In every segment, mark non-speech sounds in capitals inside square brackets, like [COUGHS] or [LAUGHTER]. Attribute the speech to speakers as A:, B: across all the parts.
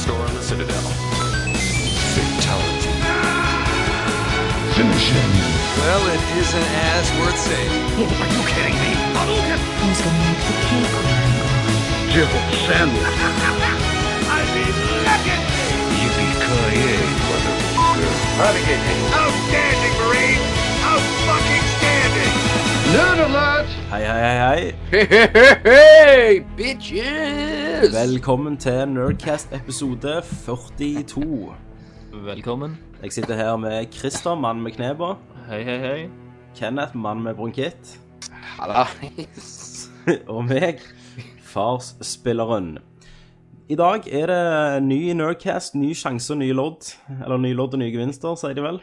A: Citadel. Fatality.
B: Finish him.
C: Well, it isn't as worth saying.
D: Who's gonna make the cake?
B: Jibble sandwich.
A: Yippee-ki-yay, motherfucker.
B: Nerd alert!
E: Hei, hei, hei, hei.
C: Hey, hey, hey, hey, bitches!
E: Velkommen til Nerdcast episode 42.
F: Velkommen.
E: Jeg sitter her med Christer, mann med kneba.
F: Hei, hei, hei.
E: Kenneth, mann med bronkitt.
C: Hallais.
E: [LAUGHS] Og meg, farsspilleren. I dag er det ny Nerdcast, ny sjanse og nye lodd. Eller nye lodd og nye gevinster, sier de vel.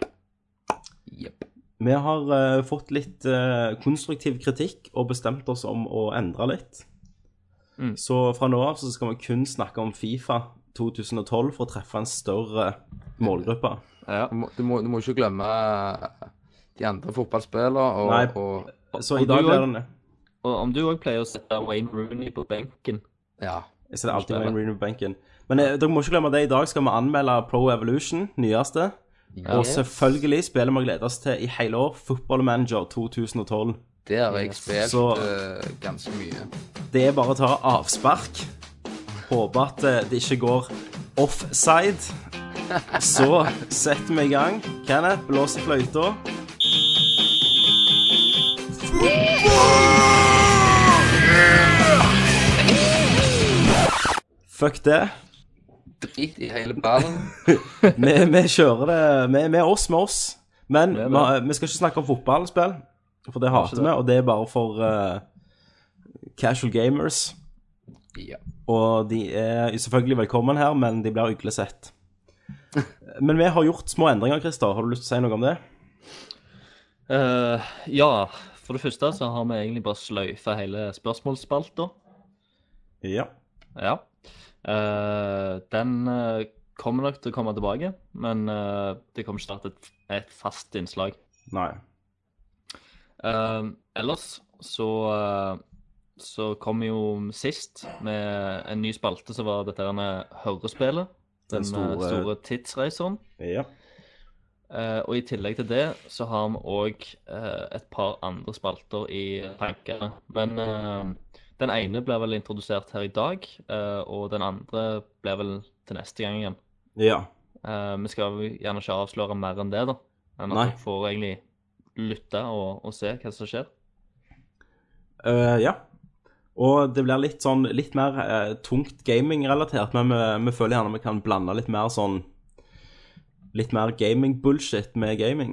F: Jepp.
E: Vi har eh, fått litt eh, konstruktiv kritikk og bestemt oss om å endre litt.
F: Mm.
E: Så fra nå av så skal vi kun snakke om Fifa 2012 for å treffe en større målgruppe.
F: Ja.
C: Du må, du, må, du må ikke glemme eh, de andre fotballspillene og,
E: Nei.
C: og
E: Så
F: Og
E: i dag
F: du
E: blir
F: også?
E: det
F: Og om du òg pleier å sette Wayne Rooney på benken
C: Ja.
E: Jeg ser alltid Wayne Rooney på benken. Men eh, dere må ikke glemme det. I dag skal vi anmelde Pro Evolution, nyeste. Og
C: Yes.
E: selvfølgelig spiller vi og gleder oss til i hele år Football Manager 2012.
C: Det har jeg spilt
E: Så-
C: eh, ganske mye.
E: Det er bare å ta avspark. Håpe at eh, det ikke går offside. Så setter vi i gang. Kenneth, blås i fløyta. Fuck det.
C: Drit i hele ballen.
E: Vi, vi kjører det Vi vi er oss med oss. Men
F: Vi er
E: vi, har- vi skal ikke snakke om fotballspill, for det hater vi, og det er bare for eh, casual gamers.
C: Ja.
E: Og de er selvfølgelig velkommen her, men de
F: [LAUGHS]
E: blir uglesett. Men vi har gjort små endringer, Christer. Har du lyst til å si noe om det?
F: Eh, Ja, for det første så har vi egentlig bare sløyfa hele spørsmålsspalta.
E: Ja.
F: Ja. Eh, den eh, kommer nok til å komme tilbake, men eh, det kommer ikke til å være et, et fast innslag.
E: Nei.
F: Eh, ellers så eh, så kom vi jo sist med en ny spalte som var dette her med hørespillet. Den,
E: Den
F: eh,
E: store-
F: store tidsreiseren.
E: Ja.
F: Eh, og i tillegg til det så har vi òg et par andre spalter i tankene. Men eh, den ene blir vel introdusert her i dag, eh, og den andre blir vel til neste gang igjen.
E: Ja.
F: Eh, vi skal jo gjerne ikke avsløre mer enn det, da. Enn at
E: Nei.
F: dere får egentlig lytte og, og se hva som skjer.
E: Eh, ja. Og det blir litt sånn litt mer eh, tungt gaming-relatert, men vi, vi føler gjerne vi kan blande litt mer sånn Litt mer gaming-bullshit med gaming,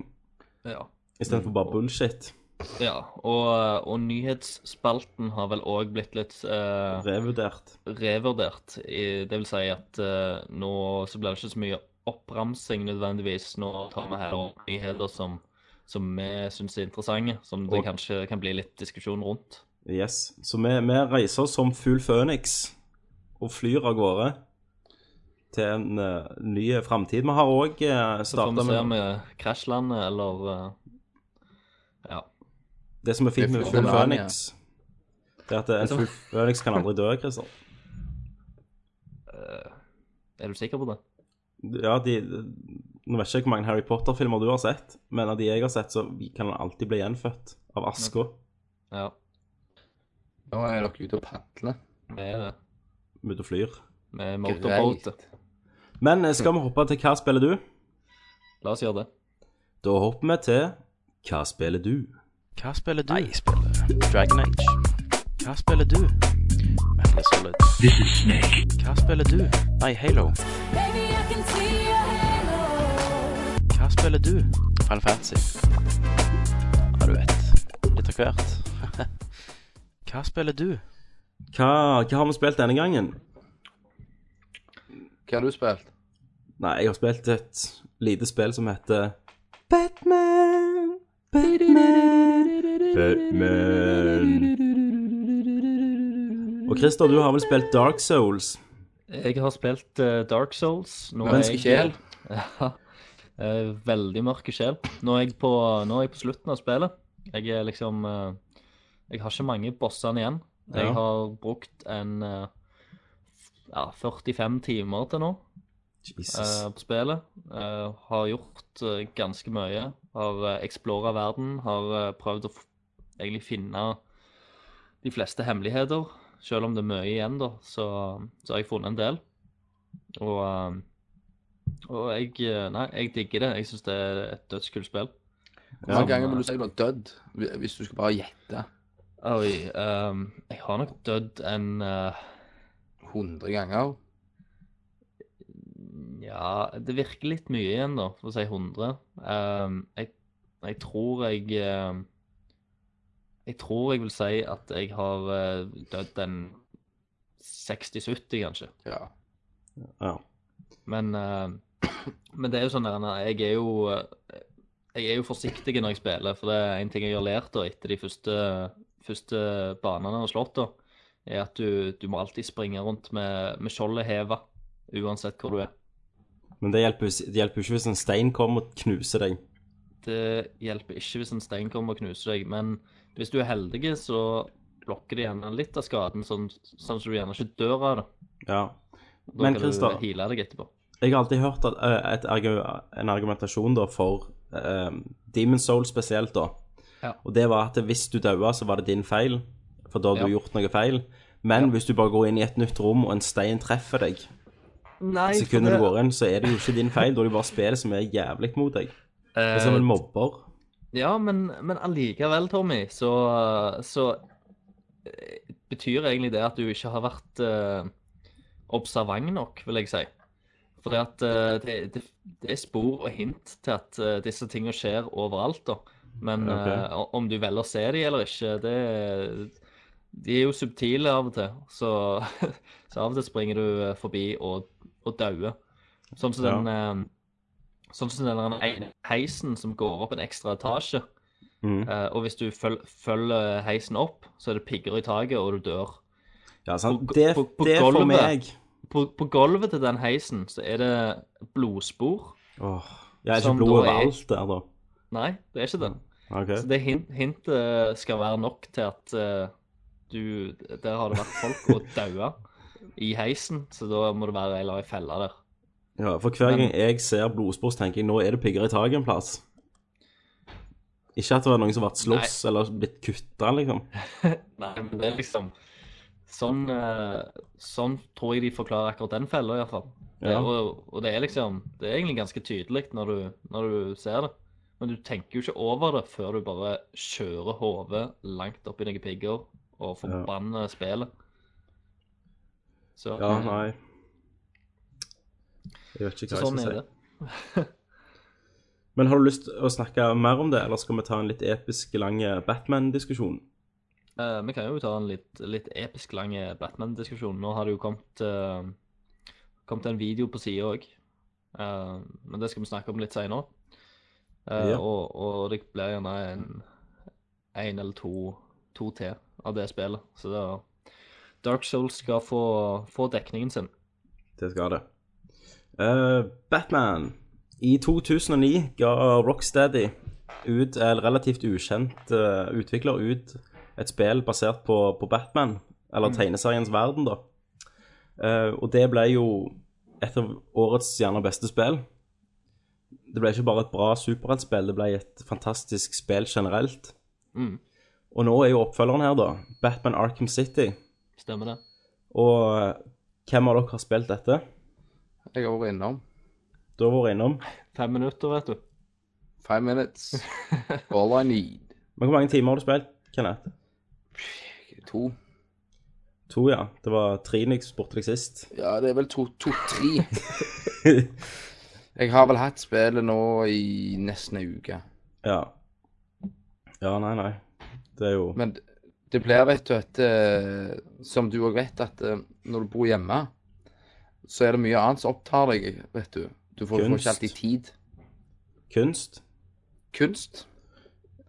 F: Ja.
E: istedenfor bare bullshit.
F: ja. Og, eh, og nyhetsspalten har vel òg blitt litt eh,
E: Revurdert.
F: revurdert. i- Det vil si at eh, nå så blir det ikke så mye oppramsing nødvendigvis. Nå tar vi her opp nyheter som, som vi syns er interessante, som det
E: Og-
F: kanskje kan bli litt diskusjon rundt.
E: Yes. Så vi, vi reiser oss som fugl Føniks og flyr av gårde til en eh, ny framtid. Vi har òg uh,
F: Så får
E: starta
F: vi se
E: med
F: med krasjlandet eller eh, Ja.
E: det som er fint med
C: Det er
E: fugl
C: Føniks,
E: Føniks. Det er at en fugl Føniks kan aldri dø, Christer.
F: Er du sikker på det?
E: Ja, de Nå vet ikke jeg hvor mange Harry Potter-filmer du har sett, men av de jeg har sett, så kan han alltid bli gjenfødt av aska.
F: Ja.
C: Nå er dere ute og padler.
F: Vi er det.
E: Ute og flyr.
F: Med motorbåt.
E: Men eh, skal vi hoppe til Hva spiller du?
F: La oss gjøre det.
E: Da hopper vi til Hva spiller du?
G: Hva spiller du? Nei, jeg spiller Dragon Age. Hva spiller du? Metal Gear Solid. This is Snake. Hva spiller du? Nei, Halo.
H: Baby, I can see your halo.
G: Hva spiller du? Final Fantasy. Ja, du vet. Litt av hvert. [LAUGHS] Hva spiller du?
E: Hva, hva har vi spilt denne gangen?
C: Hva har du spilt?
E: Nei, jeg har spilt et lite spill som heter Batman, Batman, Batman. Og Christer, du har vel spilt Dark Souls?
F: Jeg har spilt eh, Dark Souls. Nå
C: Mørke sjel.
F: [LAUGHS] Ja. Eh, Veldig mørke sjel. Nå er jeg på, nå er jeg på slutten av spillet. Jeg er liksom eh, Jeg har ikke mange bossene igjen. Jeg
E: Ja.
F: har brukt en eh, ja, 45 timer til nå.
E: Jesus.
F: eh, på spillet. eh, har gjort eh, ganske mye. Har uh, eksplora verden. Har eh, prøvd å f egentlig finne de fleste hemmeligheter. Selv om det er mye igjen, da, så, så har jeg funnet en del. Og, eh, og jeg, eh, nei, jeg digger det. Jeg syns det er et dødskult spill.
C: Hvor mange ganger vil du si du har dødd, hvi- hvis du skal bare gjette?
F: Oi, ehm, jeg har nok dødd en eh,
C: 100 ganger?
F: Ja, det virker litt mye igjen, da, for å si 100. Ehm, jeg, jeg tror jeg ehm, Jeg tror jeg vil si at jeg har eh, dødd en 60-70, kanskje.
C: Ja.
E: Ja.
F: Men, eh, men det er jo sånn der, nei, jeg er jo, eh, jeg er jo forsiktig når jeg spiller, for det er en ting jeg har lært da, etter de første, første banene og slått, da, er at du, du må alltid springe rundt med, med skjoldet heva, uansett hvor du er.
E: Men det hjelper, jo- det hjelper jo ikke hvis en stein kommer og knuser deg.
F: Det hjelper ikke hvis en stein kommer og knuser deg, men hvis du er heldig, så blokker det gjerne litt av skaden, sånn, sånn at du gjerne ikke dør av det.
E: Ja.
F: Da
E: Men
F: kan
E: Christer-
F: du heale deg etterpå.
E: Jeg har alltid hørt at, eh, et, argu- en argumentasjon da for uh, Demon Soul spesielt, da.
F: Ja.
E: Og det var at hvis du daua, så var det din feil, for da hadde du
F: Ja.
E: gjort noe feil. Men hvis du bare går inn i et nytt rom, og en stein treffer deg,
F: Nei,
E: sekundet du går inn, så er det jo ikke din feil. Da er det bare spillet som er jævlig mot deg. Det er som
F: Eh,
E: en mobber.
F: Ja, men, men allikevel, Tommy, så, så eh, betyr egentlig det at du ikke har vært eh, observant nok, vil jeg si. For at, eh, det, det, det er spor og hint til at eh, disse tingene skjer overalt. da. Men
E: Ok.
F: eh, o- om du velger å se dem eller ikke, det De er jo subtile av og til. Så, så [LAUGHS] av og til springer du eh, forbi og, og dauer. Sånn som den eh, Sånn som den der ene heisen som går opp en ekstra etasje.
E: Mhm.
F: Eh, og hvis du føl følger heisen opp, så er det pigger i taket, og du dør.
E: Ja, sant?
F: På-
E: Det,
F: på- på
E: det for
F: gulvet.
E: meg
F: På, på gulvet til den heisen så er det blodspor.
E: Åh, Jeg er
F: Som
E: ikke blod
F: da er-
E: overalt der, da.
F: Nei, det er ikke det.
E: Ok.
F: Så det hint, hintet skal være nok til at eh, du Der har det vært folk og daua i heisen, så da må det være ei eller ei felle der.
E: Ja, for hver
F: Men-
E: gang jeg ser blodspor, så tenker jeg nå er det pigger i taket en plass. Ikke at det var noen som ble slåss eller blitt kutta, liksom.
F: Nei, men det er liksom Sånn, eh, sånn tror jeg de forklarer akkurat den fella, iallfall.
E: Ja.
F: Og, og det er liksom Det er egentlig ganske tydelig når du, når du ser det. Men du tenker jo ikke over det før du bare kjører hodet langt oppi noen pigger og forbanner spillet. Så,
E: Ja, nei. Jeg vet ikke
F: så
E: hva
F: sånn
E: jeg
F: er
E: skal
F: det.
E: si. Men har du lyst til å snakke mer om det, eller skal vi ta en litt episk lang eh, Batman-diskusjon?
F: Eh, vi kan jo ta en litt, litt episk lang eh, Batman-diskusjon. Nå har det jo kommet, eh, kommet en video på sida òg. men det skal vi snakke om litt seinere.
E: Ja.
F: og, og det blir gjerne en, en eller to, to til av det spillet. Så da Dark Souls skal få, få dekningen sin.
E: Det skal det. Eh, Batman. I 2009 ga Rocksteady ut, eller relativt ukjent eh, utvikler ut et spill basert på, på Batman, eller tegneseriens verden, da. Eh, og det ble jo et av årets gjerne beste spill. Det ble ikke bare et bra superheltspill, det ble et fantastisk spill generelt.
F: Mm.
E: Og nå er jo oppfølgeren her, da. Batman Arkham City.
F: Stemmer det?
E: Og eh, hvem av dere har spilt dette?
C: Jeg har vært innom.
E: Du har vært innom.
F: Fem minutter, vet du.
C: Five
E: [LAUGHS]
C: minutes. All I need.
E: Men hvor mange timer har du spilt, Kenneth?
C: To.
E: To, ja. Det var tre når jeg spurte deg
F: [LAUGHS]
E: sist.
C: Ja, det er vel to, to, tre. Jeg har vel hatt spillet nå i nesten en uke.
E: ja. Ja, nei, nei. Det er jo
C: Men det blir, vet du, et eh, Som du òg vet, at eh, når du bor hjemme, så er det mye annet som opptar deg, vet du. Du får, du får ikke
E: Kunst.
C: alltid tid.
E: kunst.
C: Kunst.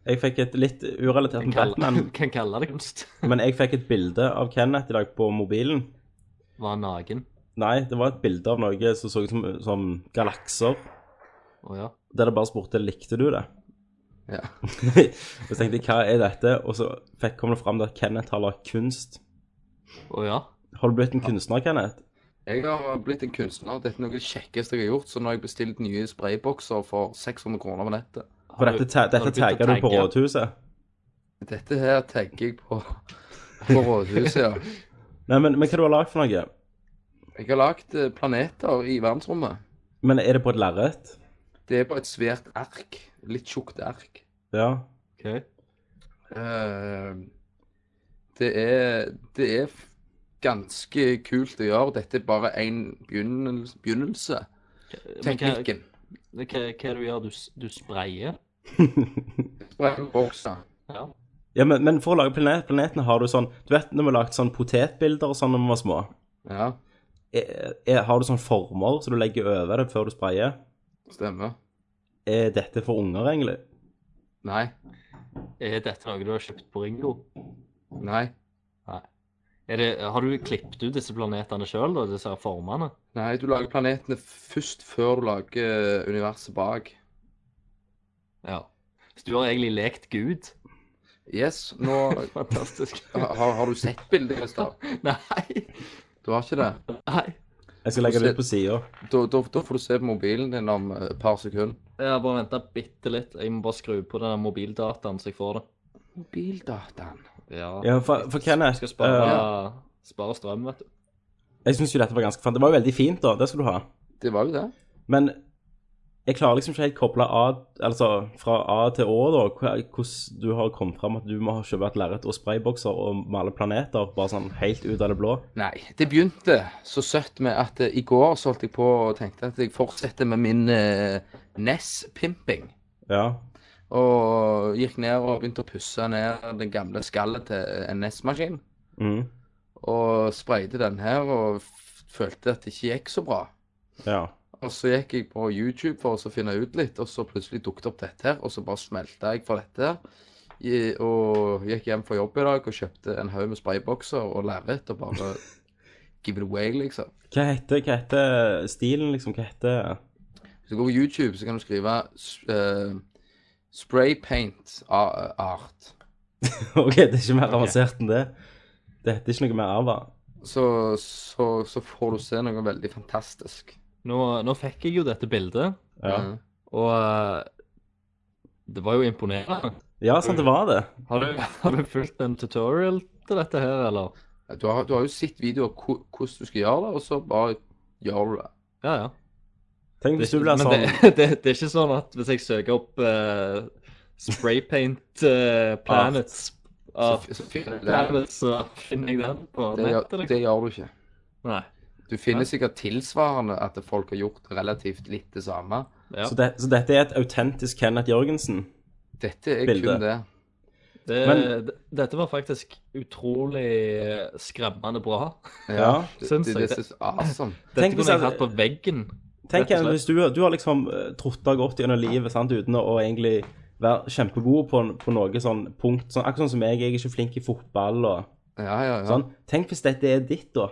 E: Jeg fikk et litt urelatert
F: Kan
E: med
F: kalle,
E: Batman,
F: [LAUGHS] kan kalle det kunst.
E: men jeg fikk et bilde av Kenneth i dag på mobilen.
F: Var naken.
E: Nei, det var et bilde av noe som så ut som, som galakser,
F: Å ja.
E: der det bare spurte likte du det.
C: Ja.
E: [LAUGHS] og så tenkte jeg hva er dette, og så fikk, kom det fram at Kenneth har lagd kunst.
F: Å ja.
E: Har du blitt en kunstner, Kenneth?
C: Jeg har blitt en kunstner. Dette er noe av det kjekkeste jeg har gjort. Så nå har jeg bestilt nye spraybokser for 600 kroner på nettet.
E: For dette, ta-
F: Har
E: dette
F: du begynt å
E: tagger du på
F: tagge?
E: rådhuset.
C: Dette her tagger jeg på, [LAUGHS] på rådhuset, ja.
E: Nei, men, men hva du har lagd for noe?
C: Jeg har lagd eh, planeter i verdensrommet.
E: Men er det på et lerret?
C: Det er på et svært ark. Litt tjukt ark.
E: Ja.
F: Ok.
C: Eh, det er Det er f- ganske kult å gjøre. Dette er bare en begynnelse. begynnelse.
F: Men hva, hva,
C: Teknikken.
F: hva er det du gjør? Du, s- du sprayer?
C: Spraybokser.
F: Ja.
E: ja men, men for å lage planet, planetene har du sånn Du vet når vi har lagd sånn potetbilder og sånn når vi var små?
C: Ja,
E: Er, er, har du sånne former som du legger over det før du sprayer?
C: stemmer.
E: Er dette for unger, egentlig?
C: Nei.
F: Er dette noe du har kjøpt på Ringo?
C: Nei.
F: Er det, har du klippet ut disse planetene sjøl, da? Disse her formene?
C: Nei, du lager planetene først før du lager universet bak.
F: Ja. Så du har egentlig lekt Gud?
C: Yes, nå
F: [LAUGHS] Fantastisk.
C: har, har du sett bildet, Kristian?
F: Nei.
C: Du har ikke det?
F: Nei.
E: Jeg skal legge det ut på sida.
C: Da, da, da får du se på mobilen din om eh, et par sekunder.
F: Jeg har bare venta bitte litt. Jeg må bare skru på den der mobildataen så jeg får det.
C: Mobildataen.
F: Ja.
E: Ja, for, for
F: Jeg
E: Kenneth
F: skal spare,
E: eh,
F: spare strøm, vet du.
E: Jeg syns jo dette var ganske fint. Det var jo veldig fint, da. Det skal du ha.
C: Det var jo det.
E: Men jeg klarer liksom ikke helt koble A, altså fra A til Å, da, hva- hvordan du har kommet fram at du må ha kjøpt et lerret og spraybokser og male planeter bare sånn helt ut av det blå.
C: Nei, det begynte så søtt med at eh, i går så holdt jeg på og tenkte at jeg fortsetter med min eh, NES-pimping.
E: Ja.
C: Og gikk ned og begynte å pusse ned det gamle skallet til en NES-maskin.
E: Mm.
C: Og sprayte den her og f- følte at det ikke gikk så bra.
E: Ja.
C: Og så gikk jeg på YouTube for å så finne ut litt, og så plutselig dukket opp dette her, og så bare smelta jeg for dette her. I- Og gikk hjem fra jobb i dag og kjøpte en haug med spraybokser og lerret og bare give it away, liksom.
E: Hva heter, hva heter stilen, liksom? Hva heter [LAUGHS]
C: Hvis du går på YouTube, så kan du skrive eh, spray paint a- eh, art.
E: OK, det er ikke mer avansert enn det. Det heter ikke noe mer arva.
C: Så, så, så får du se noe veldig fantastisk.
F: Nå, nå fikk jeg jo dette bildet,
E: Ja.
C: Eh,
F: og eh, det var jo imponerende.
E: ja, sant det var det.
F: Har du, har du fulgt en tutorial til dette her, eller?
C: Du, har, du har jo sett videoer hvor- hvordan du skal gjøre det, og så bare gjør du det.
F: Ja, ja.
E: Tenk hvis du blir
F: Men
E: sånn
F: det, [LAUGHS] det, det er ikke sånn at hvis jeg søker opp eh, spraypaint eh, planets
E: Ah.
F: av
C: Så, f- så finner du det.
F: planets, så finner jeg den på
C: Det,
F: nettet,
C: gjør-
F: liksom.
C: det gjør du ikke.
F: Nei.
C: Du finner sikkert tilsvarende at folk har gjort relativt litt det samme.
F: Ja.
E: så, det, så dette er et autentisk Kenneth Jørgensen.
C: Dette er
E: Bildet.
C: kun det.
F: Det,
E: Men-
F: d- dette var faktisk utrolig eh, skremmende bra. [LAUGHS]
E: Ja.
C: det,
F: Syns
C: det,
F: jeg
C: det, synes- awesome.
F: Dette
E: Tenk hvis
F: kunne jeg
E: jeg-
F: hatt på veggen.
E: Tenk
F: Rett og slett.
E: hvis du, du har liksom eh, trotta godt gjennom livet sant, uten å egentlig være kjempegod på, på noe sånn punkt. Sånn, akkurat sånn som jeg, jeg er ikke flink i fotball og
C: Ja, ja, ja.
E: sånn. Tenk hvis dette er ditt, da.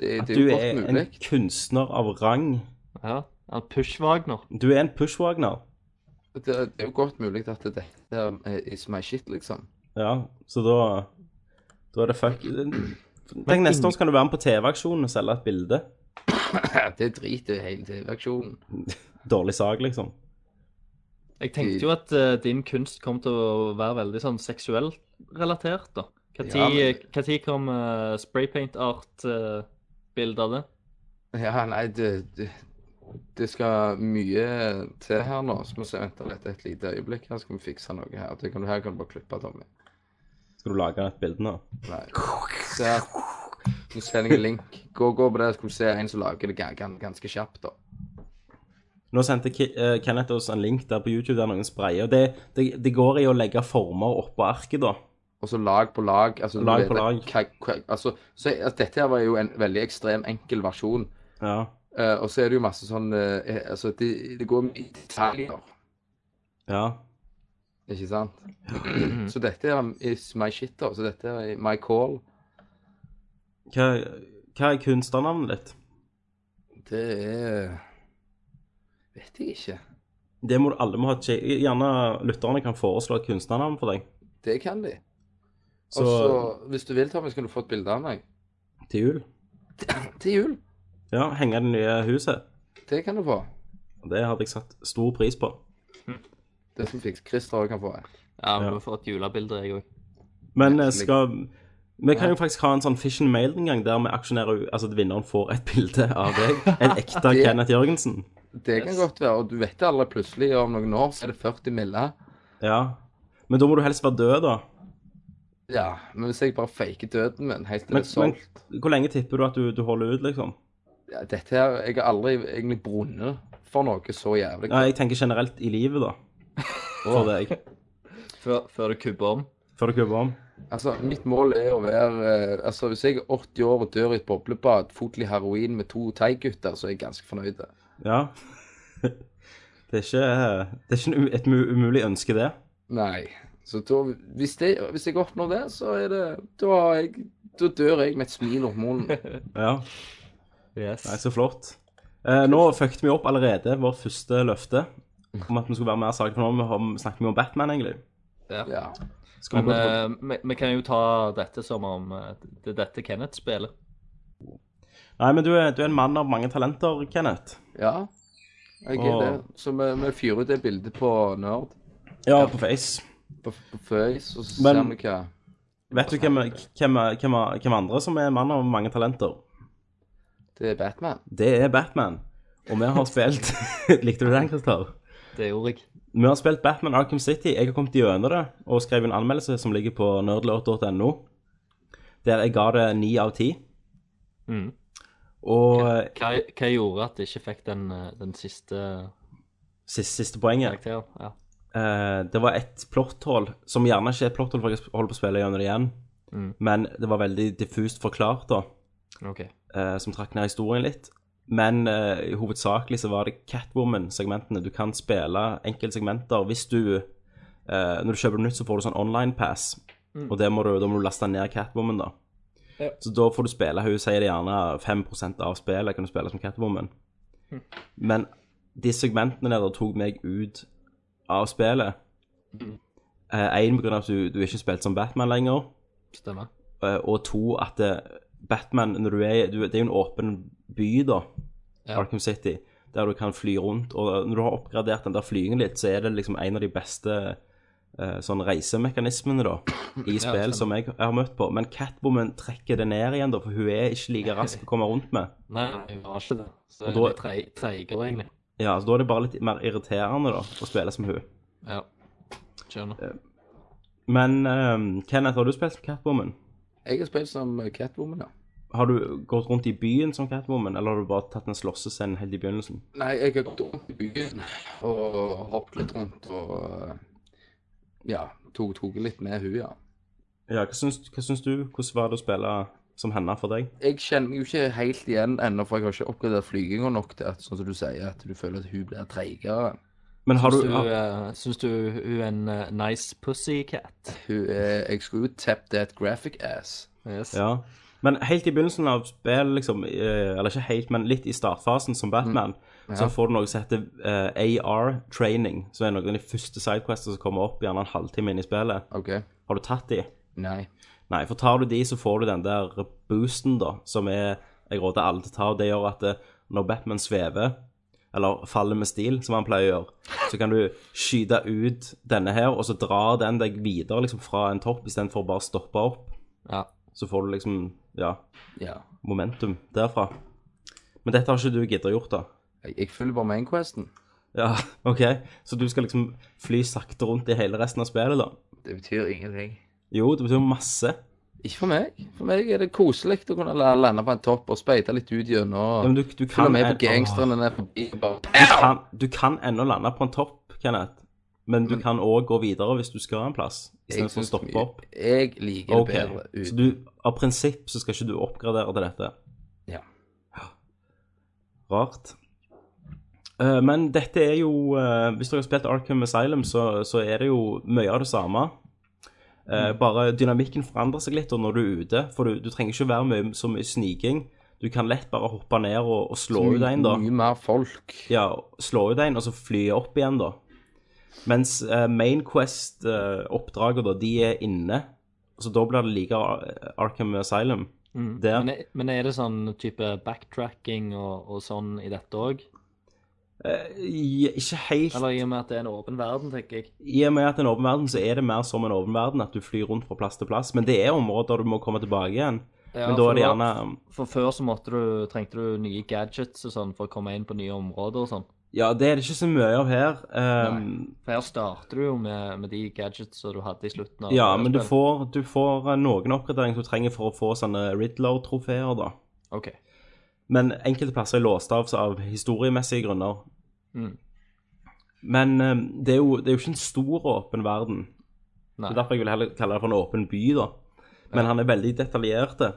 C: Det,
E: At
C: det er jo
E: du
C: godt
E: er en
C: mulig.
E: kunstner av rang.
F: Ja, en pushwagner.
E: Du er en pushwagner.
C: Det, det er jo godt mulig at dette er is my shit, liksom.
E: Ja, så da Da er det fuck Tenk neste år så kan du være med på TV-aksjonen og selge et bilde.
C: Det driter hele TV-aksjonen.
E: Dårlig sak, liksom.
F: Jeg tenkte jo at eh, din kunst kom til å være veldig sånn seksuelt relatert, da. Hva tid,
C: Ja, men-
F: hva tid kom eh, spraypaint art-bildet eh, av det?
C: Ja, nei, det, det, det skal mye til her nå. Så må vi se, vente litt et lite øyeblikk her, skal vi fikse noe her. Det kan du her kan du bare klippe, Tommy.
E: Skal du lage et bilde nå?
C: Nei. Se her. Nå sender jeg en link. Gå, gå på det, så skal du se en som lager det gan- gan- ganske kjapt, da.
E: Nå sendte Ki eh, Kenneth oss en link der på YouTube der noen sprayer. og Det, det, det går i å legge former oppå arket, da.
C: Og så lag på lag. Altså, du
E: Lag
C: vet
E: på
C: det-
E: lag.
C: hva- hva- altså, så, altså, dette her var jo en veldig ekstrem enkel versjon.
E: Ja.
C: Eh, og så er det jo masse sånn eh, Altså, det, det går i detaljer.
E: ja.
C: Ikke
E: [CLEARS THROAT]
C: sant? Så dette er is my shit, da. Så dette er my call.
E: Hva, hva er kunstnernavnet ditt?
C: Det er Vet jeg ikke.
E: Det må du- alle må ha et sjek- Gjerne lytterne kan foreslå et kunstnernavn for deg
C: Det kan de.
E: Så-
C: Altså- Og så, hvis du vil, Tommy, så kan du få et bilde av meg.
E: til jul.
C: Til jul.
E: Ja, henge det nye huset.
C: Det kan du få.
E: Og Det hadde jeg satt stor pris på.
C: Det som fikk Christer også kan få.
F: Ja, men
E: Ja.
F: nå får jeg et julebilde, jeg òg.
E: Men eh,
C: Helt slik.
E: skal Vi kan jo faktisk ha en sånn fish and mail en gang, der vi aksjonerer Altså at vinneren får et [LAUGHS] bilde av
C: [LAUGHS]
E: deg. En ekte
C: Det-
E: Kenneth Jørgensen.
C: Det kan
F: Yes.
C: godt være. Og du vet det alle plutselig, om noen år så er det 40 mille.
E: Ja. Men da må du helst være død, da.
C: Ja, men hvis jeg bare faker døden min helt til det
E: Men,
C: er
E: men
C: solgt
E: hvor lenge tipper du at du, du holder ut, liksom?
C: ja, Dette her Jeg har aldri egentlig brunnet for noe så jævlig.
E: Ja, jeg tenker generelt i livet,
C: [LAUGHS]
E: da. For deg.
F: Før, før du kubber om.
E: Før du kubber om.
C: Altså, Mitt mål er å være eh, Altså, Hvis jeg er 80 år og dør i et boblebad, fotlig heroin med to thai-gutter, så er jeg ganske fornøyd.
E: Ja. [LAUGHS] Det er ikke, det er ikke en u- et mu- umulig ønske, det.
C: Nei. Så da, hvis, det, hvis jeg oppnår det, så er det Da, har jeg, da dør jeg med et smil
E: [LAUGHS]
C: om munnen.
E: Ja.
F: Yes.
E: Nei, så flott. Eh, nå fucket vi opp allerede vårt første løfte om at vi skulle være mer saklige. For nå har vi snakket mye om Batman, egentlig.
C: Ja.
E: Skal vi
F: Men
E: gå til
F: eh, vi vi kan jo ta dette som om eh, det er dette Kenneth spiller.
E: Nei, men du er, du er en mann av mange talenter, Kenneth.
C: ja. Jeg er
E: Åh.
C: det. Så vi, vi fyrer ut det bildet på Nerd,
E: Ja, på Face.
C: på, på Face, og så
E: Men-
C: ser vi hva
E: Vet du hvem, hvem, hvem, hvem andre som er en mann av mange talenter?
C: Det er Batman.
E: Det er Batman. Og vi har spilt [LAUGHS] Likte du den, Christer?
F: Det gjorde jeg.
E: Vi har spilt Batman Arkham City. Jeg har kommet gjennom det og skrevet en anmeldelse som ligger på nerdlåt.no, der jeg ga det ni av ti.
F: Mhm.
E: Og eh,
F: Hva, hva gjorde at det ikke fikk den, eh, den siste
E: siste, siste poenget
F: karakteren? Ja.
E: Eh, det var et plotthull, som gjerne ikke er et plotthull, for jeg holder på å spille gjennom det igjen.
F: Mm.
E: Men det var veldig diffust forklart, da,
F: OK.
E: eh, som trakk ned historien litt. Men eh, hovedsakelig så var det Catwoman-segmentene. Du kan spille enkeltsegmenter hvis du eh, Når du kjøper det nytt, så får du sånn online pass, og det må du, da må du laste ned Catwoman, da.
F: Ja.
E: Så da får du spille Hun sier det gjerne 5 av spillet kan du spille som Catwoman. Men de segmentene der da tok meg ut av spillet. Én på grunn av at du, du ikke spilte som Batman lenger,
F: Stemmer.
E: eh, og to at eh, Batman når du er, du, Det er jo en åpen by, da,
F: Ja.
E: Arkham City, der du kan fly rundt. Og eh, når du har oppgradert den der flygingen litt, så er det liksom en av de beste eh, sånn reisemekanismene, da, i spill som jeg, jeg har møtt på. Men Catwoman trekker det ned igjen, da, for hun er ikke like rask å komme rundt med.
F: Nei, jeg var ikke det. Så
E: Og
F: jeg
E: da-
F: er tre- treigere, egentlig.
E: Ja, så Da er det bare litt mer irriterende da, å spille som hun.
F: Ja. Skjønner.
E: Eh, Men eh, Kenneth, har du spilt som Catwoman?
C: Jeg har spilt som Catwoman, ja.
E: Har du gått rundt i byen som Catwoman, eller har du bare tatt en slåssescene helt i begynnelsen?
C: Nei, jeg har gått rundt i byen og hoppet litt rundt og eh, Ja, tok tok litt med hun, ja.
E: Ja, hva syns, hva syns du? Hvordan var det å spille som henne for deg?
C: Jeg kjenner meg jo ikke helt igjen ennå, for jeg har ikke oppgradert flyginga nok til at sånn som du sier, at du føler at hun blir treigere.
E: Men har
F: Syns
E: du,
F: du,
E: har,
F: eh, syns du hun er en eh, nice pussycat?
C: Hun er Jeg skulle jo tap that graphic ass.
F: Yes.
E: ja. Men helt i begynnelsen av spillet, liksom, eh, eller ikke helt, men litt i startfasen som Batman, så får du noe som heter eh, AR-training, som er noen av de første sidequestene som kommer opp gjerne en halvtime inn i spillet.
C: OK?
E: Har du tatt de?
C: Nei.
E: Nei, for tar du de, så får du den der boosten, da, som er Jeg råder alle til å ta. og Det gjør at eh, når Batman svever, eller faller med stil, som han pleier å gjøre, så kan du skyte ut denne her, og så drar den deg videre liksom fra en topp, istedenfor å bare stoppe opp.
F: Ja.
E: Så får du liksom, ja,
C: Ja.
E: momentum derfra. Men dette har ikke du giddet å gjort, da.
C: Jeg, jeg følger bare mainquesten.
E: Ja, [LAUGHS] OK. Så du skal liksom fly sakte rundt i hele resten av spillet, da?
C: Det betyr ingenting.
E: Jo, det betyr masse.
C: Ikke for meg. For meg er det koselig å kunne la- lande på en topp og speide litt ut
E: Ja, men
C: gjennom.
E: du, du kan
C: Følge med på
E: Åh.
C: gangsterne ned forbi og bare
E: Du kan, du kan ennå lande på en topp, Kenneth. Men du kan òg gå videre hvis du skal en plass,
C: Jeg
E: istedenfor å
C: synes
E: stoppe
C: mye-
E: opp.
C: Jeg liker det
E: Ok,
C: bedre ut.
E: Så du, av prinsipp så skal ikke du oppgradere til dette?
C: Ja.
E: Rart. Eh, men dette er jo eh, Hvis dere har spilt Arkham Asylum, så, så er det jo mye av det samme. Eh,
C: Mm.
E: Bare dynamikken forandrer seg litt da når du er ute. For du, du trenger ikke være mye, så mye sniking. Du kan lett bare hoppe ned og, og slå ut en, da.
C: Mye mer folk.
E: Ja, slå ut en, og så fly opp igjen, da. Mens eh, Main eh, Quest-oppdraget, da, de er inne. Så da blir det like Ar- eh, Arkham Asylum.
F: Mm.
E: Der.
F: Men, er- men er det sånn type backtracking og, og sånn i dette òg?
E: Eh, ja, ikke helt.
F: Eller i og med at det er en åpen verden, tenker jeg.
E: I og med at det er en åpen verden, så er det mer som en åpen verden, at du flyr rundt fra plass til plass. Men det er områder du må komme tilbake igjen.
F: Ja,
E: Men da
F: for
E: er det
F: var-
E: gjerne
F: For før så måtte du, trengte du nye gadgets og sånn for å komme inn på nye områder og sånn.
E: Ja, det er det ikke så mye av her. Eh,
F: For her starter du jo med, med de gadgets som du hadde i slutten av
E: ja, men du
F: spillet.
E: får, du får eh, noen oppgraderinger som du trenger for å få sånne Riddler-trofeer, da.
F: OK.
E: Men enkelte plasser er låst av så av historiemessige grunner.
F: Mm.
E: Men eh, det er, jo, det er jo ikke en stor åpen verden.
F: Nei.
E: Det er derfor jeg vil heller kalle det for en åpen by, da. Men han er veldig detaljert. det.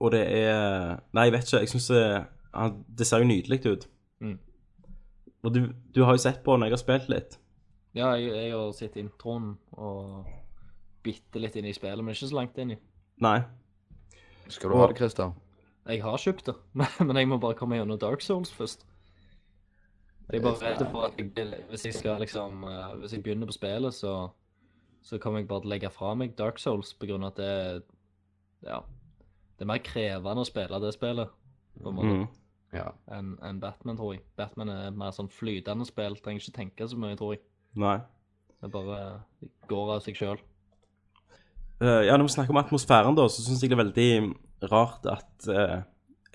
E: Og det er Nei, jeg vet ikke. Jeg syns det, han- det ser jo nydelig ut.
F: Mm.
E: Og du, du har jo sett på når jeg har spilt litt.
F: Ja, jeg, jeg har sett introen og bitte litt inn i spillet, men ikke så langt inn i.
E: Nei.
C: Skal du ha det, Christer?
F: Jeg har kjøpt det, [LAUGHS] men jeg må bare komme gjennom Dark Souls først. Jeg er bare redd for at jeg, hvis jeg skal liksom eh, Hvis jeg begynner på spillet, så, så kommer jeg bare til å legge fra meg Dark Souls på grunn av at det er- Ja. Det er mer krevende å spille det spillet på en måte,
E: Mm.
C: Ja.
F: enn enn Batman, tror jeg. Batman er et mer sånn flytende spill, trenger ikke tenke så mye, tror jeg.
E: Nei.
F: Det bare eh, går av seg sjøl.
E: Eh, ja, når vi snakker om atmosfæren, da, så syns jeg det er veldig rart at eh,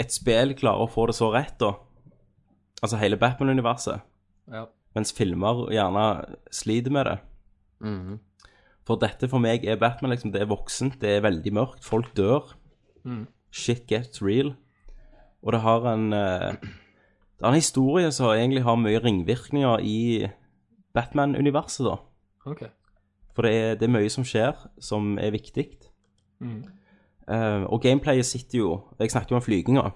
E: et spill klarer å få det så rett, da. Altså hele Batman-universet.
F: Ja.
E: Mens filmer gjerne sliter med det.
C: Mhm.
E: For dette for meg er Batman, liksom. Det er voksent, det er veldig mørkt, folk dør.
F: Mm.
E: Shit gets real. Og det har en eh, Det har en historie som egentlig har mye ringvirkninger i Batman-universet, da.
F: OK.
E: For det er, det er mye som skjer, som er viktig.
F: Mm.
E: Eh, og gameplayet sitter jo Jeg snakket jo om flyginga.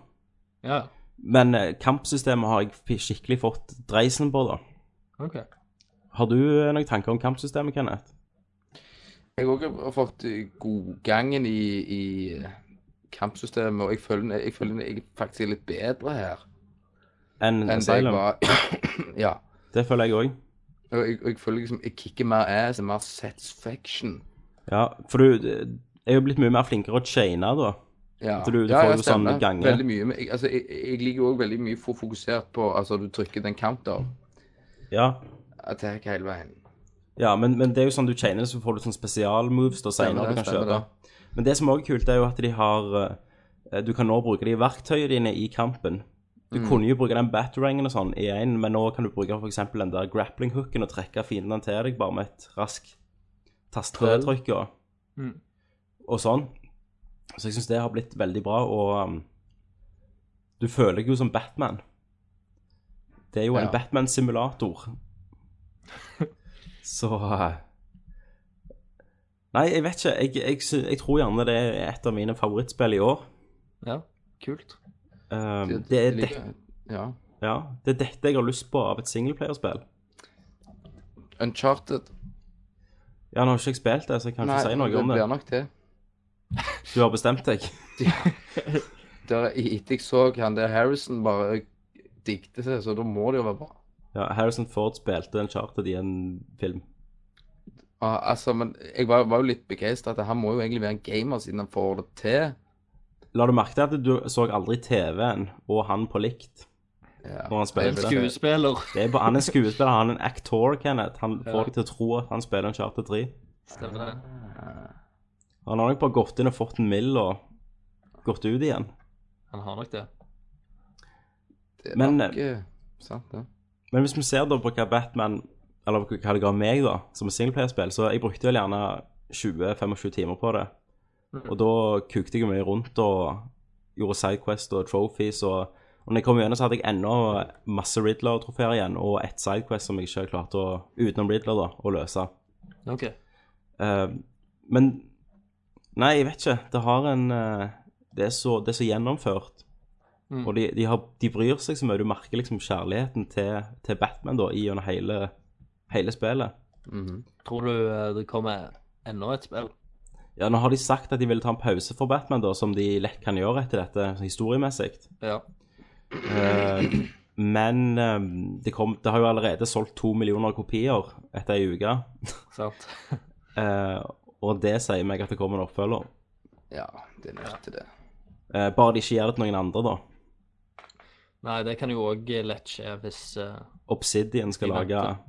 F: Ja,
E: Men eh, kampsystemet har jeg fi- skikkelig fått dreisen på, da.
F: OK.
E: Har du eh, noen tanker om kampsystemet, Kenneth?
C: Jeg har også fått eh, god gangen i, i kampsystemet, og jeg føler, jeg føler jeg faktisk er litt bedre her
E: Enn
C: enn det jeg
E: Asylum?
C: var. [COUGHS] ja.
E: Det føler jeg òg.
C: Og jeg, og jeg føler liksom jeg kicker mer ass, det er mer satisfaction.
E: Ja, for du eh, er jo blitt mye mer flinkere å chaine, da.
C: Ja,
E: Så du- du
C: ja,
E: får
C: ja,
E: jo sånn
C: stemmer.
E: gange.
C: Veldig mye. Men jeg, altså, jeg, jeg ligger òg veldig mye for fokusert på Altså, du trykker den counter
E: Ja.
C: attack hele veien.
E: Ja, men, men det er jo sånn du chainer, så får du sånn spesialmoves da
C: Stemmer
E: senere
C: det,
E: du kan
C: stemmer
E: kjøpe. Men det som òg er kult, det er jo at de har eh, Du kan nå bruke de verktøyene dine i kampen.
C: Mm.
E: Du kunne jo bruke den batterangen og sånn i én, men nå kan du bruke f.eks. den der grappling hooken og trekke fiendene til deg bare med et raskt tastetrykk og,
F: Mm.
E: og sånn. Så jeg syns det har blitt veldig bra, og um, du føler deg jo som Batman. Det er jo en
C: Ja.
E: Batman-simulator.
C: [LAUGHS]
E: Så eh, Nei, jeg vet ikke. Jeg, jeg, sy- jeg tror gjerne det er et av mine favorittspill i år.
F: Ja, kult.
E: Um,
C: Det,
E: det, er det,
C: ligger- ja.
E: ja, det er dette jeg har lyst på av et singelplayerspill.
C: Uncharted.
E: Ja, nå har ikke jeg spilt det, så jeg kan ikke si noe
C: det
E: om det.
C: blir nok det.
E: Du har bestemt deg.
C: Der, i- etter jeg så han der Harrison bare digte seg, så da må det jo være bra.
E: Ja, Harrison Ford spilte en charter i en film.
C: Ah, altså, men jeg var, var jo litt begeistra at han må jo egentlig være en gamer siden han får det til.
E: La du merke til at du så aldri TV-en og han på likt
C: Ja.
E: når han
F: En
E: spilte?
F: skuespiller.
E: Det er bare, han er skuespiller, han er en actor, Kenneth. Han
F: Ja.
E: får deg til å tro at han spiller en charter 3.
F: Stemmer det.
E: Han har nok bare gått inn og fått en mill og gått ut igjen.
F: Han har nok det.
C: Det er
E: Men-
C: nok, eh, sant, det.
E: Men hvis vi ser da på hva Batman Eller hva det ga meg, da, som et singleplayerspill, så jeg brukte vel gjerne 20-25 timer på det. Og da kukte jeg jo mye rundt og gjorde Sidequest og trophies og og når jeg kom gjennom, så hadde jeg ennå masse Riddler-trofeer igjen, og ett Sidequest som jeg ikke klarte å Utenom Riddler, da, å løse.
F: OK.
E: Eh, men Nei, jeg vet ikke. Det har en eh, Det er så, det er så gjennomført.
F: Mm.
E: Og de, de, har, de bryr seg så mye. Du merker liksom kjærligheten til, til Batman da, i gjennom hele, hele spillet.
C: Mhm.
F: Tror du eh, det kommer enda et spill?
E: Ja, Nå har de sagt at de ville ta en pause for Batman, da, som de lett kan gjøre etter dette, sånn historiemessig.
F: Ja.
E: Eh, men eh, det, kom, det har jo allerede solgt to millioner kopier etter ei uke.
F: Sant.
E: Eh, og det sier meg at det kommer en oppfølger.
C: Ja, det er nødt til det.
E: Eh, bare de ikke gjør det til noen andre, da.
F: Nei, det kan jo òg lett skje hvis eh,
E: Obsidian skal
F: Vi venter.
E: lage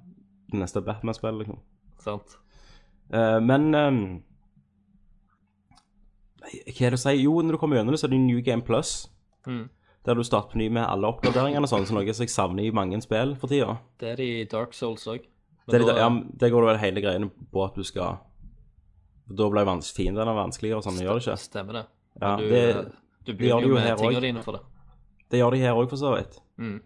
E: det neste Batman-spillet, liksom.
F: Sant?
E: Eh, men ehm, nei, Hva er det å si? Jo, når du kommer gjennom det, så er det New Game Plus.
F: Mm.
E: Der du starter på ny med alle oppgraderingene og sånn, så noe som jeg savner i mange spill for tida.
F: Det er de i Dark Souls òg.
E: Det, er litt- ja, men det går vel hele greiene på at du skal Da blir vans- fiendene vanskeligere og sånn, det gjør det ikke?
F: Stemmer det.
E: Ja,
F: du, eh,
E: det,
F: du
E: gjør det
F: begynner
E: jo
F: jo med
E: her
F: tingene
E: også.
F: dine for det.
E: det gjør de her òg, for så vidt.
F: Mm.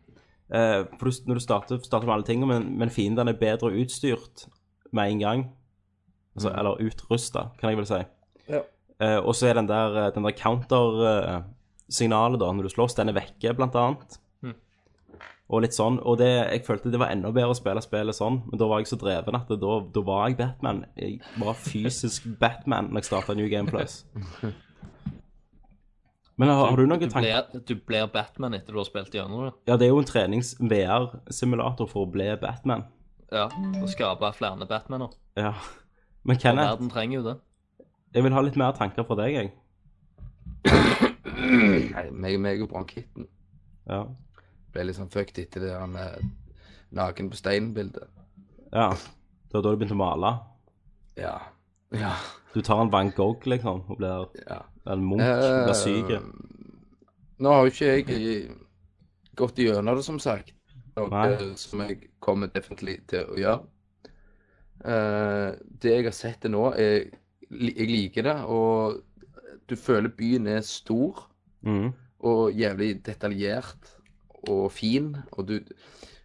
E: Eh, for du, når du starter, starter med alle tingene, men, men fiendene er bedre utstyrt med en gang. Altså, Eller utrusta, kan jeg vel si.
C: Ja.
E: Eh, og så er den der, eh, den der counter-signalet da, når du slåss, den er vekke, blant annet.
F: Mhm.
E: Og litt sånn, og det, jeg følte det var enda bedre å spille spillet sånn, men da var jeg så dreven at det, da, da var jeg Batman. Jeg var fysisk Batman når jeg starta New Game Plus. Men har, har du noen
F: du
E: tanker?
F: blir, du blir Batman etter du har spilt gjennom det.
E: Ja, det er jo en trenings-VR-simulator for å bli Batman.
F: Ja, Og skape flere Batmaner.
E: Ja. Men
F: Og
E: Kenneth,
F: verden trenger jo det.
E: jeg vil ha litt mer tanker fra deg, jeg.
C: Nei, meg, meg og bronkitten
E: Ja.
C: ble litt sånn fucked etter det han eh, naken på steinen-bildet.
E: ja. Det var da du begynte å male.
C: Ja. Ja.
E: Du tar en Van Gogh, liksom, og blir
C: ja.
E: en munk, blir syk.
C: Eh, Nå har jo ikke jeg gått gjennom det, som sagt. Noe
E: Nei.
C: som jeg kommer definitivt til å gjøre. Eh, det jeg har sett til nå, er Jeg liker det, og du føler byen er stor
E: Mhm.
C: og jævlig detaljert og fin, og du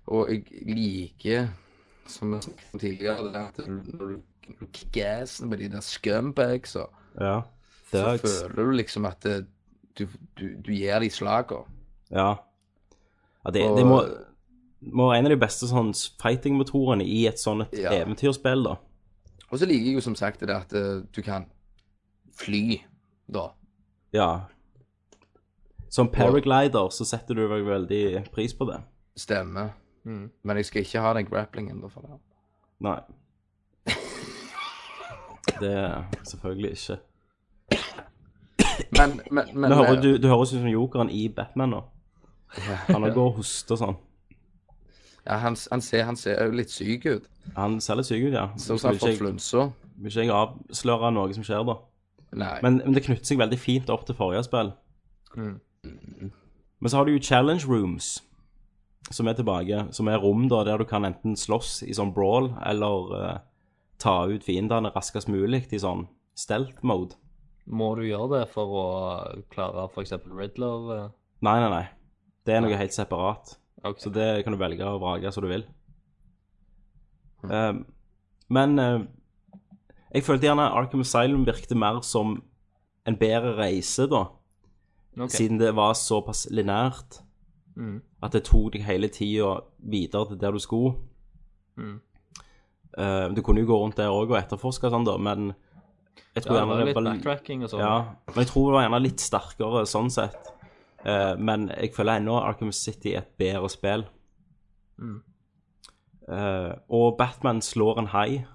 C: Og jeg liker, som jeg snakket om tidligere, det at når du når du kicker assen med de der scumbagsa
E: Ja.
C: så
E: Thugs.
C: føler du liksom at eh, du, du, du gir de slaga.
E: Ja. ja det, det må, må være en av de beste sånn fighting-motorene i et sånt et
C: Ja.
E: eventyrspill, da.
C: Og så liker jeg jo som sagt det at eh, du kan fly, da.
E: Ja. Som paraglider så setter du vel veldig pris på det.
C: Stemme.
F: Mm.
C: Men jeg skal ikke ha den grapplingen. da for det. [LAUGHS]
E: Nei. Det er selvfølgelig ikke.
C: Men, men, men
E: Nå hører,
C: eh,
E: du, du høres ut som jokeren i Batman nå. Han også går og hoster og sånn.
C: ja, han, han ser han ser jo litt syk ut.
E: Han ser litt syk ut, ja.
C: Ser
E: Vil
C: ut som han har
E: ikke,
C: fått
E: jeg-
C: flunsa.
E: vil ikke jeg avsløre noe som skjer, da.
C: Nei.
E: Men, men det knytter seg veldig fint opp til forrige spill.
F: Mm.
E: Men så har du jo challenge rooms, som er tilbake. Som er rom da, der du kan enten slåss i sånn brawl, eller eh, ta ut fiendene raskest mulig i sånn stealth mode.
F: Må du gjøre det for å klare f.eks. Riddler? eh?
E: Nei, nei, nei. Det er noe helt separat.
F: Ok.
E: Så det kan du velge og vrage som du vil.
F: Mm.
E: Ehm, men eh, jeg følte gjerne Arkham Asylum virkte mer som en bedre reise, da.
F: Ok.
E: Siden det var såpass linært
F: Mm.
E: at det tok deg hele tida videre til der du skulle.
F: Mm.
E: Eh, du kunne jo gå rundt der òg og etterforske og sånn, da, men
F: Ja,
E: jeg tror
F: det var
E: gjerne
F: litt
E: var-
F: backtracking og sånn.
E: Ja, men jeg tror det var gjerne litt sterkere sånn sett. Eh, men jeg føler ennå Arkham City er et bedre spill.
F: Mm.
E: Eh, og Batman slår en hai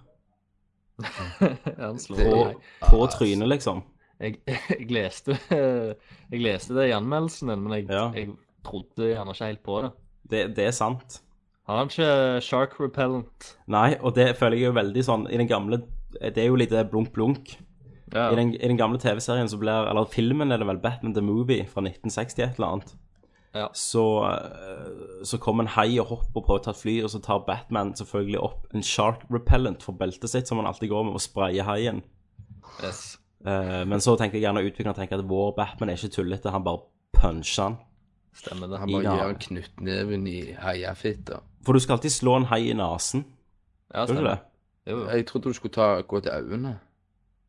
F: Han slår
C: Det-
E: på,
F: meg.
E: på trynet, liksom.
F: jeg, jeg, leste, jeg leste det i anmeldelsen din, men jeg,
E: Ja.
F: jeg trodde gjerne ikke helt på det.
E: Det, det er sant.
F: Har han ikke shark repellent?
E: Nei, og det føler jeg jo veldig sånn I den gamle Det er jo litt det blunk-blunk.
F: Ja.
E: I, den, I den gamle TV-serien så blir Eller filmen er det vel, Batman the Movie fra 1960 et eller annet.
F: Ja.
E: Så, eh, så kommer en hai og hopper på å ta et fly, og så tar Batman selvfølgelig opp en shark repellent for beltet sitt, som han alltid går med, og sprayer haien.
F: Yes.
E: Eh, men så tenker jeg gjerne utvikleren tenker at vår Batman er ikke tullete, han bare puncher han.
F: Stemmer det.
C: Han bare
E: Ja.
C: gir en knyttneven i heiafitta.
E: For du skal alltid slå en hai i nesen,
F: Ja,
E: gjør du
F: stemmer.
E: det?
F: Jo, jo.
C: Jeg trodde du skulle ta, gå til øynene. [LAUGHS]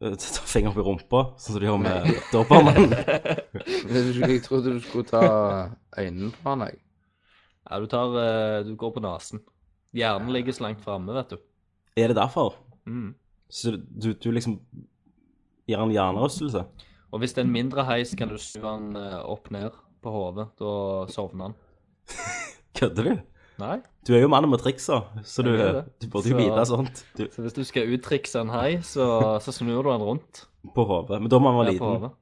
E: Eh, [LAUGHS] Ta fingeren opp i rumpa, sånn som de gjør med Dobbermann.
F: [LAUGHS]
C: Jeg trodde du skulle ta øynene på han, jeg.
F: Ja, du tar eh, Du går på nesen. Hjernen ligger så langt framme, vet du.
E: Er det derfor?
F: Mm.
E: Så du, du liksom gir han hjernerystelse?
F: Og hvis det er en mindre heis, kan du snu han eh, opp ned på hodet. Da sovner han.
E: Kødder du?
F: Nei.
E: Du er jo mannen med triksa, så du,
F: Jeg er det.
E: du burde jo
F: Så-
E: vite sånt du,
F: Så hvis du skal uttrikse en hai, så, så snur du den rundt.
E: på hodet. Men da må han være
F: Ja, på
E: liten.
F: hodet.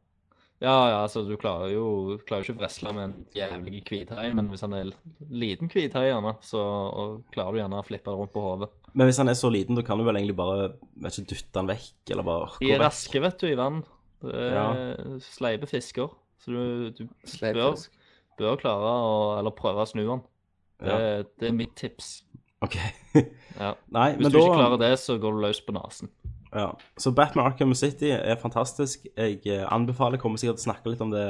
F: Ja, ja, altså, du klarer jo du klarer jo ikke å wrestle med en jævlig hvithai, men hvis han er l- liten hvithai, gjerne, så og klarer du gjerne å flippe det rundt på hodet.
E: Men hvis han er så liten, da kan du vel egentlig bare vet ikke, dytte han vekk, eller bare gå
F: De er
E: vekk.
F: raske, vet du, i vann. Det er sleipe fisker, så du, du bør,
C: Sleifisk.
F: bør klare å Eller prøve å snu den. Det, det er mitt tips.
E: OK.
F: Ja.
E: [LAUGHS] Nei,
F: Hvis
E: men
F: du
E: da
F: ikke klarer det, så går du løs på nesen.
E: ja. Så Batman Arkham City er fantastisk. Jeg eh, anbefaler kommer sikkert til å snakke litt om det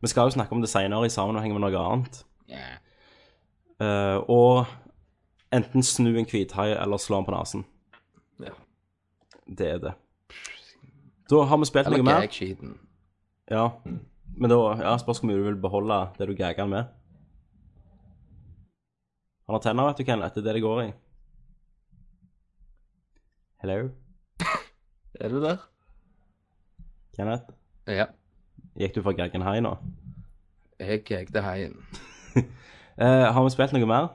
E: Vi skal jo snakke om det senere i sammenheng med noe annet. Eh, og enten snu en hvithai eller slå han på nesen.
F: Ja.
E: Det er det. Da har vi spilt
C: Eller
E: noe mer.
C: gag-sheeten.
E: Ja. Men da ja, spørs hvor mye du vil beholde det du gagger han med. Han har tenner, vet du, Kenneth. Det er det det går i. Hello,
F: Er du der?
E: Kenneth.
C: Ja.
E: Gikk du for gaggen hei nå?
C: Jeg gagde haien.
E: Eh, har vi spilt noe mer,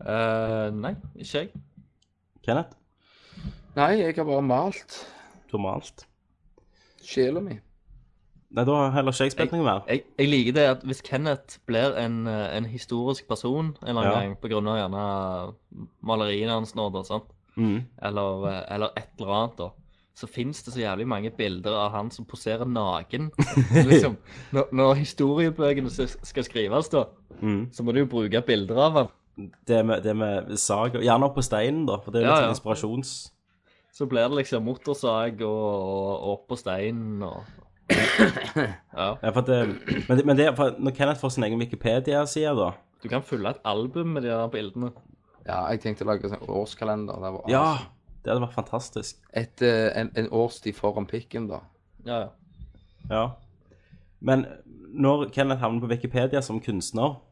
F: Eh, nei, ikke jeg.
E: Kenneth?
C: Nei, jeg har bare malt
E: Normalt.
C: sjela mi.
E: Nei, da har heller ikke jeg spilt noe mer.
F: Jeg, jeg liker det at hvis Kenneth blir en, eh, en historisk person en eller annen
E: Ja.
F: gang, på grunn av gjerne maleriene hans nå, da, sant?
E: Mm.
F: Eller, eh, eller et eller annet, da, så fins det så jævlig mange bilder av han som poserer
E: [LAUGHS]
F: naken. liksom, når, når historiebøkene s- skal skrives, da,
E: Mm.
F: så må du jo bruke bilder av han.
E: Det med, det med sag og Gjerne opp på steinen, da, for det er litt
F: Ja,
E: sånn
F: ja.
E: inspirasjons...
F: Så blir det liksom motorsag og, og opp på steinen
E: [COUGHS]
F: og Ja.
E: Ja, for at det, men det, men det, for når Kenneth får sin egen Wikipedia-side, da
F: Du kan fylle et album med de der bildene.
C: Ja, jeg tenkte å lage en sånn årskalender. Det var altså
E: Ja! Det hadde vært fantastisk.
C: Et, eh, en, en årstid foran pikken, da.
F: Ja, ja.
E: Ja. Men når Kenneth havner på Wikipedia som kunstner,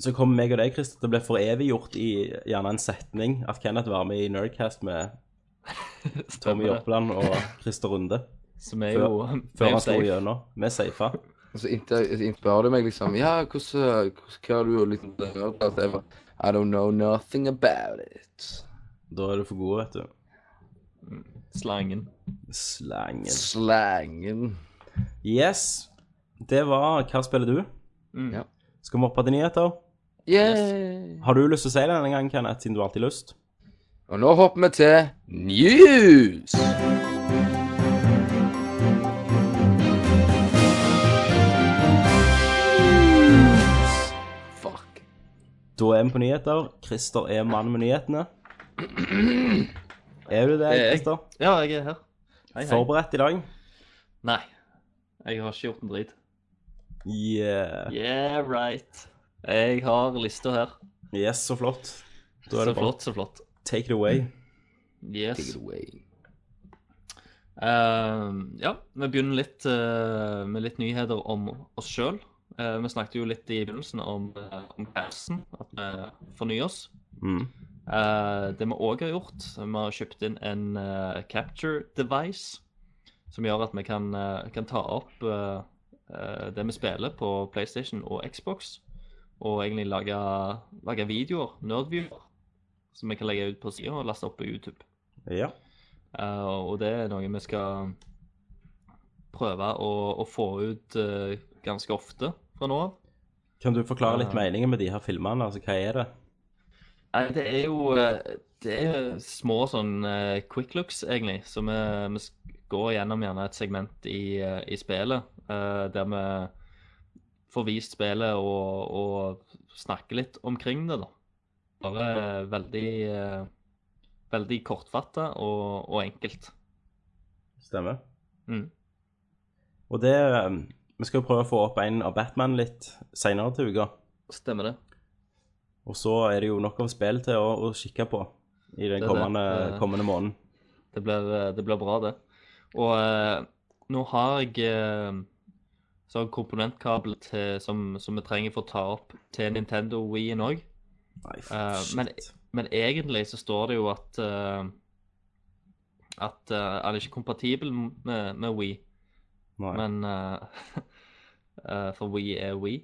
E: så kommer meg og deg, Christer, til å bli foreviggjort i gjerne en setning at Kenneth var med i Nerdcast med
F: Stemmer
E: Tommy
F: det.
E: Joppeland og Christer Runde.
F: Som er jo vi er
E: Før
F: jo
E: han slo
F: safe.
E: gjennom. Vi er safa.
C: Og så inter- inter- spør du meg liksom Ja, hvordan hvordan- Hva har du gjort liksom det der?» At jeg bare, I don't know nothing about it.
E: Da er du for god, vet du.
F: Slangen.
E: Slangen.
C: Slangen.
E: Yes. Det var Hva spiller du?
F: Mm.
C: Ja.
E: Skal vi opp på til nyheter?
C: Yeah.
E: Har du lyst til å si det denne gangen, Kenneth, siden du alltid har lyst?
C: Og nå hopper vi til news. Fuck.
E: Da er vi på nyheter. Christer er mannen med nyhetene. Er du det,
F: Det er jeg.
E: Christer?
F: Ja, jeg er her. Hei, hei.
E: Forberedt i dag?
F: Nei. Jeg har ikke gjort en drit.
E: Yeah.
F: Yeah, right. Jeg har lista her.
E: Yes, så flott. Da
F: Så
E: er det bare
F: flott, så flott.
E: take it away.
C: Take
F: Yes.
C: it away.
F: Ehm, ja, vi begynner litt eh, med litt nyheter om oss sjøl. vi snakket jo litt i begynnelsen om, uh, om pausen, at vi fornyer oss.
E: Mm.
F: Eh, det vi òg har gjort, vi har kjøpt inn en eh, capture device. Som gjør at vi kan, eh, kan ta opp eh, eh, det vi spiller på PlayStation og Xbox. Og egentlig lage, lage videoer, nerdviewer, som vi kan legge ut på sida og laste opp på YouTube.
E: Ja.
F: Eh, og det er noe vi skal prøve å, å få ut eh, ganske ofte fra nå av.
E: Kan du forklare litt
F: Ja.
E: meningen med de her filmene? Altså, hva er det?
F: Nei, det er jo eh, det er små sånn eh, quick looks, egentlig. Så vi, vi s- går gjennom gjerne et segment i, eh, i spillet eh, der vi får vist spillet og, og snakker litt omkring det, da. Bare eh, veldig eh, Veldig kortfatta og, og enkelt.
E: Stemmer.
F: Mm.
E: Og det um, Vi skal jo prøve å få opp en av Batman litt seinere til uka.
F: Stemmer det.
E: Og så er det jo nok av spill til å, å kikke på i
F: Det
E: den
F: er
E: kommende,
F: det.
E: kommende måneden.
F: Det blir, eh, det blir bra, det. Og eh, nå har jeg eh, så har jeg komponentkabel til, som, som vi trenger for å ta opp til Nintendo Wien òg.
E: Nei,
F: Eh,
E: shit.
F: men- Men egentlig så står det jo at eh, at eh, han er ikke kompatibel med, med Wii,
E: Nei.
F: [LAUGHS] men eh, eh, For Wii er Wii.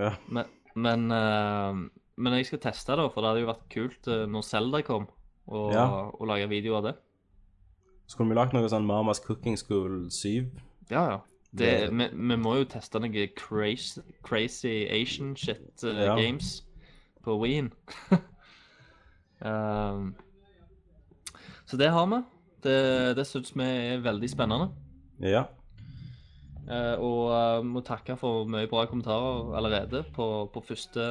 E: ja.
F: Men, Men, eh, men jeg skal teste det, for det hadde jo vært kult eh, når Zelda kom, å
E: Ja.
F: å lage video av det.
E: Skulle vi lagt noe sånn Mamas Cooking School 7?
F: Ja, ja. Det,
E: Det-
F: vi, vi må jo teste noe crazy, crazy Asian shit eh,
E: Ja.
F: games på Wien. [LAUGHS] um, så det har vi. Det, det syns vi er veldig spennende.
E: Ja.
F: Eh, og eh, må takke for mye bra kommentarer allerede på, på første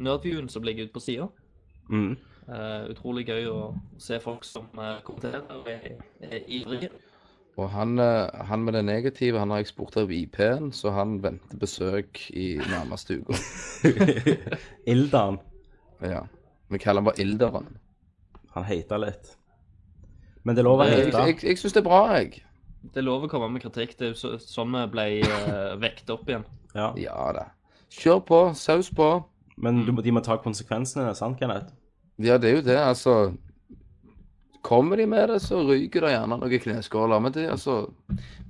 F: nerdviewen som ligger ute på sida. [LAUGHS]
E: Mm.
F: Eh, utrolig gøy å se folk som eh, kommenterer og er, er ivrige.
C: Og han, eh, han med det negative, han har jeg spurt av IP-en, så han venter besøk i nærmeste uke.
E: Ildan.
C: Ja. Vi kaller han bare Ilderen.
E: Han heita litt. Men det er lov
F: Eh,
E: å
C: Jeg,
E: hete.
C: jeg, jeg syns det er bra, jeg.
F: Det er lov å komme med kritikk. Det er jo så, sånn vi ble eh, vekt opp igjen.
E: Ja.
C: Ja da. Kjør på. Saus på.
E: Men du, må- de må ta konsekvensene, sant, Kenneth?
C: Ja, det er jo det, altså. Kommer de med det, så ryker det gjerne noen kneskåler. Men det, altså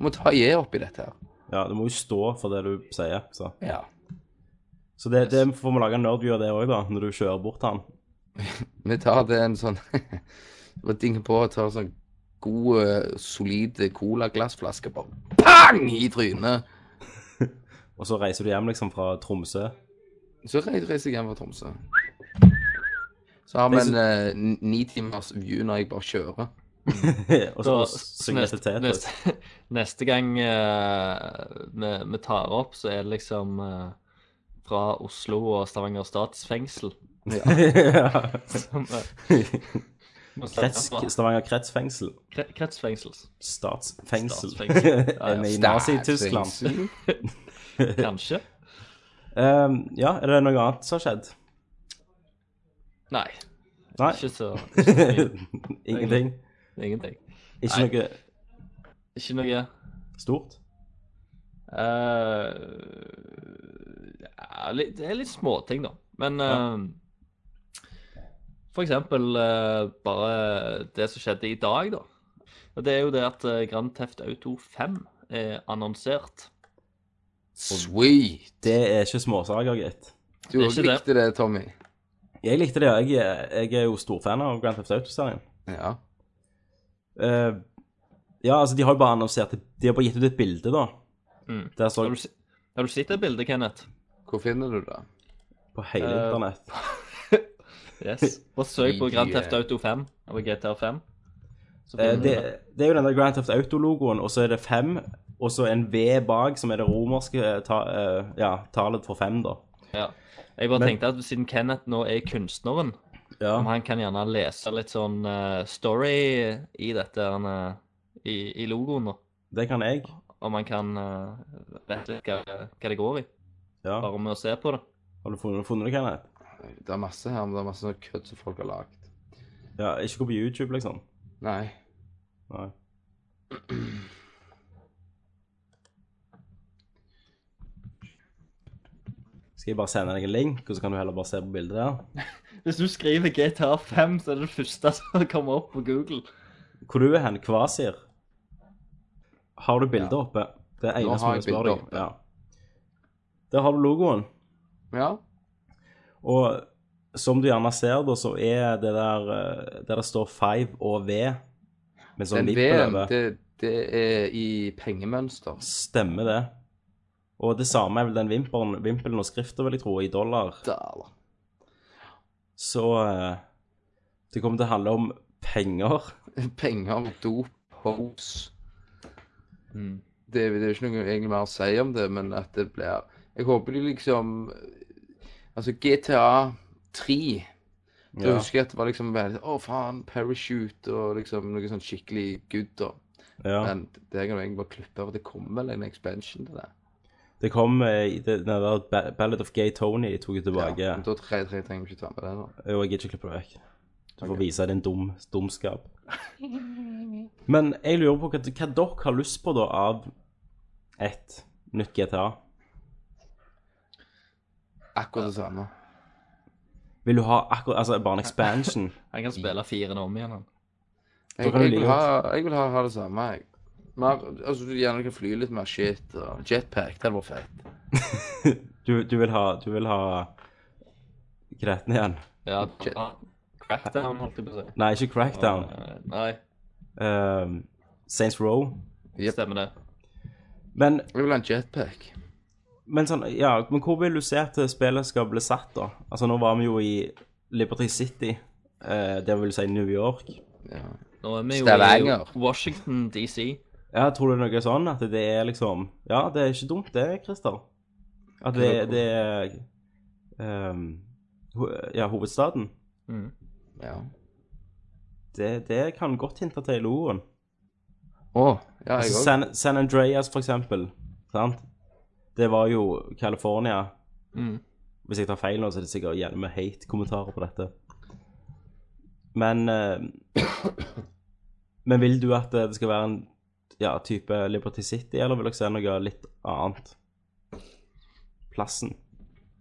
C: Må ta i oppi dette her.
E: Ja, du må jo stå for det du sier. Så,
C: Ja.
E: så det, det får vi lage en nerdview av det òg, da, når du kjører bort han.
C: Vi tar det en sånn [LAUGHS] Og dinger på og tar sånn god, eh, solid colaglassflaske bare pang i trynet.
E: Og så reiser du hjem, liksom, fra Tromsø. [LAUGHS]
C: Så re- reiser jeg hjem fra Tromsø. Så har vi
E: Jeg
C: en eh, n- ni timers view når jeg bare kjører.
E: og så
F: Da-
E: synger jeg til Tetris.
F: neste, [LAUGHS] neste gang eh, vi, vi tar opp, så er det liksom eh, fra Oslo og Stavanger statsfengsel. [LAUGHS]
E: [LAUGHS]
F: Som, eh, må sette
E: Krets,
F: på.
E: Stavanger kretsfengsel.
F: Kre- Kretsfengsel,
E: Statsfengsel. [LAUGHS]
F: Statsfengsel. Ja, ja.
E: Nei, Nazi-Tyskland.
C: Statsfengsel.
F: kanskje?
E: Ehm, ja, er det noe annet som har skjedd?
F: Nei,
E: Nei.
F: ikke så
E: [LAUGHS] Ingenting?
F: Ingenting.
E: Ikke
F: Nei.
E: noe
F: Ikke noe
E: stort?
F: Eh, ja, litt, det er litt småting, da. Men eh, for eksempel eh, bare det som skjedde i dag, da. Og det er jo det at eh, Grand Theft Auto 5 er annonsert.
C: Sweet.
E: Det er ikke småsaker, gitt.
C: Du
F: Det er
C: også
F: ikke det.
C: likte det, Tommy.
E: Jeg likte det, ja. Jeg, er- jeg er jo storfan av Grand Theft Auto-serien.
C: Ja.
E: Eh, ja, altså, de har jo bare annonsert det. De har bare gitt ut et bilde, da.
F: Mm.
E: Der så
F: Har du, se- har du sett det bildet, Kenneth?
C: Hvor finner du det?
E: på hele
F: Eh,
E: internett.
F: [LAUGHS] Yes. Bare søk på Grand Theft Auto 5 eller GTA 5. Så
E: Eh,
F: finner du
E: det, det er jo den der Grand Theft Auto-logoen, og så er det fem, og så en V bak, som er det romerske eh, ta, eh, ja, tallet for fem, da.
F: Ja. Jeg bare
E: Men-
F: tenkte at siden Kenneth nå er kunstneren,
E: Ja.
F: om han kan gjerne lese litt sånn eh, story i dette han, eh, i, i logoen, da.
E: Det kan jeg.
F: Om han kan eh, vite litt hva, hva det går i,
E: Ja.
F: bare med å se på det.
E: Har du funnet, funnet det, Kenneth?
C: Det er masse her, men det er masse sånn kødd som folk har lagd.
E: Ja, ikke gå på YouTube, liksom.
C: Nei.
E: Nei. Skal jeg bare sende deg en link, og så kan du heller bare se på bildet der?
F: Hvis du skriver GTA 5, så er det det første [LAUGHS] som kommer opp på Google.
E: Hvor du er hen, Kvasir? Har du bildet oppe? Det er eneste
C: har
E: jeg
C: jeg
E: spør
C: bildet
E: deg.
C: oppe.
E: Ja. Der har du logoen.
C: Ja.
E: Og som du gjerne ser, da, så er det der eh, der det står 5 og V med sånn
C: Den
E: nippel
C: V-en,
E: over.
C: det, det er i pengemønster.
E: Stemmer det. Og det samme er vel den vimpelen, vimpelen og skriften, vil jeg tro, i dollar.
C: Der.
E: Så eh, det kommer til å handle om penger.
C: Penger, dop, hose.
F: Mm.
C: det, det er jo ikke noe egentlig mer å si om det, men at det blir Jeg håper de liksom Altså, GTA 3 Da
E: Ja.
C: husker jeg at det var liksom veldig Å, faen, parachute og liksom noe sånn skikkelig good, da.
E: Ja.
C: Men det kan du egentlig bare klippe over. Det kommer vel en expansion til det.
E: Det kom eh, i det, den der Ba- Ballad of Gay Tony tok jeg tilbake.
C: Ja, men da tre, tre trenger vi ikke ta med det, da.
E: Jo, jeg gidder ikke klippe det vekk. Du får vise din dum, dumskap. Men jeg lurer på hva, hva dere har lyst på da av et nytt GTA.
C: Akkurat det samme.
E: Vil du ha akkurat, altså bare en expansion?
F: Han kan spille firen om igjen, han.
C: Jeg,
E: kan du
C: jeg, vil
E: like
C: ha, jeg vil ha, ha det samme, jeg. Mer, altså, du gjerne kan fly litt mer shit og jetpack. Det hadde vært fett.
E: Du, du vil ha, du vil ha kreten igjen.
F: Ja,
C: Shit.
F: Crackdown, holdt jeg på å si.
E: Nei, ikke Crackdown.
F: Eh, Nei,
E: Ehm, Saints Row.
C: Yep.
F: stemmer det.
E: Men,
C: Jeg vil ha en jetpack.
E: men sånn, ja, men hvor vil du se at spillet skal bli satt, da? Altså, nå var vi jo i Liberty City, eh, det vil si New York.
C: Ja.
F: Nå er vi jo
C: Stavanger.
F: i Washington DC.
E: Ja, tror du noe sånn at det er liksom Ja, det er ikke dumt det, Christer. At det, det er ehm, ho Ja, hovedstaden.
F: Mm.
C: ja.
E: Det, det kan godt hinte til Loen.
C: Å, ja, jeg
E: Altså,
C: òg.
E: San, San Andreas, for eksempel. Sant? Det var jo California.
F: Mm.
E: Hvis jeg tar feil nå, så er det sikkert gjerne med hate-kommentarer på dette. Men eh, Men vil du at det skal være en ja, type Liberty City, eller vil dere se noe litt annet? Plassen.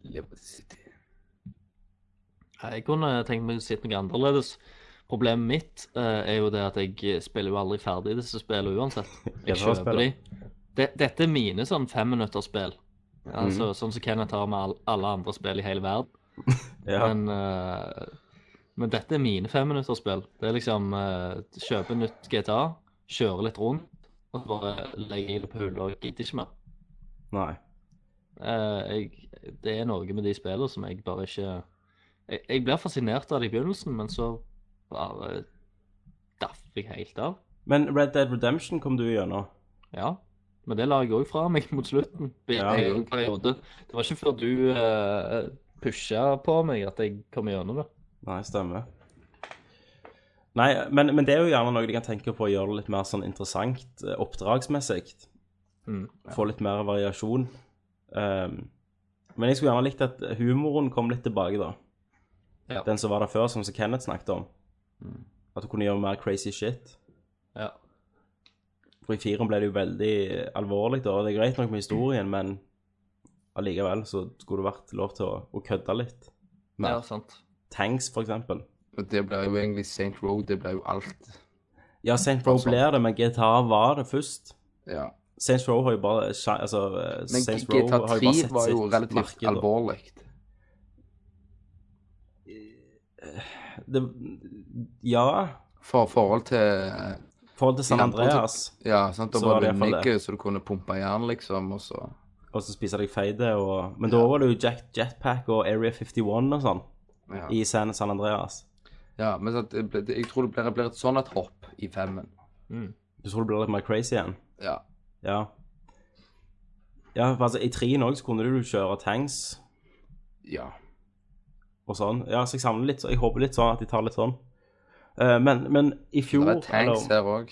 C: Liberty City.
F: Jeg kunne tenkt meg å si noe annerledes. Problemet mitt eh, er jo det at jeg spiller jo aldri ferdig disse spillene
E: [LAUGHS]
F: uansett. Jeg
E: Ja, det var
F: kjøper de. Det, dette er mine sånn femminutterspill.
E: Mhm.
F: Altså, Sånn som Kenneth har med all, alle andre spill i hele verden.
E: Ja.
F: Men, eh, men dette er mine femminutterspill. Det er liksom eh, kjøpe nytt GTA, kjøre litt rundt, og så bare legge det på hullet og gidder ikke mer.
E: Nei.
F: Eh, jeg, det er noe med de spillene som jeg bare ikke Jeg, jeg blir fascinert av det i begynnelsen, men så bare daffer jeg helt av.
E: Men Red Dead Redemption kom du gjennom.
F: Ja. Men det la jeg òg fra meg [LAUGHS] mot slutten. i
E: Ja.
F: en periode. Det var ikke før du uh, pusha på meg at jeg kom gjennom det.
E: Nei, stemmer. Nei, men, men det er jo gjerne noe de kan tenke på å gjøre det litt mer sånn interessant eh, oppdragsmessig.
F: Mm.
E: Få litt mer variasjon. Ehm, men jeg skulle gjerne likt at humoren kom litt tilbake, da.
F: Ja.
E: Den som var der før, som som Kenneth snakket om.
C: Mm.
E: At du kunne gjøre mer crazy shit.
F: Ja.
E: For i firen ble det jo veldig alvorlig, da. og Det er greit nok med historien, men allikevel så skulle det vært lov til å, å kødde litt.
F: ja,
E: Mer.
F: sant.
E: Tanks, for eksempel.
C: Men Det blir jo egentlig St. Road, det blir jo alt.
E: Ja, Saint Row blir det, men GTA var det først.
C: Ja.
E: Saints Row har jo bare sja- altså, eh,
C: Men
E: Saints Row
C: GTA
E: har
C: 3
E: jo bare sett
C: var jo
E: sitt
C: relativt
E: marked, da.
C: alvorlig.
E: Det, ja,
C: For forhold til
E: i forhold til San
C: Ja, og så-
E: Andreas,
C: Ja, sant, det
E: Så var
C: var
E: det i hvert fall
C: vinnikke, så du kunne pumpe jern, liksom, og så
E: og så spiser deg feide og Men da var det jo Jack, Jetpack og Area 51 og sånn
C: Ja,
E: i San, San Andreas.
C: ja men sant, det, ble- det, jeg tror det blir, det blir et sånn et hopp i femmen.
E: Du tror det blir litt mer crazy igjen?
C: Ja.
E: Ja. Ja, for altså, I treen òg kunne du jo kjøre tanks
C: ja.
E: og sånn. Ja, så jeg savner litt så- Jeg håper litt sånn at de tar litt sånn. Eh, men, men i
C: Det
E: fjor
C: er tanks
E: eller
C: her òg.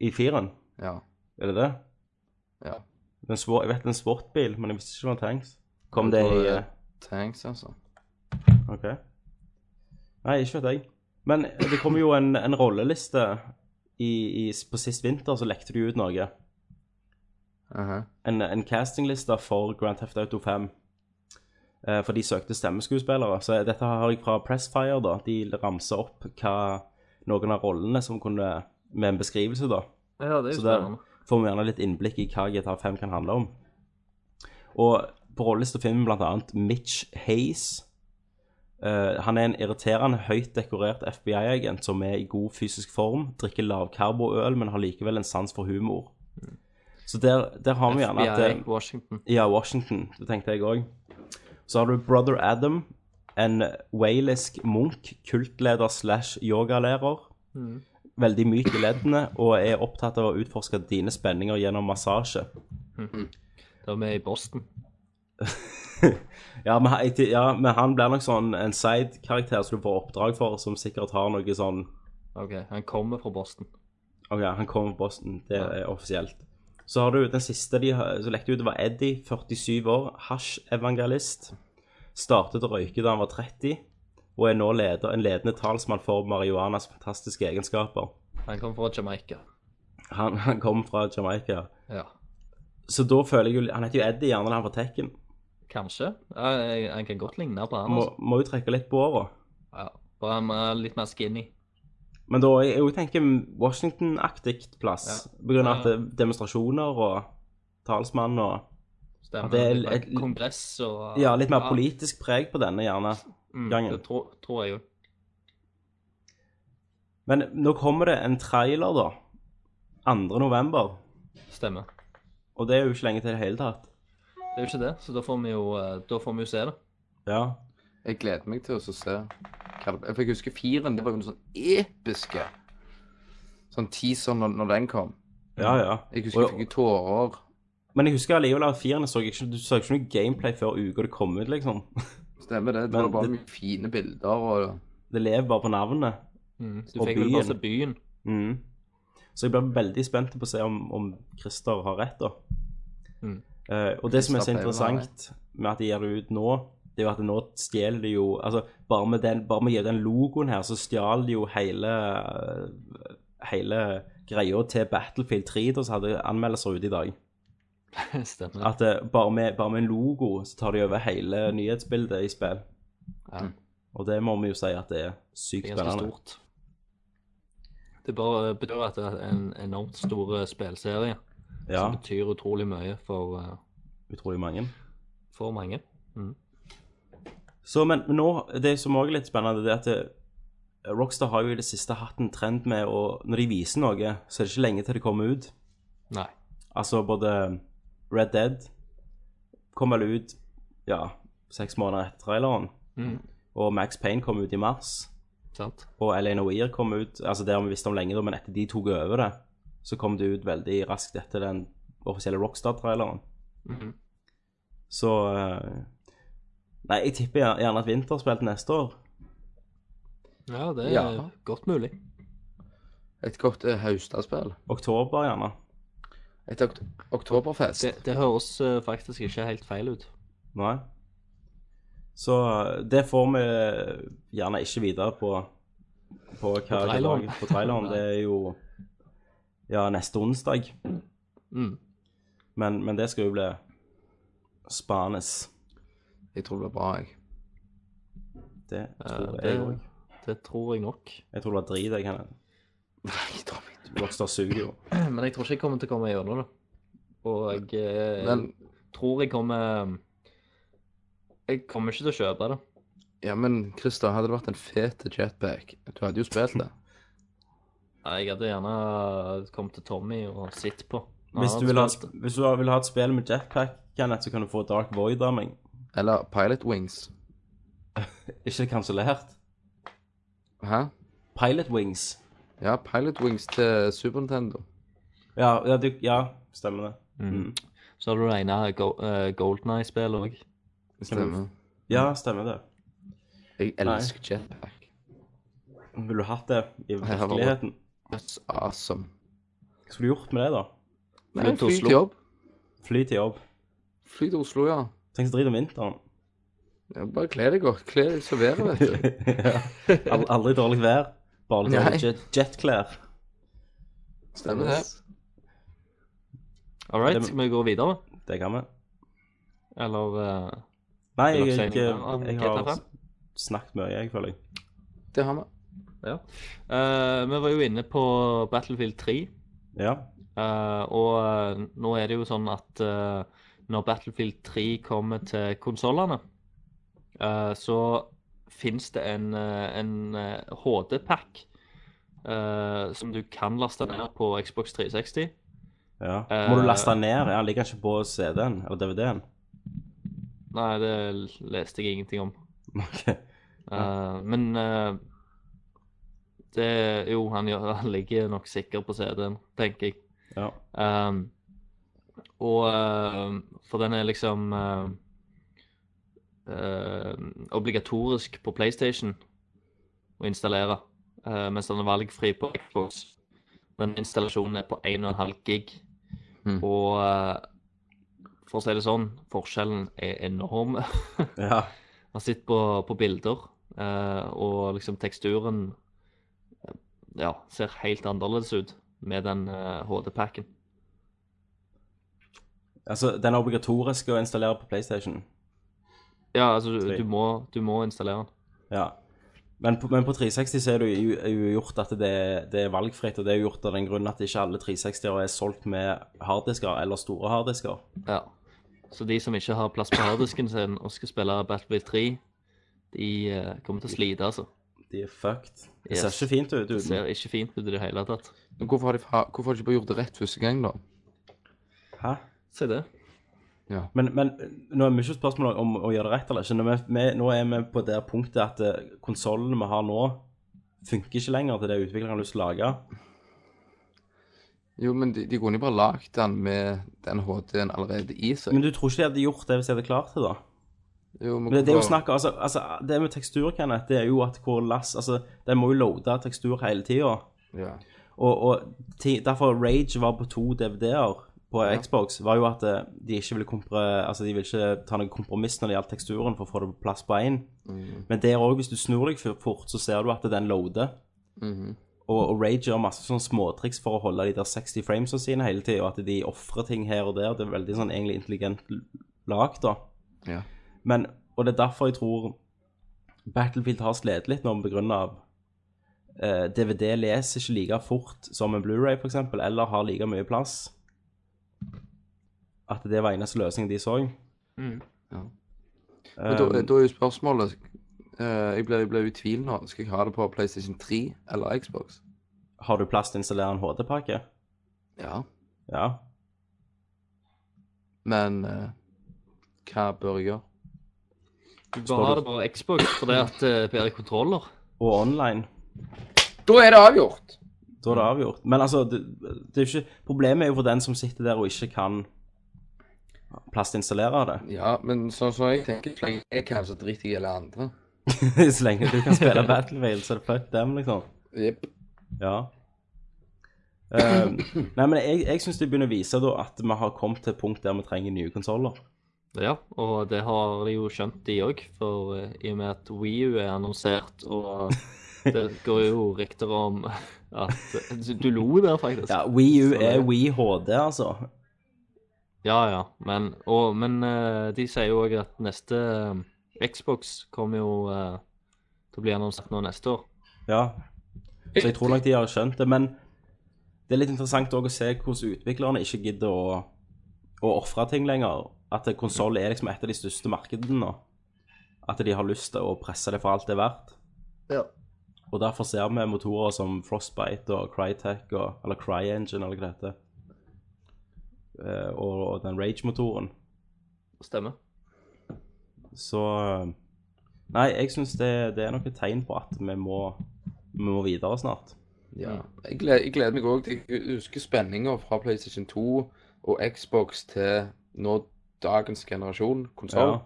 E: i firen,
C: Ja.
E: er det det?
C: ja.
E: Den svår, jeg vet en sportbil, men jeg visste ikke det var tanks. Kom det
C: Jeg tror
E: i
C: det
E: eh,
C: er Tanks, altså.
E: OK. Nei, ikke vet jeg. Men det kom jo en, en rolleliste i, i, På sist vinter så lekte du ut noe.
C: Aha.
E: En, en castingliste for Grand Theft Auto 5. Eh, for de søkte stemmeskuespillere. Så dette har jeg fra Pressfire, da. De ramser opp hva noen av rollene som kunne Med en beskrivelse, da.
F: Ja, det er
E: Så
F: jo
E: der
F: spennende.
E: får vi gjerne litt innblikk i hva GTA 5 kan handle om. Og på rollelista finner vi blant annet Mitch Hayes. Eh, han er en irriterende høyt dekorert FBI-agent som er i god fysisk form, drikker lavkarboøl, men har likevel en sans for humor.
F: Mm.
E: Så der, der har vi gjerne at eh,
F: FBI Washington.
E: ja, Washington, det tenkte jeg òg. Så har du Brother Adam, en walisk munk, kultleder slash yogalærer. Veldig myk i leddene og er opptatt av å utforske dine spenninger gjennom massasje. [LAUGHS]
F: Da er vi i Boston.
E: Ja, men, jeg- ja, men han blir nok sånn en side-karakter som du får oppdrag for, som sikkert har noe sånn
F: OK, han kommer fra Boston.
E: Ok, han kommer fra Boston, det er offisielt. Så har du den siste de har- som lekte ut, det var Eddie, 47 år, hasj-evangelist. Startet å røyke da han var 30, og er nå leder, en ledende talsmann for marihuanas fantastiske egenskaper.
F: Han kommer fra Jamaica.
E: Han, han kom fra Jamaica.
F: Ja.
E: Så da føler jeg jo Han heter jo Eddie, gjerne da han var Tekken.
F: Kanskje. Ja, jeg- Han kan godt ligne på han.
E: Må,
F: Altså.
E: må jo trekke litt på åra.
F: Ja, bare han er litt mer skinny.
E: Men da jeg, jeg tenker Washington-aktig plass, på grunn av at det er demonstrasjoner og talsmann og
F: Stemmer.
E: Ja, det er
F: litt mer
E: et-
F: kongress og
E: Ja, litt mer politisk preg på denne, gjerne.
F: mm,
E: gangen.
F: Det tror, tror jeg jo.
E: Men nå kommer det en trailer, da. 2. november.
F: Stemmer.
E: Og det er jo ikke lenge til i det hele tatt.
F: Det er jo ikke det, så da får vi jo, eh, da får vi jo se det.
E: Ja.
C: Jeg gleder meg til å så se hva det ble. For jeg husker firen, det var jo noe sånn episke Sånn teaser når, når den kom.
E: Ja, ja.
C: Jeg husker jeg
E: Og-
C: fikk jo tårer.
E: Men jeg husker alligevel at firene så jeg ikke, du så ikke noe gameplay før uka det kom ut, liksom.
C: Stemmer det. Det
E: Men
C: var bare
E: det-
C: mye fine bilder og
E: Det lever bare på navnet.
F: Mm. Du
E: Og
F: fikk vel
E: byen.
F: bare se byen. [LAUGHS]
E: Mm. Så jeg blir veldig spent på å se om, om Christer har rett, da.
F: Mm.
E: Eh, og det som er så
C: Christer pleier å ha
E: interessant med at de gir det ut nå, det er jo at nå stjeler de jo Altså, bare med den, bare med å gi den logoen her, så stjal de jo hele eh, Hele greia til Battlefield 3, da, som hadde anmeldelser ute i dag.
F: Stemmer.
E: At eh, bare, med, bare med en logo så tar de over hele nyhetsbildet i spill.
F: Ja.
E: Og det må vi jo si at det er sykt
F: Det er ganske
E: spennende.
F: stort. Det bare betyr at det er en enormt stor eh, spillserie
E: Ja,
F: som betyr utrolig mye for, eh,
E: utrolig mange.
F: for mange.
E: Så, men, men nå, det som også er litt spennende, det er at eh, Rockstar har jo i det siste hatt en trend med å Når de viser noe, så er det ikke lenge til det kommer ut.
F: Nei.
E: Altså både Red Dead kom vel ut ja, seks måneder etter traileren,
F: Mhm.
E: og Max Payne kom ut i mars,
F: Sant?
E: og L.A. Noir kom ut Altså det har vi visst om lenge, da, men etter de tok over det, så kom det ut veldig raskt etter den offisielle Rockstar-traileren.
F: Mhm.
E: Så eh, Nei, jeg tipper gjer- gjerne at Vinter spilte neste år.
F: Ja, det er
C: Ja.
F: godt mulig.
C: et godt eh, høstaspill.
E: Oktober, gjerne.
C: Et ok oktoberfest.
F: Det, det høres eh, faktisk ikke helt feil ut.
E: Nei. Så eh, det får vi eh, gjerne ikke videre på på, hva,
F: traileren.
E: på traileren. Det er jo ja, neste onsdag.
F: Mm.
E: Men, men det skal jo bli spanes.
C: Jeg tror det blir bra, jeg. [LAUGHS]
E: Det tror
F: Eh,
E: jeg
F: det-
E: òg.
F: Det tror jeg nok.
E: Jeg tror det var drit, jeg. Kenneth.
C: Jeg tror ikke.
E: Rockstar suger jo.
F: Men jeg tror ikke jeg kommer til å komme gjennom det. Og jeg eh,
C: Men,
F: tror jeg kommer Jeg kommer ikke til å kjøpe det.
C: ja, men Christer, hadde det vært en fet jetpack Du hadde jo spilt det.
F: Nei, Jeg hadde gjerne kommet til Tommy og sett på. når
E: Hvis
F: han
E: du vil ha,
F: spilte.
E: hvis du vil ha et spill med jetpack, Kenneth, så kan du få Dark Void av meg.
C: Eller Pilot Wings.
E: Ikke kansellert.
C: Hæ?
E: Pilot Wings.
C: Ja, Pilot Wings til Super Nintendo.
E: Ja, ja, du, ja stemmer det. Mm.
F: Så har du det ene Go eh, Golden Eye-spillet òg.
C: Stemmer.
E: Ja, stemmer det.
C: Jeg elsker jetpack.
E: Ville du hatt det i
C: har vært-
E: virkeligheten?
C: That's awesome.
E: Hva skulle du gjort med det, da?
C: Nei,
F: til
C: fly
F: Oslo.
C: til jobb.
E: Fly til jobb?
C: Fly til Oslo, ja.
E: Tenk så drit om
F: [LAUGHS]
E: vinteren.
C: Ja, Bare kle deg godt. Kle deg som været,
E: [LAUGHS]
C: vet du.
E: Al- Aldri dårlig vær, bare
C: Nei.
E: dårlig jet jetklær.
C: Stemmer det.
F: All right,
E: Det-
F: skal vi gå videre?
E: Det kan vi.
F: Eller eh,
E: Nei,
F: Vil
E: jeg,
F: dere
E: jeg,
F: si noe om
E: jeg
F: GTA
E: har
F: fem?
E: snakket mye, jeg føler jeg.
C: Det har vi.
F: Ja. Eh, vi var jo inne på Battlefield 3.
E: Ja.
F: eh, og eh, nå er det jo sånn at eh, når Battlefield 3 kommer til konsollene, eh, så fins det en, eh, en HD-pack som du kan laste ned på Xbox 360.
E: ja.
F: Eh,
E: Må du laste den ned? Ja, ligger den ikke på CD-en eller DVD-en?
F: Nei, det leste jeg ingenting om.
E: [LAUGHS] Ok.
F: Eh, men eh, det Jo, han, gjør, han ligger nok sikker på CD-en, tenker jeg.
E: Ja.
F: Ehm, og eh, For den er liksom eh, eh, obligatorisk på PlayStation å installere, eh, mens den er valgfri på Xbox. Den installasjonen er på 1,5 gig.
C: Mm.
F: Og eh, for å si det sånn, forskjellen er enorm. [LAUGHS]
E: ja.
F: Man sitter på, på bilder, eh, og liksom teksturen eh, ja, ser helt annerledes ut med den eh, HD-packen.
E: Altså, den er obligatorisk å installere på PlayStation.
F: Ja, altså, du,
E: Tre.
F: du, må, du må installere den.
E: Ja. Men på, men på 360 så er det jo, er jo gjort at det, det er valgfritt, og det er jo gjort av den grunn at ikke alle 360-er er solgt med harddisker eller store harddisker.
F: Ja. Så de som ikke har plass på harddisken sin og skal spille Battlefield 3, de eh, kommer til å slite, altså.
E: De er fucked. Det
F: Yes.
E: ser ikke fint ut
F: Det
E: uten.
F: ser ikke fint ut i det hele tatt.
C: Men hvorfor har de, fa- hvorfor har de ikke bare gjort det rett første gang, da?
E: Hæ?
F: Si det.
E: Men, men nå er mye spørsmål om å gjøre det rett eller ikke. Nå er vi, nå er vi på det punktet at konsollene vi har nå, funker ikke lenger til det utviklerne har lyst til å lage.
C: Jo, men de, de kunne jo bare lagd den med den HD-en allerede i seg.
E: Men du tror ikke de hadde gjort det hvis de hadde klart det, da?
C: jo, men
E: Men det, det er jo
C: hvorfor-
E: snakk, altså, altså, det med tekstur, Kenneth, det er jo at hvor lass Altså, den må jo loade tekstur hele tida.
C: Ja.
E: Og, og ti- derfor Rage var på to DVD-er på Xbox, var jo at eh, de ikke ville kompre, altså, de ville ikke ta noe kompromiss når det gjaldt teksturen, for å få det på plass på én. Men der òg, hvis du snur deg for fort, så ser du at den loader.
C: Mhm.
E: Og, og Rage gjør masse sånne småtriks for å holde de der 60 framesa sine hele tida, og at de ofrer ting her og der. Det er veldig sånn egentlig intelligent lagd, da.
C: Ja.
E: Men, og det er derfor jeg tror Battlefield har slitt litt nå på grunn av eh, DVD leser ikke like fort som en Blu-ray for eksempel, eller har like mye plass. At det var eneste løsningen de så.
C: Ja.
E: Eh,
C: Men da, da er jo spørsmålet eh, jeg, ble, jeg ble jo i tvil nå. Skal jeg ha det på PlayStation 3 eller Xbox?
E: har du plass til å installere en HD-pakke?
C: Ja.
E: Ja.
C: Men eh, hva bør jeg gjøre?
F: Du bare har det på Xbox fordi at det er bedre kontroller.
E: Og online.
C: Da er det avgjort!
E: Da er det avgjort. Men altså, det, det er jo ikke, problemet er jo for den som sitter der og ikke kan plastinnstallere det. [LAUGHS]
C: Ja, men sånn som jeg tenker, så lenge jeg kanskje driter i alle andre.
E: så lenge du kan
C: [LAUGHS]
E: spille Battlefield, så er det fuck dem, liksom.
C: Jepp.
E: Ja. Eh, nei, men jeg, jeg syns de begynner å vise da at vi har kommet til et punkt der vi trenger nye konsoller.
F: Ja, og det har de jo skjønt, de òg. For eh, i og med at WiiU er annonsert, og det går jo rykter om at Du lo der, faktisk.
E: Ja, WiiU
F: Så det-
E: er Wii HD, altså.
F: Ja, ja. Men, og, men eh, de sier jo òg at neste eh, Xbox kommer jo eh, til å bli annonsert nå neste år.
E: Ja. Så jeg tror nok de har skjønt det. Men det er litt interessant også å se hvordan utviklerne ikke gidder å, å ofre ting lenger. At konsoll er liksom et av de største markedene nå. At de har lyst til å presse det for alt det er verdt. Og derfor ser vi motorer som Frostbite og Crytek og Eller CryEngine, eller hva det heter. Eh, Og, og den Rage-motoren.
F: Stemmer.
E: Så eh, Nei, jeg syns det, det er nok et tegn på at vi må, vi må videre snart.
C: Ja. Mm. Jeg gleder, jeg gleder meg òg til Jeg husker spenninga fra PlayStation 2 og Xbox til nå dagens generasjon konsoll.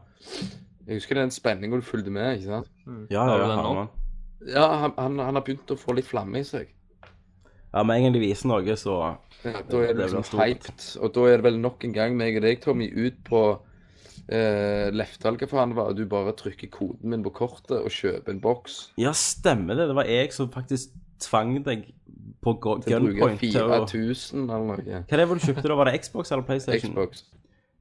C: Jeg husker den spenninga du fulgte med. ikke sant?
E: Ja,
F: Mm. Har
E: ja,
F: du den
E: ja,
F: nå?
E: Herman.
C: Ja, han, han, han har begynt å få litt flamme i seg.
E: ja, med en gang de viser noe, så
C: Ja, da er
E: Det
C: det
E: blir
C: liksom
E: stort.
C: hyped. Og da er det vel nok en gang meg og deg, Tommy, ut på eh, Leftal, hva faen det var, og du bare trykker koden min på kortet og kjøper en boks.
E: Ja, stemmer det. Det var jeg som faktisk tvang deg på go-
C: Til å bruke
E: gunpoint til å
C: 4000 eller noe.
E: Hva er det var du kjøpte da? Var det Xbox eller PlayStation?
C: Xbox.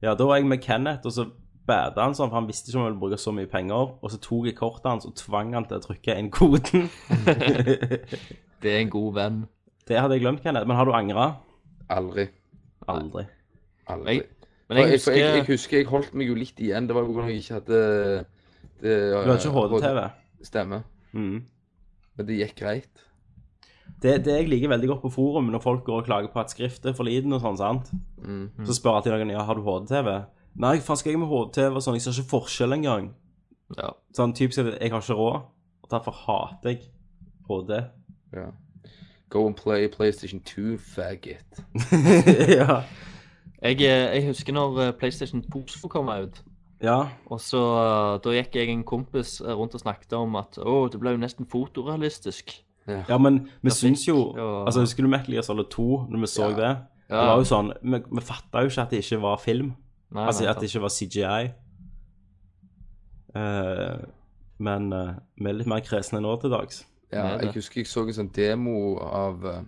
E: Ja, da var jeg med Kenneth, og så bada han sånn, for han visste ikke om han ville bruke så mye penger. Og så tok jeg kortet hans og tvang han til å trykke inn koden. [LAUGHS]
F: Det er en god venn.
E: Det hadde jeg glemt, Kenneth. Men har du angra?
C: Aldri.
E: Aldri.
C: Aldri.
F: Jeg, men
C: Jeg,
F: jeg
C: jeg, for
F: husker
C: jeg, jeg husker jeg holdt meg jo litt igjen. Det var jo fordi jeg ikke hadde det, eh,
E: Du har ikke HD-TV?
C: Stemme.
E: Mm.
C: Men det gikk greit.
E: Det, det jeg liker veldig godt på forum, når folk går og klager på at skrift er for liten og sånn, sant?
C: Mm,
F: Mm.
E: Så spør alltid noen ja, har du HD-TV. Nei, faen skal jeg med HD-TV og sånn, jeg ser ikke forskjell engang.
F: Ja.
E: Sånn typisk at jeg har ikke råd, og derfor hater jeg HD.
C: Ja. Go and play PlayStation 2, faggot.
E: [LAUGHS] ja.
F: Jeg, eh, jeg husker når eh, PlayStation 2 skulle komme ut.
E: ja.
F: Og så eh, Da gikk jeg en kompis eh, rundt og snakket om at å, det ble jo nesten fotorealistisk.
E: Ja, men vi
F: Trafikk
E: syns jo
F: og-
E: Altså, Husker du Metal Gear Solid 2, når vi så det? Det
F: Ja.
E: var jo sånn Vi, vi fatta jo ikke at det ikke var film.
F: Nei,
E: altså
F: nei,
E: at det ikke var CGI. Eh, men eh, vi er litt mer kresne nå til dags.
C: Ja,
F: Med det.
C: jeg husker jeg så en sånn demo av eh,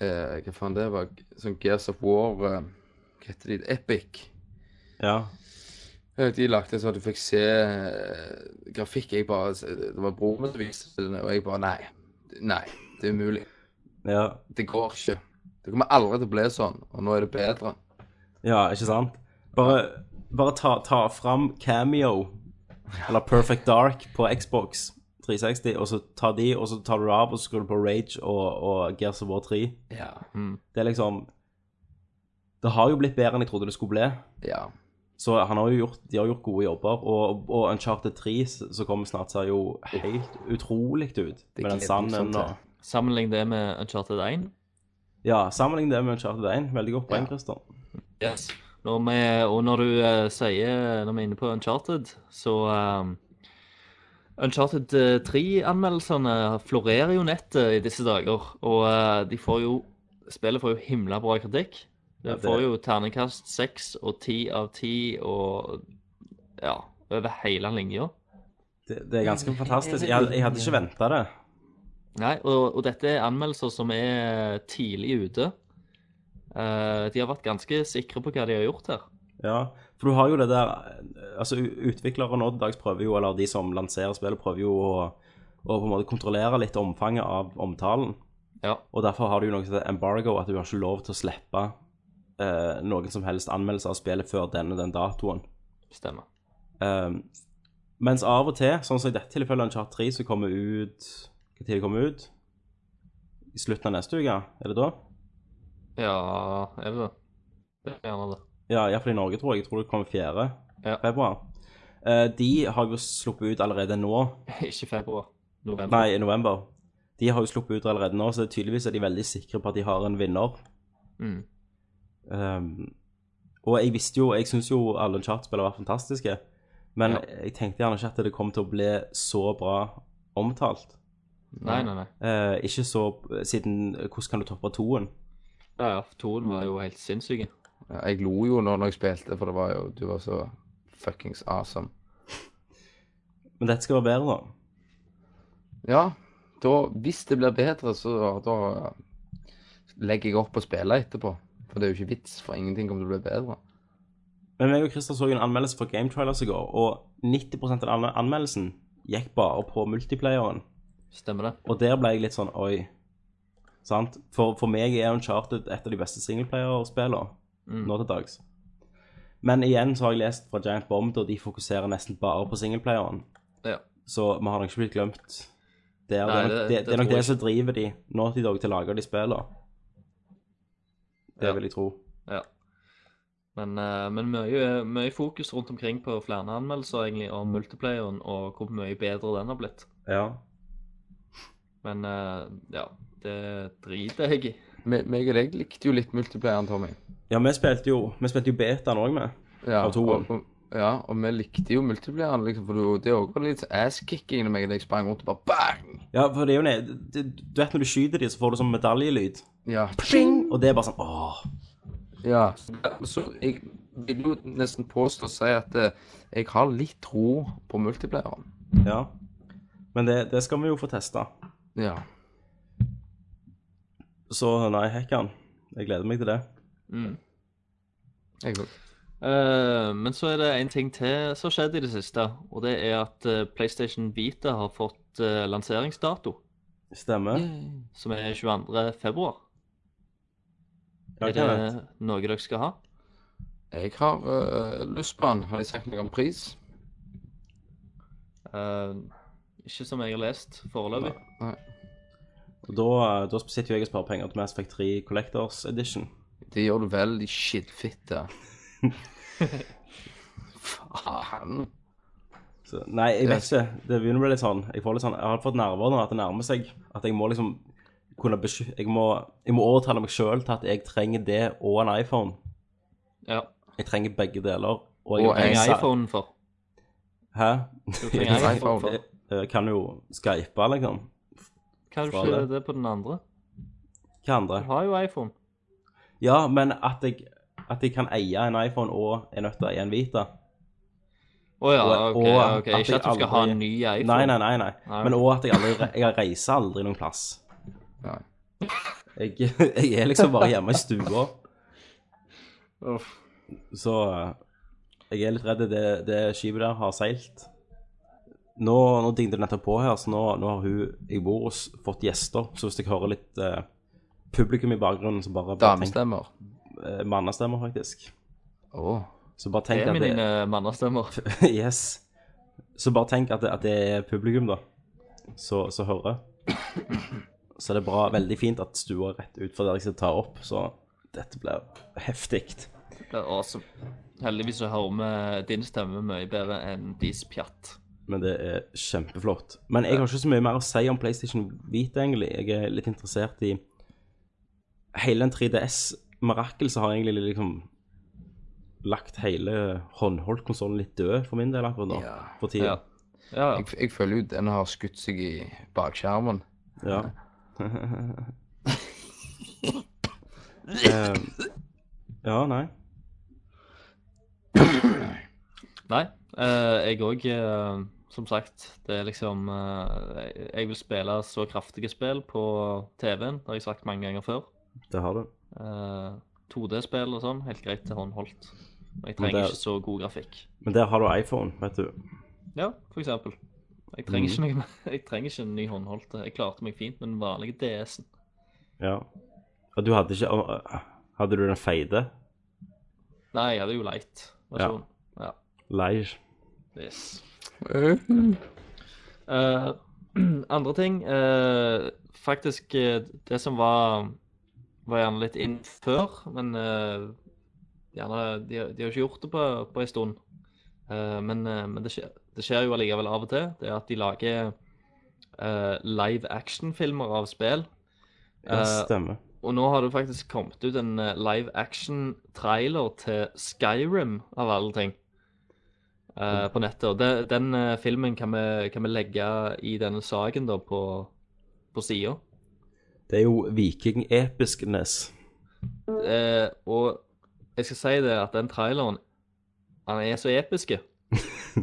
C: eh, Hva faen det var? Sånn Gears of War eh, Hva heter de? Epic.
E: Ja.
C: Eh, De lagde sånn at du fikk se eh, grafikk. Jeg bare, det var broren min som viste det, og jeg bare Nei. Nei, det er umulig.
E: ja.
C: Det går ikke. Det kommer aldri til å bli sånn, og nå er det bedre.
E: Ja, ikke sant? Bare, bare ta, ta fram Cameo eller Perfect Dark på Xbox 360, og så ta de, og så tar du det av, og så skrur du på Rage og, og Gears of War 3.
C: Ja.
E: Det er liksom Det har jo blitt bedre enn jeg trodde det skulle bli.
C: ja.
E: Så han har jo gjort, de har gjort gode jobber. Og, og Uncharted 3 s- som kommer snart, ser jo helt utrolig ut.
C: Det
E: Med den
C: gleder jeg meg sånn
E: sanden
C: til.
E: og
F: Sammenlign det med Uncharted 1.
E: Ja, sammenlign det med Uncharted 1. Veldig godt poeng, Christer.
F: Yes. Når vi, og når du eh, sier, når vi er inne på Uncharted, så eh, Uncharted 3-anmeldelsene florerer jo nettet i disse dager. Og eh, de får jo Spillet får jo himla bra kritikk. Det
E: Ja, det-
F: får jo terningkast seks og ti av ti og Ja, over hele linja.
E: Det, det er ganske fantastisk. Jeg, jeg hadde ikke venta det.
F: Nei, og, og dette er anmeldelser som er tidlig ute. Eh, de har vært ganske sikre på hva de har gjort her.
E: Ja, for du har jo det der Altså, u- utviklere nå til dags prøver jo, eller de som lanserer spillet, prøver jo å, å på en måte kontrollere litt omfanget av omtalen.
F: Ja.
E: Og derfor har du jo noe som heter embargo, at du har ikke lov til å slippe eh, noen som helst anmeldelse av spillet før denne den datoen.
F: Stemmer.
E: Um, mens av og til, sånn som i dette tilfellet, Uncharted 3, som kommer ut Når tid det kommer ut? I slutten av neste uke, er det da?
F: Ja, er det det? Det er gjerne det.
E: Ja, iallfall i Norge, tror jeg. Jeg tror det kommer 4.
F: Ja.
E: februar. Eh, de har jo sluppet ut allerede nå.
F: [LAUGHS] Ikke februar. November.
E: Nei, i november. De har jo sluppet ut allerede nå, så det er tydeligvis er de veldig sikre på at de har en vinner.
F: Mm.
E: Um, og jeg visste jo, jeg syns jo alle chartspillere var fantastiske, men
F: Ja.
E: jeg tenkte gjerne ikke at det kom til å bli så bra omtalt.
F: Nei, nei, nei.
E: Eh, ikke så siden Hvordan kan du toppe toen?
F: Ja, ja, Toen var jo helt sinnssyk.
C: Ja, Jeg lo jo nå når jeg spilte, for det var jo Du var så fuckings awesome.
E: Men dette skal være bedre, da.
C: Ja, da Hvis det blir bedre, så da legger jeg opp å spille etterpå. For det er jo ikke vits, for ingenting kommer til å bli bedre.
E: Men meg og Christer så en anmeldelse for Game Trailers i går, og 90 av anme- anmeldelsen gikk bare på multiplayeren.
F: Stemmer det?
E: Og der ble jeg litt sånn oi. Sant? For, for meg er Uncharted et av de beste singleplayerspillene
F: Mm.
E: nå til dags. Men igjen så har jeg lest fra Giant Bomb, og de fokuserer nesten bare på singleplayeren.
F: Ja.
E: Så vi har nok ikke blitt glemt
F: Nei,
E: der. det, er
F: det-
E: nok, det,
F: det
E: det, er nok
F: tror
E: det
F: jeg
E: som driver de nå til dag til å lage de spillene. Det
F: Ja.
E: vil jeg tro.
F: Ja. Men, eh, men mye, mye fokus rundt omkring på flere anmeldelser egentlig om multiplayeren og hvor mye bedre den har blitt.
E: Ja.
F: Men eh, ja, det driter jeg i.
C: Me- Meg og deg likte jo litt multiplayeren, Tommy.
E: ja, vi spilte jo, vi spilte jo betaen òg med.
C: Ja,
E: Av toeren.
C: og- og- Ja, og vi likte jo multiplayeren, liksom, for du- det òg var litt sånn ass-kicking når meg og deg sprang rundt og bare bang!
E: Ja, for det er jo ned, du, du vet når du skyter de, så får du sånn medaljelyd.
C: Ja.
E: Og det er bare sånn åh.
C: Ja, så jeg vil jo nesten påstå å si at eh, jeg har litt tro på multiplayeren.
E: Ja. Men det, det skal vi jo få testa.
C: Ja.
E: Så nei, hekkan. Jeg gleder meg til det.
C: Jeg òg.
F: Mm. Eh, men så er det en ting til som har skjedd i det siste. Og det er at eh, PlayStation Vita har fått eh, lanseringsdato,
E: Stemmer.
F: som er 22. februar.
E: Ja,
F: er det
E: Kenneth.
F: noe dere skal ha?
C: Jeg har eh, lyst på den. Har de sagt noe om pris?
F: Eh, ikke som jeg har lest foreløpig.
C: Nei.
E: Og Da, eh, da sitter jo jeg og sparer penger til Mass Effect 3 Collectors Edition.
C: Det gjør du vel, de [LAUGHS] skittfitte. Faen.
E: Så, nei, jeg vet ikke. Det begynner å bli litt sånn. Jeg, får litt sånn, jeg har fått nerver nå at det nærmer seg. At jeg må liksom kunne besky... Jeg må, jeg må overtale meg sjøl til at jeg trenger det og en iPhone.
F: Ja.
E: Jeg trenger begge deler. jeg
C: Og en
E: trenger
F: Trenger
E: sa-
F: iPhone
E: [LAUGHS]
F: for.
E: Hæ?
F: Du trenger
C: en
F: iPhone for.
C: iPhone.
E: Jeg kan jo skype, liksom.
F: Kan du
E: Fra
F: ikke
E: det.
F: det på den andre?
E: Hva
F: Du
E: andre?
F: har jo iPhone.
E: Ja, men at jeg, at jeg kan eie en iPhone og en nøtter i en Vita.
F: Å ja,
E: Og-
F: OK.
E: og
F: ja, ok.
E: at
F: Ikke
E: jeg
F: at du skal ha
E: aldri-
F: en ny iPhone.
E: Nei, nei, nei. nei.
F: Nei.
E: Men òg at jeg aldri re- jeg reiser aldri noen plass.
C: Nei.
E: Jeg, [LAUGHS] jeg er liksom bare hjemme i stua. Så eh, jeg er litt redd det, det skipet der har seilt. Nå, nå dingte det nettopp på her, så nå, nå har hun jeg bor hos, fått gjester. Så hvis jeg hører litt eh, publikum i bakgrunnen, så bare, bare tenk-
C: Damestemmer.
E: eh, Mannestemmer, faktisk.
C: Å.
E: Så bare
F: Det
E: tenk
F: er
E: at det
F: mine mannestemmer.
E: [LAUGHS] Yes. Så bare tenk at det, at det er publikum, da, så, så hører. Så det er bra, veldig fint at stua er rett ut for der jeg skal ta opp, så dette blir heftig.
F: [LAUGHS] Det er awesome. Heldigvis så hører vi eh, din stemme mye bedre enn deres pjatt.
E: Men det er kjempeflott. Men jeg har ikke så mye mer å si om PlayStation Vita, egentlig. Jeg er litt interessert i Hele den 3DS-mirakel så har jeg egentlig liksom lagt hele håndholdtkonsollen litt død for min del akkurat nå.
C: Ja.
E: For tida.
F: Ja. Ja, ja.
C: Jeg, jeg føler jo den har skutt seg i [LAUGHS] bakskjermen.
F: [LAUGHS]
E: Ja. Eh, ja, nei.
F: Nei, eh, jeg òg, som sagt. Det er liksom eh, jeg- Jeg vil spille så kraftige spill på TV-en, det har jeg sagt mange ganger før.
E: Det har du.
F: Eh, 2D-spill og sånn, helt greit til håndholdt. Og jeg
E: Men
F: trenger
E: det-
F: ikke så god grafikk.
E: Men der har du iPhone, vet du.
F: Ja, for eksempel. Jeg trenger,
E: Mhm.
F: ikke noe, mer- [LAUGHS] jeg trenger ikke en ny håndholdt. Jeg klarte meg fint med den vanlige DS-en.
E: Ja. Og du hadde ikke å, øh, Hadde du den feide?
F: Nei, jeg hadde jo light versjon. Ja.
E: Leir.
F: Yes.
C: Hva
F: Eh, [CLEARS THROAT] andre ting eh, Faktisk, eh, det som var Var gjerne litt inn før, men eh, gjerne, de, de har ikke gjort det på, på en stund. Eh, men eh, men det, skjer, det skjer jo allikevel av og til. Det er at de lager eh, live action-filmer av spill.
E: Ja,
F: Eh,
E: stemmer.
F: og nå har det faktisk kommet ut en eh, live action-trailer til Skyrim, av alle ting, eh, på nettet. Og det, den eh, filmen kan vi, kan vi legge i denne saken da, på, på sida.
E: Det er jo vikingepiskness.
F: Eh, og jeg skal si det at den traileren Han er så episke.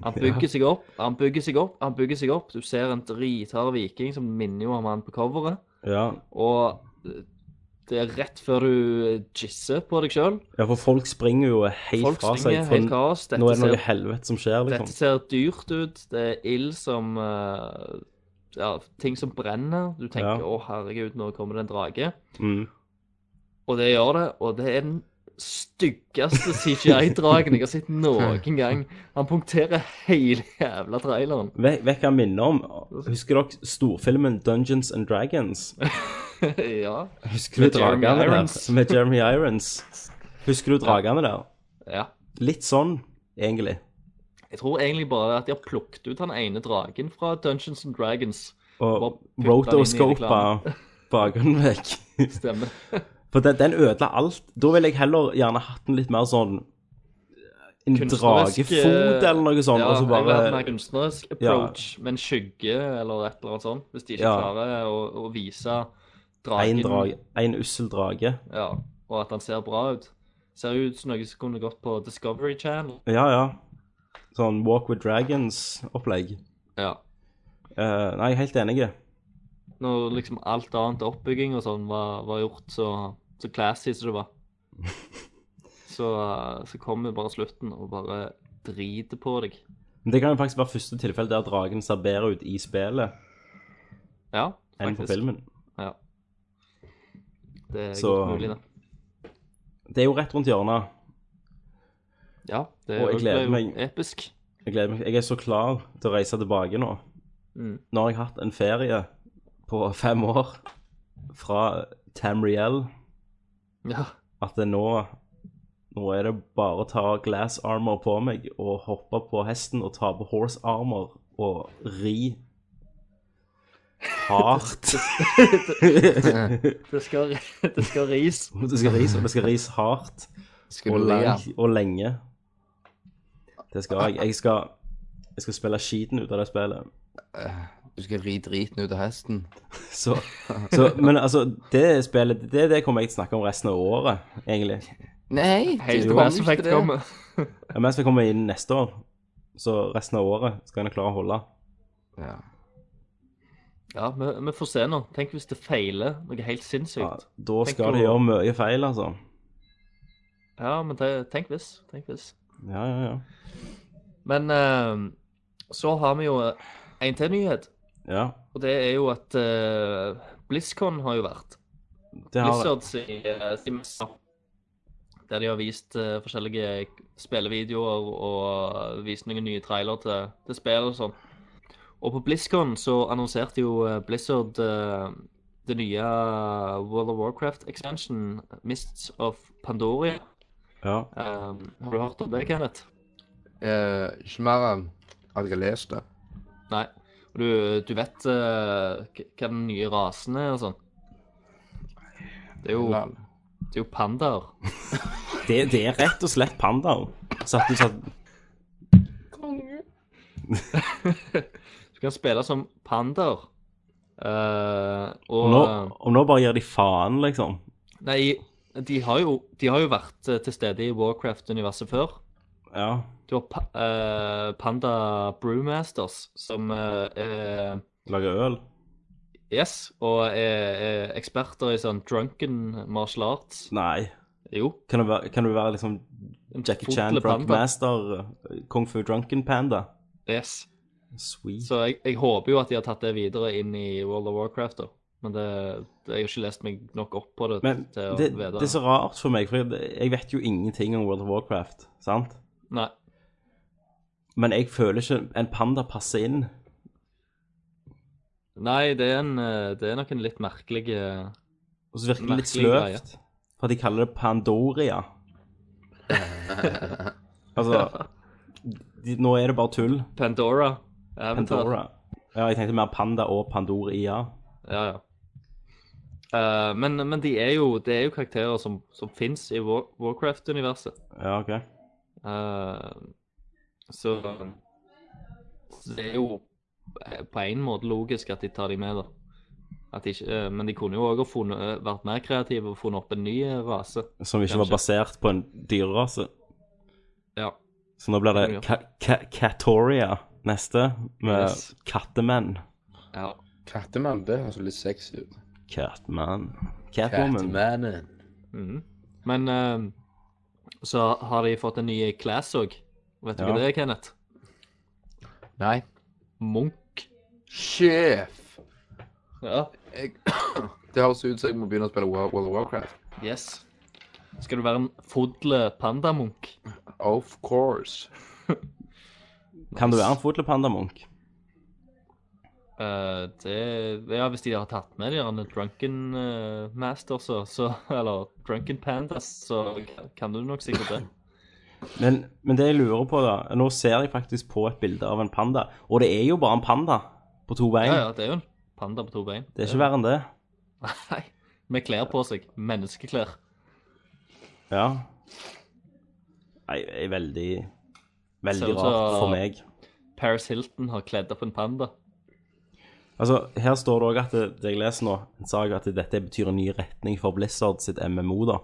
F: Han bygger seg opp, han bygger seg opp, han bygger seg opp. Du ser en drithard viking som minner jo om han på coveret.
E: Ja.
F: Og eh, det er rett før du jisser på deg sjøl.
E: ja, for folk springer jo helt
F: Folk
E: fra
F: springer
E: seg. For
F: helt kaos. Dette,
E: nå er det noe
F: ser,
E: helvete som skjer,
F: dette
E: liksom.
F: ser dyrt ut. Det er ild som eh, Ja, ting som brenner. Du tenker 'Å,
E: Ja.
F: herregud, nå kommer det en drage'.
E: Mm.
F: Og det gjør det. Og det er den styggeste [LAUGHS] CGI-dragen jeg har sett noen gang. Han punkterer hele jævla traileren. [LAUGHS]
E: Vet vet hva jeg minner om? Husker dere storfilmen Dungeons and Dragons?
F: ja.
E: Husker
F: Med
E: du
F: Jeremy
E: dragene der?
F: Irons.
E: [LAUGHS] Med Jeremy Irons. Husker du dragene der?
F: ja.
E: Litt sånn, egentlig.
F: Jeg tror egentlig bare at de har plukket ut han ene dragen fra Dungeons and Dragons. Bare
E: Og
F: putte den inn i
E: rotoscopa
F: reklamen.
E: [LAUGHS] bakgrunnen vekk.
F: Stemmer.
E: For den, den ødela alt. Da ville jeg heller gjerne hatt den litt mer sånn En
F: Kunstnerisk,
E: dragefot eller noe sånt,
F: ja,
E: sånn, og så
F: jeg vil ha en
E: bare
F: mer kunstnerisk approach med en skygge eller et eller annet sånt. Hvis de ikke
E: Ja.
F: klarer å, å vise dragen
E: En drage. En ussel drage.
F: Ja, og at han ser bra ut. Ser jo ut som noe som kunne gått på Discovery Channel.
E: Ja, ja. Sånn Walk with Dragons-opplegg.
F: Ja.
E: Eh, nei, helt enig.
F: Når liksom alt annet oppbygging og sånn var, var gjort så, så classy som det
E: [LAUGHS]
F: var. Så, så kommer bare slutten og bare driter på deg.
E: Men det kan jo faktisk være første tilfelle der dragen ser bedre ut i spillet
F: Ja,
E: enn på
F: faktisk.
E: filmen.
F: Ja. Det er
E: Så-
F: godt mulig, det.
E: Det er jo rett rundt hjørnet.
F: Ja, det
E: Og jeg
F: ble
E: gleder
F: jo
E: meg.
F: episk.
E: Jeg gleder meg. Jeg er så klar til å reise tilbake nå.
F: Mm.
E: Nå har jeg hatt en ferie på fem år fra Tamriel.
F: Ja.
E: At det nå Nå er det bare å ta glass armor på meg og hoppe på hesten og ta på horse armor og ri hardt.
F: Det skal, [LAUGHS] det skal ris.
E: Det skal ris, og det skal ris hardt.
C: Skal
E: og,
C: du le?
E: lang, og lenge. Det skal jeg. Jeg skal, jeg skal spille skiten ut av det spillet.
C: Du skal ri driten ut av hesten?
F: [LAUGHS]
E: Så, så, men altså, det spillet det, det kommer jeg til å snakke om resten av året, egentlig.
C: Nei!
F: Helt til
C: du kommer
F: Mass
C: ikke
F: Effect
C: det.
F: kommer.
E: Ja, Mens vi kommer inn neste år, så resten av året skal jeg klare å holde.
C: Ja.
F: Ja, vi, vi får se nå. Tenk hvis det feiler noe helt
E: Ja,
F: sinnssykt.
E: da
F: Tenk
E: skal
F: å-
E: de gjøre mye feil, altså.
F: Ja, men te, tenk hvis. Tenk hvis.
E: Ja, ja, ja.
F: Men eh, så har vi jo en til nyhet.
E: ja
F: Og det er jo at eh, BlizzCon har jo vært.
E: det har,
F: Blizzard sin, eh, sin messe. Der de har vist eh, forskjellige spillevideoer og vist noen nye trailer til, til spill og sånn. Og på BlizzCon så annonserte jo eh, Blizzard eh, det nye eh, World of Warcraft-expansion, Mists of Pandoria.
E: Ja.
F: Um, har du hørt om det, Kenneth?
C: Eh, ikke mer enn at jeg har lest det.
F: Nei. Og Du, du vet eh, k- hva den nye rasen er og sånn? Det er jo,
C: Lal.
F: det er jo pandaer.
E: Det, det er rett og slett pandaer. Satt du satt
F: Du kan spille som pandaer. Eh, og
E: Om nå, om nå bare gir de faen, liksom.
F: Nei, de har jo, de har jo vært eh, til stede i Warcraft-universet før.
E: Ja.
F: Du har pa eh, Panda Brewmasters, som eh, er
E: Lage øl.
F: Yes, og er, er eksperter i sånn drunken martial arts.
E: Nei.
F: Jo.
E: Kan du være, kan du være liksom Jackie Chan,
F: Fotle panda.
E: Brockmaster, Kung Fu Drunken Panda?
F: Yes.
E: Sweet.
F: Så jeg, jeg håper jo at de har tatt det videre inn i World of Warcraft, da. Men det, det, jeg har ikke lest meg nok opp på det
E: Men
F: til å
E: det,
F: vite
E: det er så rart for meg, for jeg jeg vet jo ingenting om World of Warcraft, sant?
F: Nei.
E: Men jeg føler ikke en panda passer inn.
F: Nei, det er, en, eh, det er nok en litt merkelig eh,
E: Og så virker det litt
F: Merkelig greie.
E: sløvt, for de kaller det
F: [LAUGHS]
E: Pandoria. altså de, Nå er det bare tull.
F: Pandora. Avatar.
E: Pandora. Ja, jeg tenkte mer panda og Pandoria.
F: Ja, ja. Eh, men men de er jo, det er jo karakterer som, som fins i War Warcraft-universet.
E: Ja, OK.
F: Eh, så så det er jo eh, på en måte logisk at de tar de med, da. At de ikke, eh, men de kunne jo òg eh, vært mer kreative og funnet opp en ny eh, rase.
E: Som ikke var
F: Kanskje.
E: basert på en dyrerase.
F: Ja.
E: Så nå blir det
F: Det
E: ka ka Katoria neste, med
F: Yes.
E: kattemenn.
F: ja.
C: Kattemann, det høres jo litt sexy ut.
E: Catman. Catwoman.
C: Kattemannen.
F: Mhm. Men eh, så har de fått en ny class òg. Vet du
E: Ja.
F: hva det er, Kenneth?
C: Nei.
F: Munch.
C: Sjef!
F: Ja.
C: Jeg... Det høres ut som jeg må begynne å spille Wa- World of Warcraft.
F: Yes. Skal du være en fodle pandamunk?
C: Of course.
E: Kan du være en fotlepandamunk?
F: Eh, det, ja, hvis de har tatt med de gjerne drunken eh, masters, så, så, eller drunken pandas, så kan du nok sikkert det.
E: Men, men det jeg lurer på, da Nå ser jeg faktisk på et bilde av en panda. Og det er jo bare en panda på to bein.
F: Ja, ja, det er jo en panda på to bein. [LAUGHS]
E: Det er ikke verre enn det.
F: Nei, med klær på seg. Menneskeklær.
E: Ja. Nei, det er veldig
F: Ser
E: Veldig
F: ut som-
E: rart for meg.
F: Paris Hilton har kledd opp en panda.
E: Altså, Her står det òg at det, det jeg leser nå, en sak at dette betyr en ny retning for Blizzard sitt MMO, da.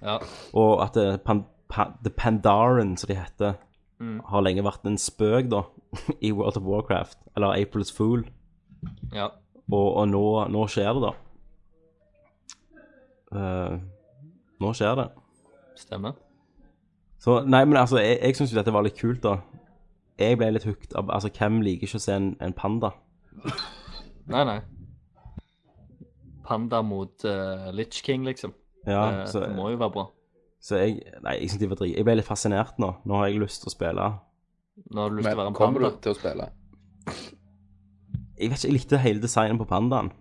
F: Ja,
E: Og at det, pan, pa, The Pandaren, som de heter,
F: Mm.
E: har lenge vært en spøk, da, [LAUGHS] i World of Warcraft. Eller April's Fool.
F: ja.
E: Og, og nå, nå skjer det, da. Eh, nå skjer det.
F: Stemmer.
E: Så nei, men altså, jeg, jeg syns jo dette var litt kult, da. Jeg ble litt hooked av Altså, hvem liker ikke å se en, en panda?
F: Nei, nei. Panda mot uh, Litch King, liksom.
E: Ja,
F: Eh,
E: så,
F: det må jo være bra.
E: så jeg Nei, jeg synes de var drit... Jeg ble litt fascinert nå. Nå har jeg lyst til å spille.
F: Nå har du lyst til å være
C: Men
F: en
C: kommer
F: panda.
C: du til å spille?
E: Jeg vet ikke, jeg likte hele designen på pandaen.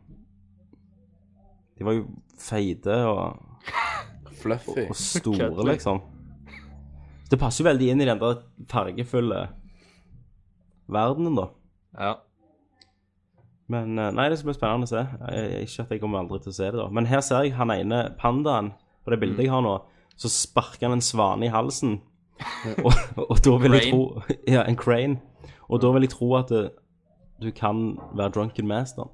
E: De var jo feite og
C: Fluffy.
E: og store,
F: Kødler.
E: liksom. Det passer jo veldig inn i den der fargefulle verdenen, da.
F: Ja.
E: Men eh, nei, det skal bli spennende å se. Jeg- jeg- Ikke at jeg kommer aldri til å se det, da. Men her ser jeg han ene pandaen på det bildet jeg har nå. Så sparker han en svane i halsen. Og, og da vil jeg tro Ja, en crane. Og da vil jeg tro at eh, du kan være drunken master.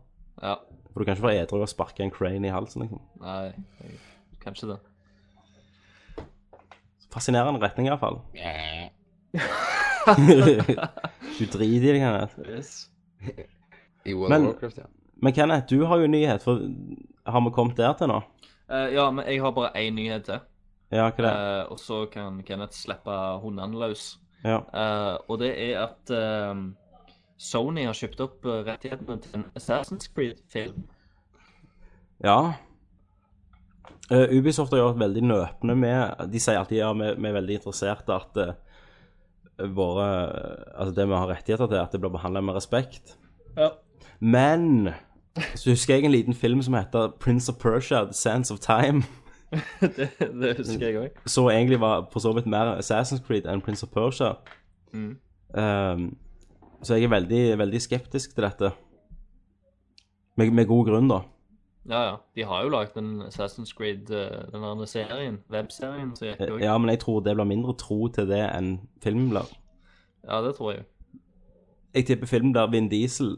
F: ja.
E: For du kan ikke være edru og sparke en crane i halsen, liksom.
F: Nei, jeg, kanskje det.
E: Fascinerende retning, iallfall. [LAUGHS] du driter i det, Kenneth.
C: I World
E: Men-
C: of Warcraft, ja.
E: Men Kenneth, du har jo en nyhet, for har vi kommet der til nå?
F: Eh, ja, men jeg har bare én nyhet til.
E: Ja, hva det?
F: Eh, og så kan Kenneth slippe hundene løs.
E: Ja.
F: Eh, og det er at eh, Sony har kjøpt opp eh, rettighetene til en Assassin's Creed-film.
E: ja. Eh, Ubisoft har jo vært veldig nøpne med De sier alltid ja, vi, vi er veldig interessert i at eh, våre Altså det vi har rettigheter til, at det blir behandla med respekt.
F: Ja.
E: Men så husker jeg en liten film som heter Prince of Persia, The Sands of Time.
F: [LAUGHS] Det, det husker jeg òg.
E: så egentlig var for så vidt mer Assassin's Creed enn Prince of Persia. Ehm, så jeg er veldig, veldig skeptisk til dette. Med, med god grunn, da.
F: Ja, ja. De har jo lagd en Assassin's Creed, eh, den andre serien, webserien, som gikk òg.
E: Ja, men jeg tror det blir mindre tro til det enn filmen blir.
F: Ja, det tror jeg.
E: Jeg tipper filmen blir Vin Diesel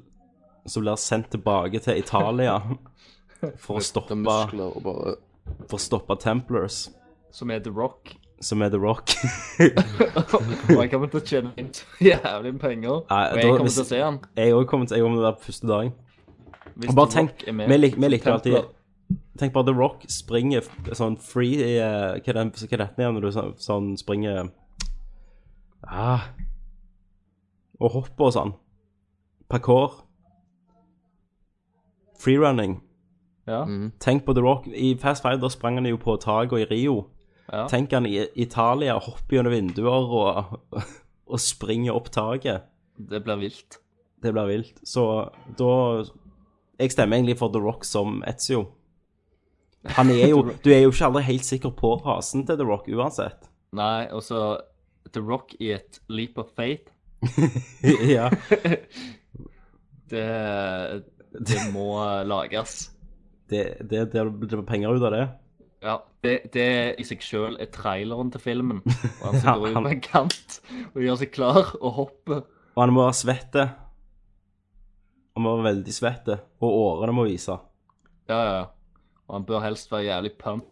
E: som blir sendt tilbake til Italia for å
C: Det er
E: stoppe,
C: muskler og bare
E: for å stoppe Templars,
F: Som er The Rock. [LAUGHS]
E: som er The Rock. [LAUGHS]
F: Og jeg kommer til å tjene [LAUGHS] inn så jævlig med penger.
E: Nei,
F: og
E: da-
F: jeg kommer
E: hvis-
F: til å se han.
E: Jeg òg kommer til jeg kommer til å være på første dagen.
F: Hvis
E: Og bare
F: The
E: tenk,
F: Rock er med
E: vi, lik, vi
F: som
E: likte alltid
F: templar.
E: Tenk bare The Rock springer f- sånn free i, eh, Hva er den- hva er dette igjen når du sånn, sånn springer ah, Og hopper og sånn. Parkour. Freerunning.
F: Ja,
E: Tenk på The Rock. I Fast Five da sprang han jo på taket i Rio.
F: ja.
E: Tenk han i Italia hopper gjennom vinduer og, [LAUGHS] og springer opp taket.
F: Det blir vilt.
E: Det blir vilt. Så da Jeg stemmer egentlig for The Rock som Etzio. Han er jo Du er jo ikke aldri helt sikker på rasen til The Rock uansett.
F: Nei, og så The Rock i et leap of faith.
E: ja.
F: Det,
E: [LAUGHS]
F: det må lages.
E: Det, det, det blir penger ut av det.
F: Ja, det, det i seg sjøl er traileren til
E: [LAUGHS]
F: filmen. Og han
E: Ja,
F: som går ut
E: han-
F: på en kant og gjør seg klar og hopper.
E: Og han må være svette. Han må være veldig svette. Og årene må vise.
F: Ja, ja, ja. Og han bør helst være jævlig pump,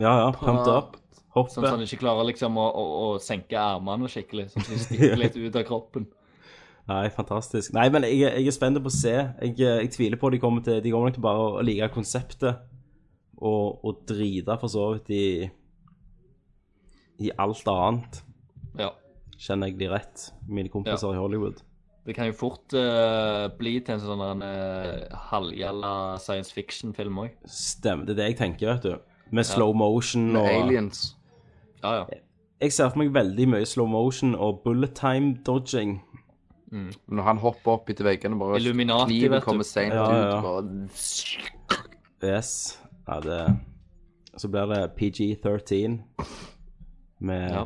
E: Ja, ja. Pumped up.
F: sånn at han
E: Hoppe.
F: ikke klarer liksom å, å, å senke armene skikkelig. Sånn
E: [LAUGHS]
F: at de stikker litt ut av kroppen.
E: Nei, fantastisk. Nei, men jeg, jeg er spent på å se. Jeg, jeg tviler på de kommer til De kommer nok til bare å like konseptet. Og, og drite for så vidt i I alt annet.
F: Ja.
E: Kjenner jeg de rett, mine kompiser i Hollywood?
F: Det kan jo fort eh, bli til en sånn der, eh, halvgjalla science fiction-film òg.
E: Stemmer, det er det jeg tenker, vet du. Med slow motion og
C: Aliens.
F: Ja, ja.
E: Jeg ser for meg veldig mye slow motion og bullet time dodging.
C: Når han hopper opp etter veggene, bare
F: Illuminati, vet
C: kniven
F: du.
C: kommer seint
E: Ja, ja.
C: ut. Bare
E: Yes. Ja, det Så blir det PG-13 med
F: Ja.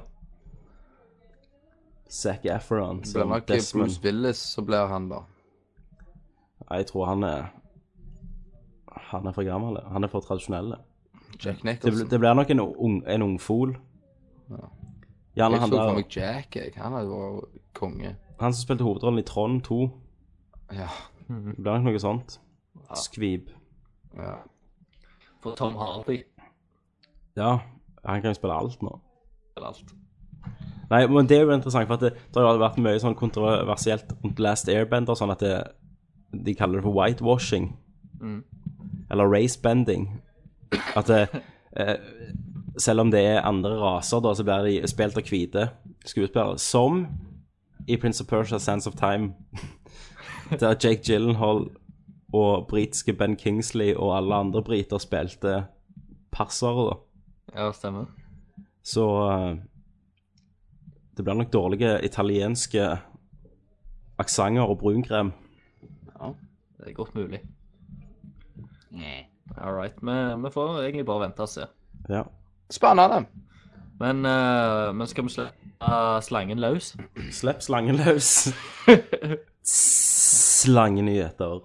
E: Zac Efron
C: blir
E: som
C: nok
E: Desmond.
C: Bruce Willis, så blir han da.
E: Ja, jeg tror han er Han er for gammel. Han er for tradisjonell. Det,
C: Jack
E: bl-
C: Nicholson.
E: det blir nok en, ung, en ungfol. Gjerne
C: Jeg så
E: han
C: for
E: der
C: meg Jack, jeg. Han hadde vært konge.
E: Han som spilte hovedrollen i Trond 2.
C: Ja.
E: Det blir nok noe sånt. Skvib.
C: ja.
F: For Tom Hardy
E: Ja, han kan jo spille alt nå.
F: eller alt.
E: Nei, men det er jo interessant, for at det, det har jo vært mye sånn kontroversielt rundt Last Airbender, sånn at det, de kaller det for whitewashing. Eller racebending. At det, eh, selv om det er andre raser, da, så blir de spilt av hvite skuespillere. Som i Prince of Persia Sands of Time, [LAUGHS] der Jake Gyllenhaal og britiske Ben Kingsley og alle andre briter spilte persere, da.
F: Ja, stemmer.
E: Så eh, det blir nok dårlige italienske aksenter og brunkrem.
F: Det er godt mulig. All right. Vi, vi får egentlig bare vente og se.
E: Ja.
C: Spennende.
F: Men, eh, men skal vi slippe eh, slangen løs?
E: Slipp slangen løs. Slangenyheter.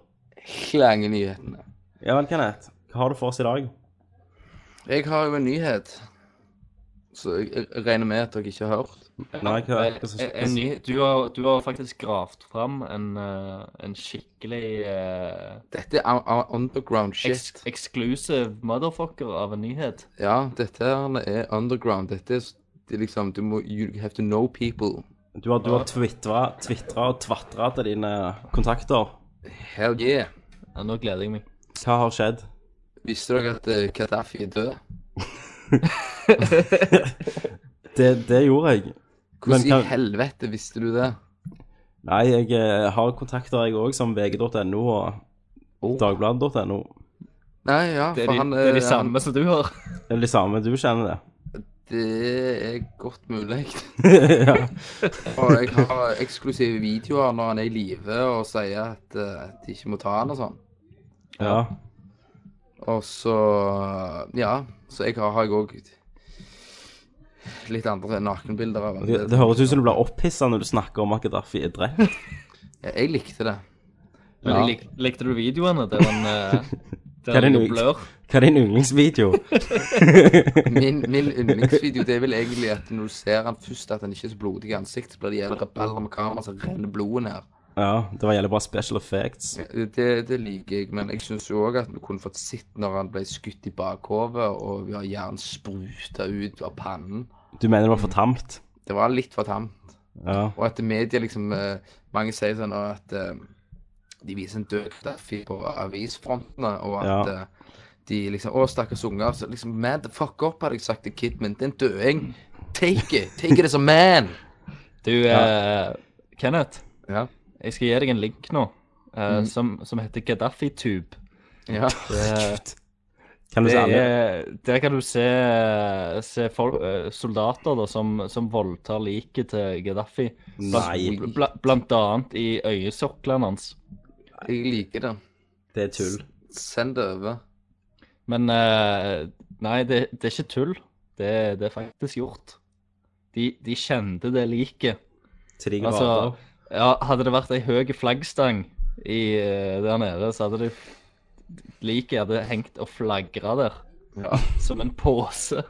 C: Klangenyhetene.
E: Ja vel, Kenneth. Hva har du for oss i dag?
C: Jeg har jo en nyhet. Så jeg jeg regner med at dere ikke har hørt.
E: Nei, hva, hva,
F: Eh, eh, en ny, du, har, du har faktisk gravd fram en, eh, en skikkelig eh,
C: Dette er un- un- underground shit.
F: ex exclusive motherfucker av en nyhet.
C: Ja, dette her er underground. Dette er s- det er liksom Du må You have to know people.
E: du har, du har twitra, twitra og tvatra til dine kontakter.
C: Hell yeah.
F: Ja, nå gleder jeg meg.
E: Hva har skjedd?
C: Visste dere at eh, Gaddafi er død?
E: Det, det gjorde jeg.
C: Hvordan
E: Men
C: i
E: hva-
C: helvete visste du det?
E: Nei, jeg eh, har kontakter jeg òg, som vg.no og
C: Oh.
E: dagbladet.no.
C: Nei, ja,
F: Det er
C: for
F: de,
C: han eh,
F: det er de
C: han-
F: samme som du har.
E: Det er det samme, du [LAUGHS] kjenner det.
C: Det er godt mulig. [LAUGHS]
E: ja.
C: Og jeg har eksklusive videoer når han er i live og sier at eh, de ikke må ta han og sånn.
E: ja.
C: Og så Ja. Så jeg har, har jeg òg litt andre nakenbilder av han.
E: Det, det høres ut som du blir opphissa når du snakker om at Gaddafi er drept.
C: Jeg, jeg likte det.
F: Men
E: Ja.
F: lik, likte du videoene? Det var en eh,
E: Hva er
F: der
E: det
F: det
E: nå?
F: ligger blør.
E: Hva er din yndlingsvideo?
C: Min, min yndlingsvideo det er vel egentlig at når du ser han først, at han ikke er så blodig i ansiktet, så blir det jævla rebeller med kamera, så renner blodet ned.
E: Ja, det var jævlig bra special effects.
C: Det, det liker jeg, men jeg syns òg at vi kunne fått sett når han ble skutt i bakhodet, og vi har jern spruta ut av pannen.
E: Du mener det var for tamt?
C: Det var litt for tamt.
E: Ja.
C: Og at media liksom eh, Mange sier sånn at eh, de viser en død Gaddafi på avisfrontene, og at
E: Ja.
C: eh, de liksom Å, stakkars unger. Så liksom, man, the fuck up, hadde jeg sagt til Kidman. Det er en døing. Take it. Take it as a man.
F: Du, eh, Kenneth,
C: Ja.
F: jeg skal gi deg en link nå, eh, som, som heter Gaddafi-tube.
C: Ja.
F: Det,
E: Kan du
F: det
E: si alle?
F: er, der kan du se, se folk, eh, soldater da, som, som voldtar liket til Gaddafi.
E: Nei.
F: Blant, bla, blant annet i øyesoklene hans.
C: Jeg liker det.
E: Det er tull.
C: Send det over.
F: Men eh, nei, det, det er ikke tull. Det, det er faktisk gjort. De, de kjente det liket.
E: Til de
F: Altså,
E: grader.
F: ja, hadde det vært ei høy flaggstang i, eh, der nede, så hadde det liket hadde hengt og flagra der. Som en pose.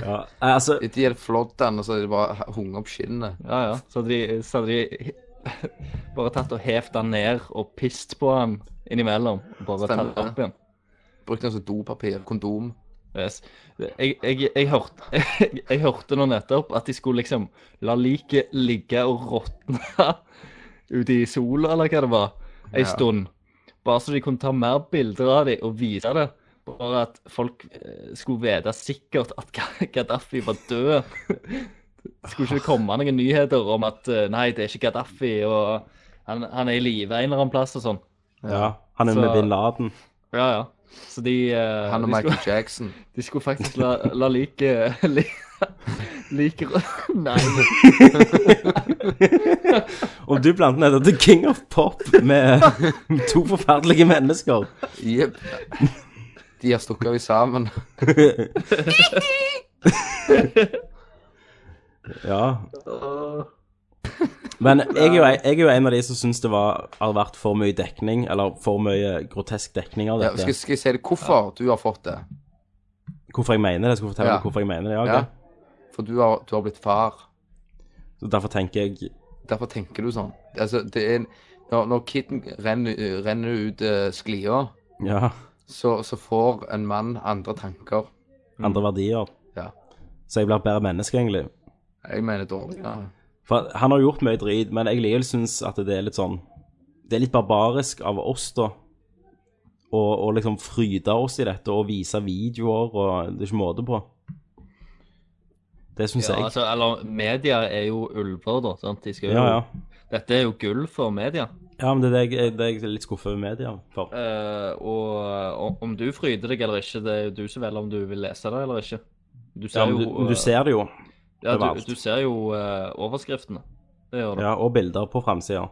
E: Ja. Nei, altså
C: Etter de hadde flådd den, og så hadde de bare hunget opp skinnet.
F: Ja, ja. Så hadde de, så hadde de [LAUGHS] bare tatt og hevt den ned og pist på den innimellom. og Bare tatt
C: Stemmer
F: den opp igjen.
C: Brukt den som dopapir. Kondom.
F: Yes. Jeg, jeg, jeg, hørte, [LAUGHS] jeg, jeg hørte nå nettopp at de skulle liksom la liket ligge og råtne [LAUGHS] ute i sola, eller hva det var, ei
C: Ja.
F: stund. Bare så de kunne ta mer bilder av dem og vise det. Bare at folk eh, skulle vite sikkert at Ga- [LAUGHS] Gaddafi var død. [LAUGHS] Det skulle ikke komme noen nyheter om at eh, nei, det er ikke Gaddafi, og han, han er i live en eller annen plass og sånn.
E: Ja. Han er
F: Så-
E: med bin Laden.
F: Ja, ja. Så de, eh,
C: Han og
F: de skulle-
C: Michael Jackson.
F: de skulle faktisk la, la like li, Like rø-
E: [LAUGHS]
F: Nei.
E: Om du blander ned The King of Pop med [LAUGHS] med to forferdelige mennesker
C: Jepp. De har stukket av sammen.
E: Ja. Men jeg er, jo, jeg er jo en av de som syns det var, har vært for mye dekning, eller for mye grotesk dekning av
C: Ja,
E: dette.
C: skal, skal jeg si det hvorfor du har fått det?
E: Hvorfor jeg mener det? Jeg skal fortelle
C: Ja.
E: deg hvorfor jeg mener det. Ja, ok.
C: Ja. For du har, du har blitt far.
E: Så derfor tenker jeg
C: Derfor tenker du sånn. Altså, det er en, når, når kiden renner, renner ut eh, sklia,
E: ja,
C: så, så får en mann andre tanker.
F: Mm.
E: andre verdier.
C: Ja.
E: Så jeg blir et bedre menneske, egentlig.
C: Jeg mener dårligere.
E: For han har gjort mye drit, men jeg likevel syns at det er litt sånn Det er litt barbarisk av oss, da. Og, og liksom fryde oss i dette og vise videoer og Det er ikke måte på. Det syns
F: Ja,
E: jeg.
F: altså, eller media er jo ulver, da. sant? De skal jo,
E: ja, ja.
F: Dette er jo gull for media.
E: ja, men det er det jeg, det er jeg litt skuffa over media for.
F: Eh, og og om du fryder deg eller ikke, det er jo du som velger om du vil lese det eller ikke. Du
E: Ja,
F: ser
E: men
F: jo
E: du, men du ser det jo.
F: ja, du,
E: overalt.
F: du ser jo eh, overskriftene. Det gjør du.
E: Ja, og bilder på framsida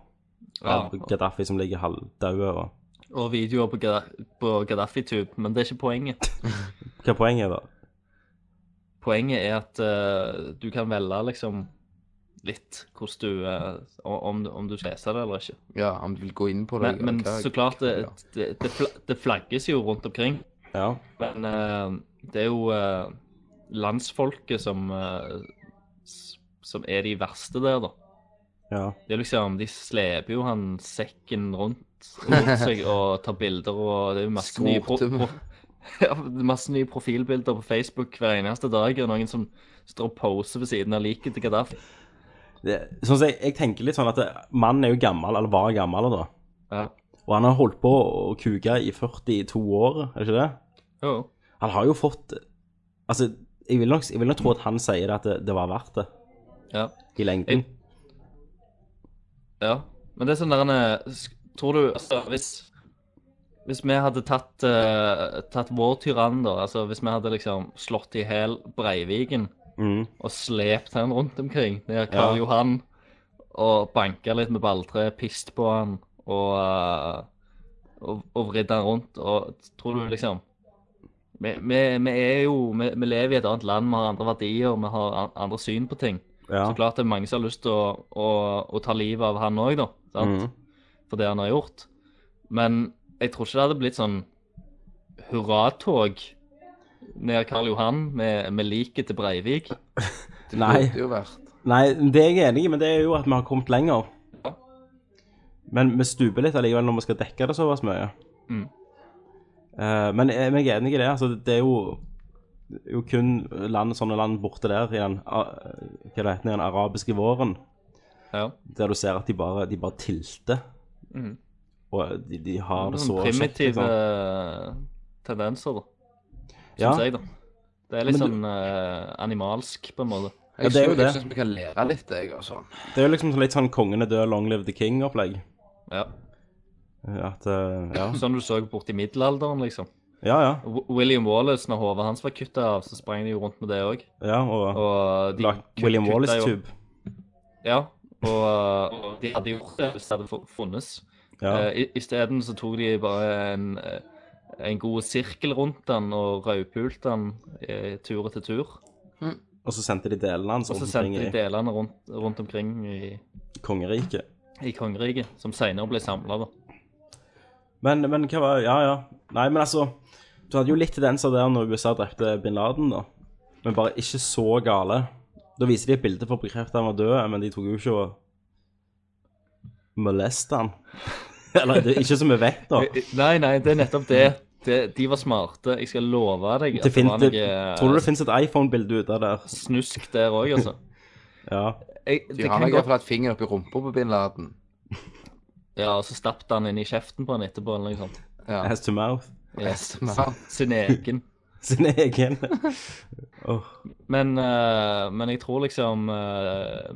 E: av
F: eh, Ja.
E: Gaddafi som ligger halvdaude. og-
F: Og videoer på, Gadda- på Gaddafi-tube, men det er ikke poenget.
E: Hva er poenget, da?
F: Poenget er at eh, du kan velge liksom litt hvordan du eh, om, om du skal lese det eller ikke.
C: Ja, om du vil gå inn på det.
F: Men, men
C: eller hva-
F: så klart, det,
C: ja.
F: det, det, fla- det flagges jo rundt omkring.
E: Ja.
F: Men eh, det er jo eh, landsfolket som, eh, s- som er de verste der, da.
E: ja.
F: Det er liksom, De sleper jo han sekken rundt, rundt
C: [LAUGHS]
F: seg og tar bilder, og det er jo masse nye, pro
C: Skorte med-
F: pro [LAUGHS] ja, det er masse nye profilbilder på Facebook hver eneste dag. Og noen som står og poser ved siden av liket til Gaddafi.
E: Det, sånn som jeg, jeg tenker litt sånn at det, mannen er jo gammel, eller var gammel da.
F: Ja.
E: Og han har holdt på å kuke i 42 år, er det ikke det?
F: Jo, jo.
E: Han har jo fått Altså, jeg vil nok, jeg vil nok tro at han sier det at det, det var verdt det
F: ja.
E: i lengden.
F: Jeg- Ja, men det er sånn der en, eh, sk- Tror du altså, hvis, Hvis vi hadde tatt, eh, tatt vår tyrann, da, altså hvis vi hadde liksom slått i hjel Breiviken
E: Mm.
F: og slept han rundt omkring, ned
E: Ja.
F: Karl Johan, og banka litt med balltre, pist på han, og, eh, og, og vridd han rundt, og tror du liksom Vi, vi, vi er jo vi, vi lever i et annet land, vi har andre verdier, vi har an- andre syn på ting.
E: Ja.
F: Så klart det er mange som har lyst til å, å, å ta livet av han òg, da. Sant?
E: Mhm.
F: For det han har gjort. Men jeg tror ikke det hadde blitt sånn hurratog ned Karl Johan med, med liket til Breivik.
C: Det
E: Nei.
C: burde jo vært
E: Nei, det er jeg enig i, men det er jo at vi har kommet lenger. Men vi stuper litt allikevel når vi skal dekke det såpass mye.
F: Mm.
E: Eh, men jeg men jeg er enig i det. Altså, det er jo, jo kun land, sånne land borte der i den, a- hva det heter, i den arabiske våren,
F: Ja.
E: der du ser at de bare, de bare tilter.
F: Mhm.
E: Og de, de har det
F: Noen
E: så kjekt,
F: primitive
E: liksom.
F: tendenser, da. Syns
E: Ja.
F: jeg, da. Det er litt
E: Men
F: sånn eh, animalsk, på en måte.
E: Ja,
C: Jeg
E: det er jo
C: syns- jeg
E: det.
C: syns vi kan lære litt, jeg, altså.
E: Det er jo liksom litt sånn kongen er død, long live the king-opplegg.
F: Ja.
E: At, eh, ja.
F: Sånn du så borti middelalderen, liksom.
E: ja, ja,
F: W- William Wallace, når hodet hans var kutta av, så sprang de jo rundt med det òg.
E: ja. Og,
F: Og de
E: lagt
F: kut-
E: William
F: kutta jo-
E: Wallace-tube.
F: Ja, og uh, de hadde gjort det hvis det hadde fu- funnes.
E: Ja.
F: Eh, i- Isteden så tok de bare en, eh, en god sirkel rundt den og raudpulte den eh, tur etter tur.
E: Og så sendte de delene hans
F: Og så
E: rundt
F: sendte de
E: omkring i
F: delene rundt, rundt omkring i,
E: kongeriket.
F: i kongeriket, som seinere ble samla, da.
E: Men, men hva var Ja, ja. Nei, men altså Du hadde jo litt tendenser der når USA drepte bin Laden, da. Men bare ikke så gale. Da viser de et bilde for å bekrefte han var død, men de tok jo ikke og moleste han. [LAUGHS] Eller det, er ikke som vi vet, da.
F: Eh, Nei, nei, det er nettopp det. det de var smarte. Jeg eh, skal love deg at
E: Det
F: det
E: fin,
F: var
E: det, tror du
F: noe eh,
E: det finnes et iPhone-bilde ute der?
F: snusk der òg, altså.
E: Ja.
F: Jeg,
C: De
F: det
C: har
F: kan
C: nok
F: godt
C: iallfall hatt fingeren oppi rumpa på bin Laden.
F: Ja, og så stappet han inn i kjeften på han etterpå, eller noe sånt.
C: Ja.
E: Ass to mouth. [LAUGHS]
F: Yes.
C: Ja.
F: Sin egen.
E: Sin
F: [LAUGHS]
E: egen. Åh.
F: Men, eh, men jeg tror liksom eh,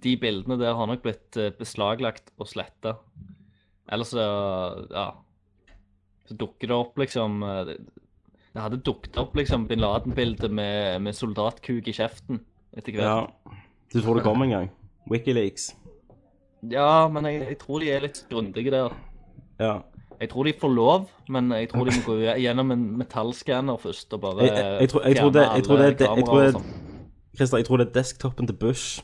F: De bildene der har nok blitt eh, beslaglagt og sletta. Ellers så Ja. Så dukker det opp liksom eh, Det det hadde dukket opp liksom bin Laden-bildet med, med soldatkuk i kjeften etter
E: Ja.
F: hvert.
E: Du tror det kom en gang? Wikileaks.
F: Ja, men jeg, jeg tror de er litt grundige der.
E: Ja.
F: Jeg tror de får lov, men jeg tror de må gå gjennom en metallskanner først og bare
E: Jeg- jeg- jeg tror- jeg tror det- jeg tror det- jeg tror det- Christer, jeg tror det er desktopen til
F: [LAUGHS]
E: Bush.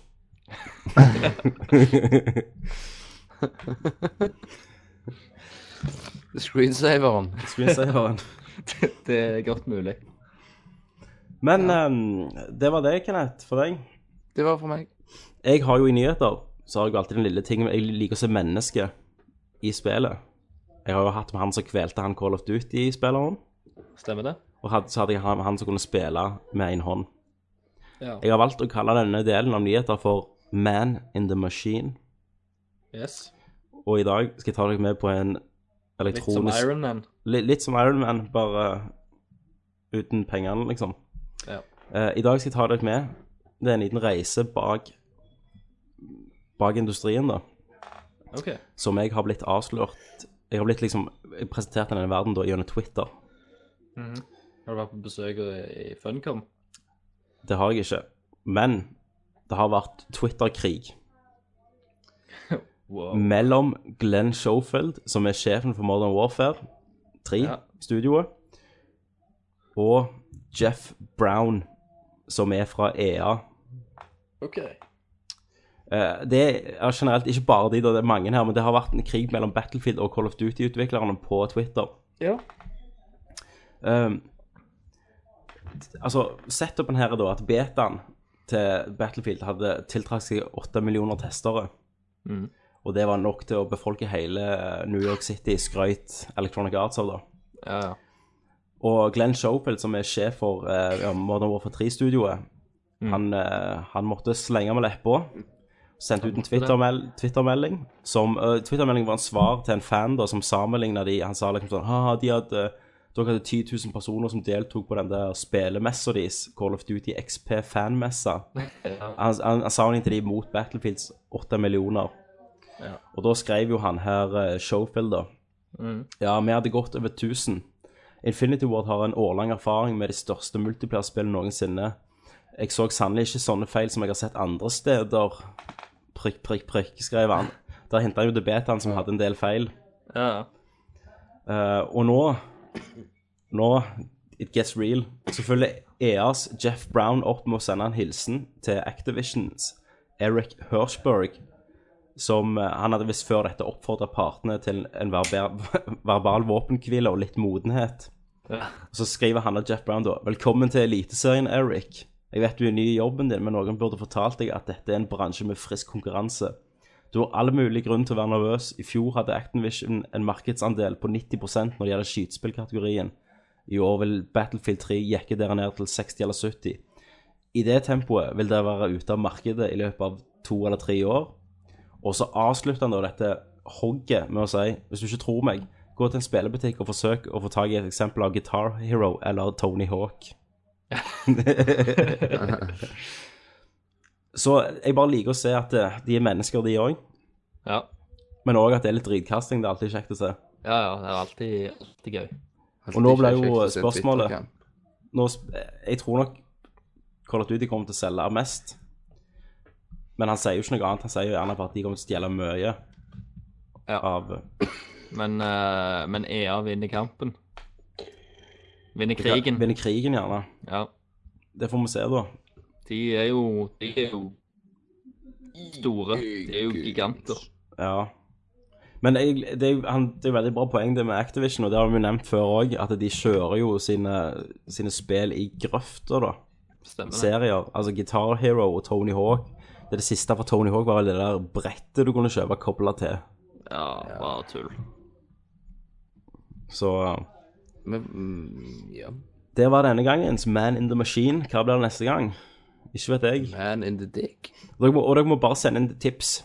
C: Screensaveren.
E: Screensaveren.
F: Det er godt mulig.
E: Men ehm, det var det, Kenneth, for deg.
C: Det var for
E: [LAUGHS]
C: meg.
E: Jeg har jo i nyheter så har jeg jo alltid den lille tingen Jeg liker å se mennesker i spillet. Jeg har jo hatt med han som kvelte han Call of Duty-spilleren.
F: Stemmer det?
E: Og had- så hadde jeg han, han som kunne spille med én hånd.
F: Ja.
E: Jeg har valgt å kalle denne delen av nyheter for Man in the Machine.
F: Yes.
E: Og i dag skal jeg ta dere med på en
F: Litt som
E: elektronisk
F: Iron Man.
E: Litt, litt som Iron Man, bare uten pengene, liksom.
F: Ja.
E: Eh, I dag skal jeg ta dere med. Det er en liten reise bak, bak industrien, da.
F: OK.
E: Som jeg har blitt avslørt Jeg har blitt liksom presentert i denne verden da gjennom Twitter.
F: Har du vært på besøk i i Funcom?
E: Det har jeg ikke. Men det har vært Twitter-krig Mm.
F: Wow.
E: mellom Glenn Schofield, som er sjefen for Modern Warfare 3,
F: Ja.
E: studioet, og Jeff Brown, som er fra E EA.
F: OK.
E: Eh, Det er generelt ikke bare de, da, det er mange her, men det har vært en krig mellom Battlefield og Call of Duty-utviklerne på Twitter.
F: Ja.
E: Um, altså, setupen her er da at betaen til Battlefield hadde tiltrakt seg 8 millioner testere.
F: Mhm.
E: Og det var nok til å befolke hele New York City, skrøyt Electronic Arts av da.
F: Ja, ja.
E: Og Glenn Schofield, som er sjef for eh, ja, Modern Warfare 3-studioet, han, eh, han måtte slenge med leppa. Sendte ut en Twitter-mel- Twitter-melding. som eh, Twitter-meldingen var en svar til en fan da, som sammenligna de Han sa liksom sånn Haha, de hadde dere hadde 10 000 personer som deltok på den der spelemessa deres, Call of Duty XP-fanmessa. Han, han, han sammenlignet de mot Battlefields 8 millioner. Og da skrev jo han her eh, Schofield, da.
F: Mm.
E: Ja, vi hadde gått over 1000. Infinity Ward har en årlang erfaring med de største multiplayerspillene noensinne. Jeg så sannelig ikke sånne feil som jeg har sett andre steder. Prikk, prikk, prikk, skrev han. Der henta han jo til betaen som hadde en del feil.
F: Ja, ja.
E: Eh, og nå Nå, it gets real, så følger EAs Jeff Brown opp med å sende en hilsen til Activisions Eric Hirschberg, som eh, han hadde visst før dette oppfordra partene til en verber, [LAUGHS] verbal våpenhvile og litt modenhet.
F: Ja.
E: Og så skriver han og Jeff Brown da Velkommen til Eliteserien, Eric. Jeg vet du er ny i jobben din, men noen burde fortalt deg at dette er en bransje med frisk konkurranse. Du har all mulig grunn til å være nervøs. I fjor hadde Activision en markedsandel på 90 når det gjelder skytespillkategorien. I år vil Battlefield 3 jekke dere ned til 60 eller 70. I det tempoet vil dere være ute av markedet i løpet av to eller tre år. Og så avslutter han da dette hogget med å si Hvis du ikke tror meg, gå til en spillebutikk og forsøk å få tak i et eksempel av Guitar Hero eller Tony Hawk. [LAUGHS] Altså, så jeg bare liker å se at eh, de er mennesker, de òg.
F: ja.
E: Men òg at det er litt dritkasting. Det er alltid kjekt å se.
F: ja, ja det er alltid, alltid gøy.
E: Og nå ble
C: Alltid
E: jo
C: kjekt å se en
E: spørsmålet-
C: Twitter-kamp.
E: Nå, sp- jeg tror nok Call of Duty kommer til å selge mest. Men han sier jo ikke noe annet. Han sier jo gjerne bare at de kommer til å stjele mye.
F: Ja.
E: Av,
F: Men, eh, men EA vinner kampen. Vinner krigen.
E: Vinne krigen, gjerne.
F: Ja.
E: Det får vi se, da.
F: De er jo De er jo store. De er jo giganter.
E: Ja. Men jeg, det, er, jo- han, det er jo veldig bra poeng det med Activision, og det har vi jo nevnt før òg, at de kjører jo sine, sine spill i grøfter, da.
F: Stemmer det?
E: serier. Altså Guitar Hero og Tony Hawk. Det, det siste fra Tony Hawk var vel det der brettet du kunne kjøpe kobla til.
F: Ja, bare tull.
E: Så eh,
C: Men, mm, ja.
E: det var denne gangens Man in the Machine. Hva blir det neste gang? Ikke vet jeg.
C: Man in the dick.
E: Og dere må, og dere må bare sende inn tips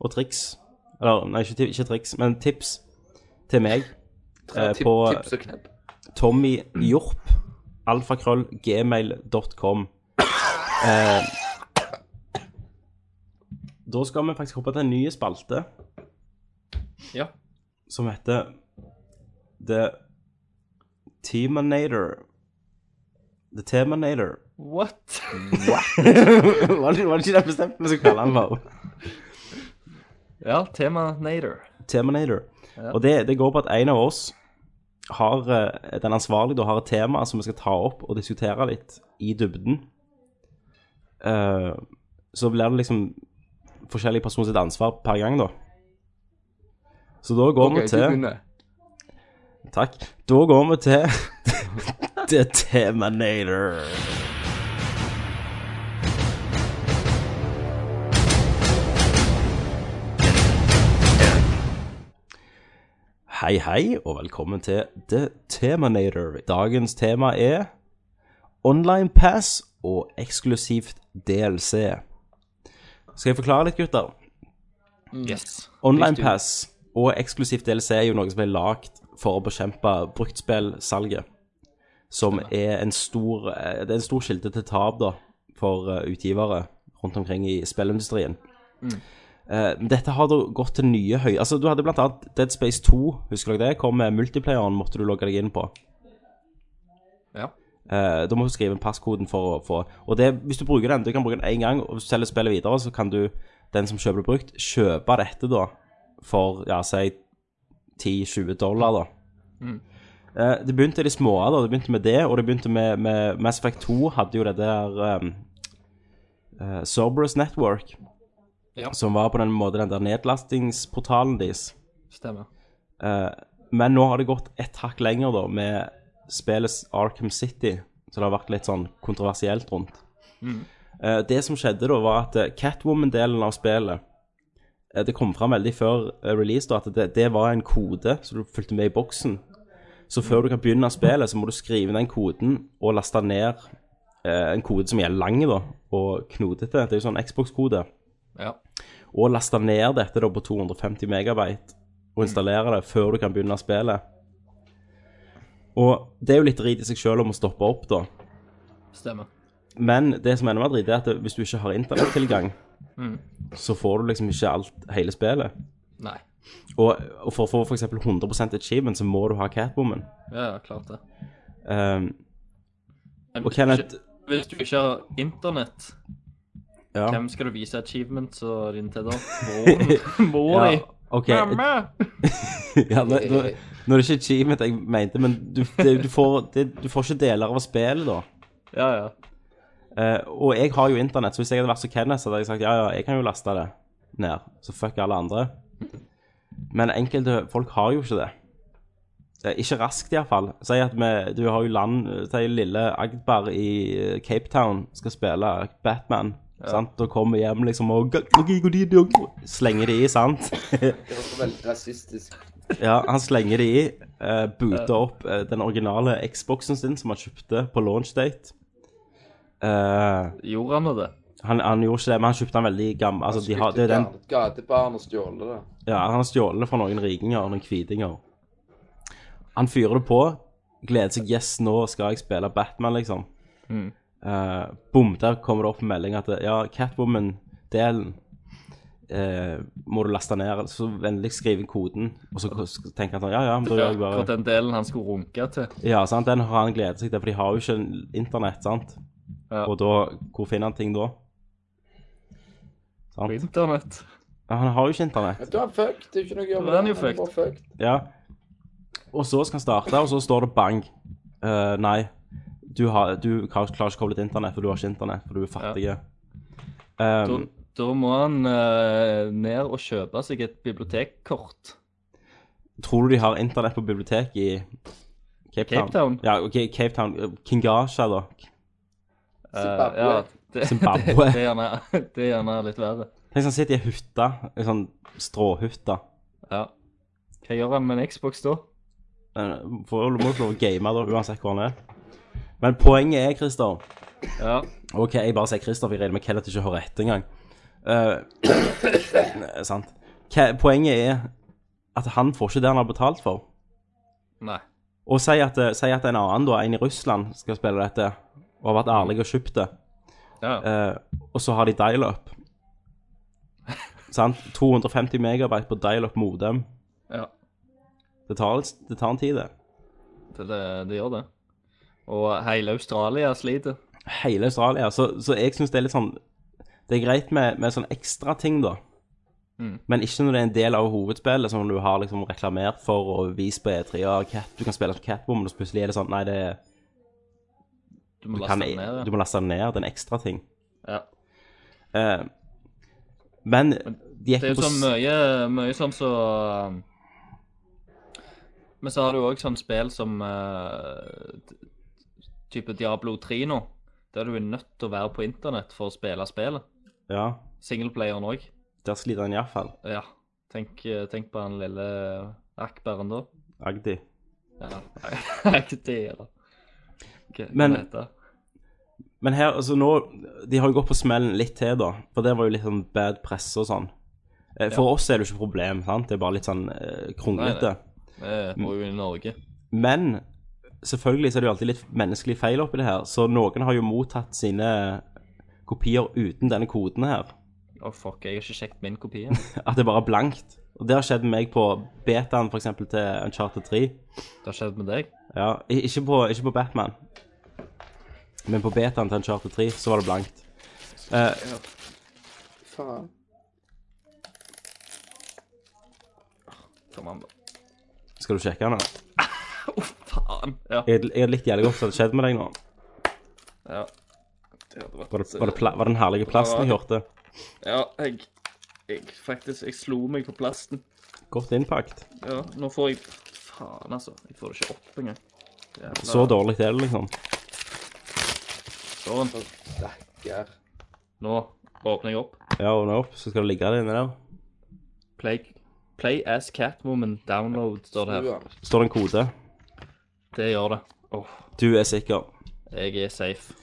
E: og triks. Eller nei, ikke, ti- ikke triks, men tips til meg eh,
C: Tip,
E: på
C: tips og knep.
E: Mm. tommyhjorp. Alfakrøllgmail.com. Eh, da skal vi faktisk hoppe til en ny spalte.
F: Ja.
E: som heter The Teamanator. The Temanator.
F: What?
E: [LAUGHS]
F: [LAUGHS]
E: var, det, var det ikke det bestemte vi skulle kalle han for?
F: Ja, tema Nader.
E: Temanator. Og det, det går på at en av oss har, eh, den ansvarlige da, har et tema som vi skal ta opp og diskutere litt i dybden. Eh, så blir det liksom forskjellig person sitt ansvar per gang, da. Så da går
C: OK,
E: vi
C: du
E: til
C: begynner.
E: Takk. Da går vi til [LAUGHS] The Terminator. Hei, hei, og velkommen til The Terminator. Dagens tema er Online Pass og eksklusivt DLC. Skal jeg forklare litt, gutter?
F: Yes.
E: Online Pass og eksklusivt DLC er jo noe som er lagd for å bekjempe bruktspillsalget. Som er en stor eh, Det er en stor kilde til tap, da, for eh, utgivere rundt omkring i spillindustrien. Eh, dette har da gått til nye høy... Altså, du hadde blant annet Dead Space 2, husker dere det? Kom med multiplayeren, måtte du logge deg inn på.
F: Ja.
E: Eh, da må du skrive inn passkoden for å få Og det, hvis du bruker den, du kan bruke den én gang, og hvis du selger spillet videre, så kan du, den som kjøper det brukt, kjøpe dette da for, ja, si 10-20 dollar, da. Eh, det begynte i det små, da. Det begynte med det, og det begynte med, med Mass Effect 2 hadde jo det der um, eh, Cerberus Network,
F: Ja.
E: som var på den måten den der nedlastingsportalen deres.
F: Stemmer.
E: Eh, men nå har det gått et hakk lenger, da, med spillets Arkham City, så det har vært litt sånn kontroversielt rundt. Eh, det som skjedde da, var at eh, Catwoman-delen av spillet eh, Det kom fram veldig før eh, release da, at det, det var en kode, så du fulgte med i boksen. Så før du kan begynne spillet, så må du skrive inn den koden og laste ned eh, en kode som er lang da, og knotete. Det er jo sånn Xbox-kode
F: Ja.
E: og laste ned dette da på 250 megabyte og installere det før du kan begynne spillet. Og det er jo litt drit i seg sjøl om å stoppe opp, da.
F: Stemmer.
E: Men det som ender med drit, er at hvis du ikke har internettilgang,
F: Mm.
E: så får du liksom ikke alt hele spillet.
F: Nei.
E: Og, og for å få f.eks. 100 achievement, så må du ha Catwoman.
F: Ja, ja, klart det.
E: Um,
F: Men
E: og
F: hvis
E: Kenneth
F: ikke- Hvis du ikke har internett,
E: ja.
F: hvem skal du vise achievements og din
E: [LAUGHS]
F: til da? Moren? Mor
E: ja,
F: di?
E: OK.
F: Mamma!
E: [LAUGHS] Ja, nå, nå, nå er det ikke achievement jeg mente, men du, det, du, får, det, du får ikke deler av spillet, da.
F: Ja, ja.
E: Eh, og jeg har jo internett, så hvis jeg hadde vært så Kenneth, så hadde jeg sagt ja, ja, jeg kan jo laste det ned. Så fuck alle andre. Men enkelte folk har jo ikke det. Eh, ikke raskt, iallfall. Si at vi, du har jo land Si lille Agdbar i eh, Cape Town skal spille Batman. Sant? Og kommer hjem liksom og Slenger det i, sant?
D: Det var så veldig rasistisk.
E: Ja, han slenger det i. Uh, booter opp eh, den originale Xboxen sin som han kjøpte på launchdate. Uh,
F: Gjorde han det?
E: han, han gjorde ikke det, men han kjøpte den veldig gammel. Altså, de har, det er den,
D: Gatebarn og stjåle det.
E: ja, han har stjålet det fra noen rikinger og noen hvitinger. Han fyrer det på. Gleder seg. Yes, nå skal jeg spille Batman, liksom.
F: Mm.
E: Eh, bom, der kommer det opp en melding at ja, Catwoman-delen eh, må du laste ned. Så vennlig skriv inn koden. Og så tenker han sånn Ja, ja, men da
F: Ja,
E: gjør jeg bare
F: akkurat den delen han skulle runke til.
E: Ja, sant? den har han gledet seg til, for de har jo ikke internett, sant?
F: Ja.
E: Og da, hvor finner han ting da?
F: På
E: Sant?
F: internett.
E: Ja, han har jo ikke internett,
D: Men du er fucked, det er jo ikke noe å gjøre
F: Da er han jo
D: Han er bare fucked.
E: ja. Og så skal han starte, og så står det bang. Eh, nei, du, har, du har- klarer ikke å koble til internett, for du har ikke internett, for du er fattig.
F: Da,
E: Um,
F: da må han eh, ned og kjøpe seg et bibliotekkort.
E: tror du de har internett på biblioteket i Cape Town?
F: Cape Town?
E: Ja, ok, Cape Town. eh, Kingasha, da.
F: Eh,
D: Zimbabwe.
F: ja, det, [LAUGHS]
E: Zimbabwe.
F: Det, det, er gjerne, det er gjerne litt verre.
E: Tenk sånn, sitter i en hytte, en sånn stråhytte.
F: Ja. Hva gjør han med en Xbox da?
E: Eh, For du må ikke lov å game da, uansett hvor han er. Men poenget er, Christer
F: Ja,
E: OK, jeg bare sier Christer, for jeg regner med Kenneth ikke hører etter engang. Eh, nei, [COUGHS] sant. Ke- Poenget er at han får ikke det han har betalt for.
F: nei.
E: Og si at, eh, si at en annen, da, en i Russland, skal spille dette, og har vært ærlig og kjøpt det,
F: Ja,
E: eh, og så har de dial-up. Sant? 250 megabyte på dial-up modem.
F: ja.
E: Det tar, det tar en tid, det.
F: Det, det, det gjør det. Og hele Australia sliter.
E: hele Australia. Så, så jeg syns det er litt sånn Det er greit med, med sånn ekstra ting, da.
F: Mm.
E: Men ikke når det er en del av hovedspillet som du har liksom reklamert for og vist på E3. Og cat, du kan spille som Catwoman, og så plutselig er det sånn Nei, det, er-
F: Du må
E: du,
F: laste
E: kan,
F: den ned.
E: du
F: ja.
E: må laste det ned. Det er en ekstra ting.
F: Ja.
E: Eh, men de gikk
F: Det er
E: på
F: jo sånn
E: s-
F: mye, mye sånn så um, Men så har du òg sånn spill som eh, t- type Diablo 3 nå, der du er nødt til å være på internett for å spille spillet.
E: Ja,
F: Singleplayeren òg.
E: der sliter han iallfall.
F: Ja. Tenk, uh, tenk på den lille Akberen da.
E: Agdi.
F: Ja. [LAUGHS] Akti, eller Hva- hva
E: Men-
F: det heter.
E: Men her, altså nå De har jo gått på smellen litt til, da. For det var jo litt sånn bad press og sånn. Eh, For oss er det jo ikke problem, sant? Det er bare litt sånn eh,
F: Nei,
E: kronglete.
F: Vi bor jo i Norge.
E: Men selvfølgelig så er det jo alltid litt menneskelig feil oppi det her, så noen har jo mottatt sine kopier uten denne koden her. [LAUGHS]
F: Å, fuck, jeg har ikke sjekket min kopi.
E: At det bare er blankt. Og det har skjedd med meg på betaen f.eks. til Uncharted 3.
F: Det har skjedd med deg?
E: Ja, i- ikke på, ikke på Batman, men på betaen til Uncharted 3 så var det blankt.
D: Faen.
F: Kom an, da.
E: Skal du sjekke den? da?
F: Faen. Ja.
E: Jeg jeg hadde likt jævlig godt hva hadde skjedd med deg nå.
F: ja. Det hadde vært
E: Var det, var det, pla, var det den herlige plasten jeg hørte?
F: Ja, jeg, jeg faktisk Jeg slo meg på plasten.
E: Godt innpakt.
F: Ja, nå får jeg Faen, altså. Jeg får det ikke opp engang. Jævla-
E: Så dårlig er det, liksom.
F: Sånn.
D: Stakkar.
F: Nå åpner jeg opp.
E: Ja, åpne opp, så skal det ligge der inne der.
F: Play, play as Catwoman download, står det her.
D: Uansett.
E: Står det en kode?
F: Det gjør det. Åh,
E: Du er sikker.
F: jeg er safe.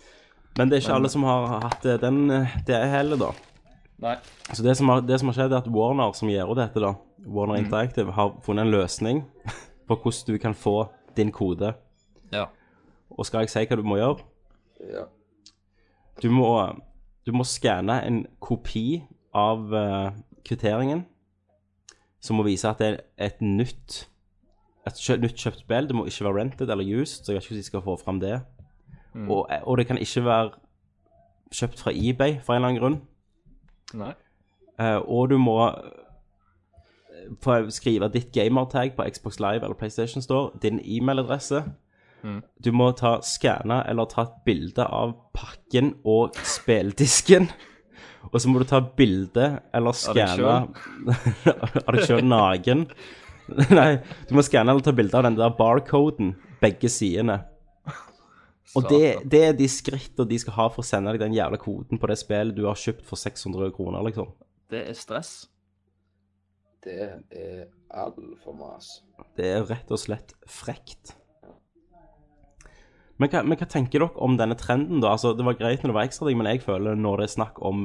E: Men det er ikke alle som har hatt eh, den, eh, det heller, da.
F: Nei.
E: Så det som, har, det som har skjedd, er at Warner, som gjør ut dette, da, Warner Interactive, har funnet en løsning [LAUGHS] på hvordan du kan få din kode.
F: Ja.
E: Og skal jeg si hva du må gjøre?
D: Ja.
E: Du må, du må skanne en kopi av eh, kvitteringen, som må vise at det er et nytt et kjø, nytt kjøpt spill. Det må ikke være rented eller used, så jeg vet ikke hvordan de skal få fram det. Og, eh, og det kan ikke være kjøpt fra eBay for en eller annen grunn.
F: Nei.
E: Eh, og du må eh, få skrive ditt gamertag på Xbox Live eller PlayStation Store, din e-mailadresse.
F: Mm.
E: Du må ta skanne eller ta et bilde av pakken og speldisken. [LAUGHS] Og så må du ta bilde eller
F: Av deg
E: skanne [LAUGHS] Av deg sjøl naken. [LAUGHS] Nei, du må skanne eller ta bilde av den der barcoden, begge sidene. Og det, det er de skrittene de skal ha for å sende deg den jævla koden på det spillet du har kjøpt for 600 kroner, liksom.
F: Det er stress.
D: Det er altfor mas.
E: Det er rett og slett frekt. Men hva, men hva tenker dere om denne trenden, da? Altså, det var greit når det var ekstrating, men jeg føler når det er snakk om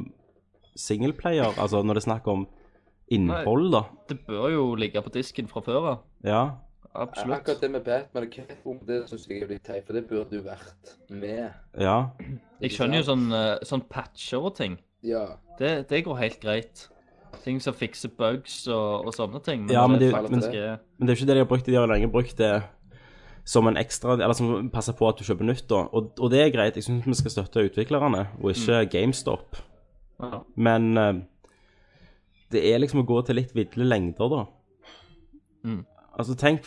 E: singleplayer, altså når det er snakk om innhold, da
F: Det bør jo ligge på disken fra før av.
E: Ja.
F: Absolutt.
D: Akkurat det med Batman og Catwoman, det syns jeg er litt teit, for det burde jo vært med.
E: Ja.
F: Jeg skjønner jo sånn, eh, sånn patcher og ting.
D: Ja.
F: Det, det går helt greit. Ting som fikser bugs og, og sånne ting.
E: Ja, men
F: når
E: det-
F: faktisk
D: men-
F: er-
E: Men det er jo ikke det de har brukt. De har lenge brukt det som en ekstra Eller som passer på at du kjøper nytt, da. Og, og det er greit. Jeg syns vi skal støtte utviklerne, og ikke GameStop.
F: Ja.
E: Men eh, det er liksom å gå til litt vidle lengder, da.
F: Mm.
E: Altså, tenk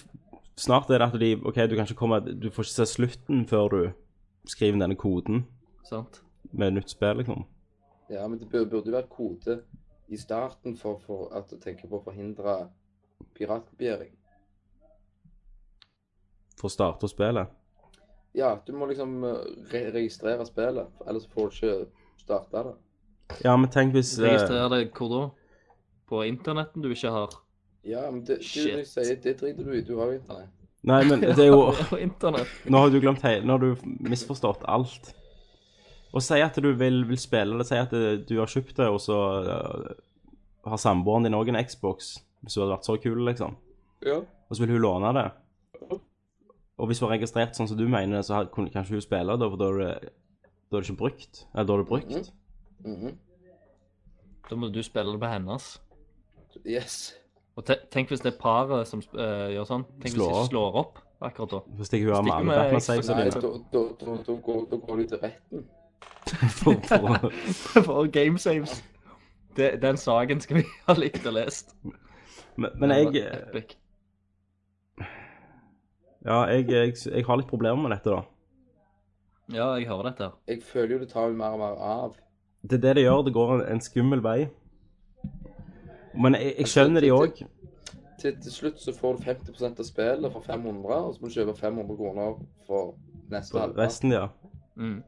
E: Snart er det at de OK, du kan ikke komme Du får ikke se slutten før du skriver denne koden
F: Sant.
E: med nytt spill, liksom.
D: ja, men det burde burde jo vært kode i starten for, for at å tenke på å forhindre piratkopiering.
E: For å starte spillet.
D: Ja, du må liksom eh, re registrere spillet, ellers får du ikke starta det.
E: Ja, men tenk hvis eh,
F: Registrer det hvor da? På internetten du ikke har? [LAUGHS]
D: Ja, men det, du,
F: Shit.
D: du sier, det driter du i. Du har jo internett.
E: Nei, men det er jo
F: På internett.
E: Nå har du glemt hele Nå har du misforstått alt. Og si at du vil, vil spille det, si at eh, du har kjøpt det, og så eh, har samboeren din òg en Xbox, hvis du hadde vært så kul, liksom.
D: Ja.
E: Og så vil hun låne det. Og hvis hun har registrert sånn som du mener, så har- kunne kanskje hun spille da, for da er det, da er det ikke brukt. Eller da er det brukt.
D: Mhm.
F: Da må du spille det på hennes.
D: Yes.
F: Og te tenk hvis det er paret som eh, gjør sånn. Tenk
E: Slår
F: hvis de
E: opp.
F: slår opp
E: [LAUGHS]
F: akkurat da.
E: Så stikker hun av med
F: Stikker
E: alle
F: med
E: Batman-savesa
D: Nei,
E: dine.
D: da, da, da, da, går, da går du til retten.
E: For, for,
F: For game saves. Det, den saken skal vi ha likt og lest.
E: men, men
F: Det
E: jeg,
F: var epic.
E: ja, jeg, jeg, jeg har litt problemer med dette, da.
F: Ja, jeg hører dette. her.
D: Jeg føler jo det tar jo mer og mer av.
E: Det er det det gjør. Det går en, en skummel vei. Men jeg, jeg skjønner de òg.
D: Til, til slutt så får du 50 av spillet for 500, og så må du kjøpe 500 kroner for neste halvpart.
E: Resten, ja.
F: Mm.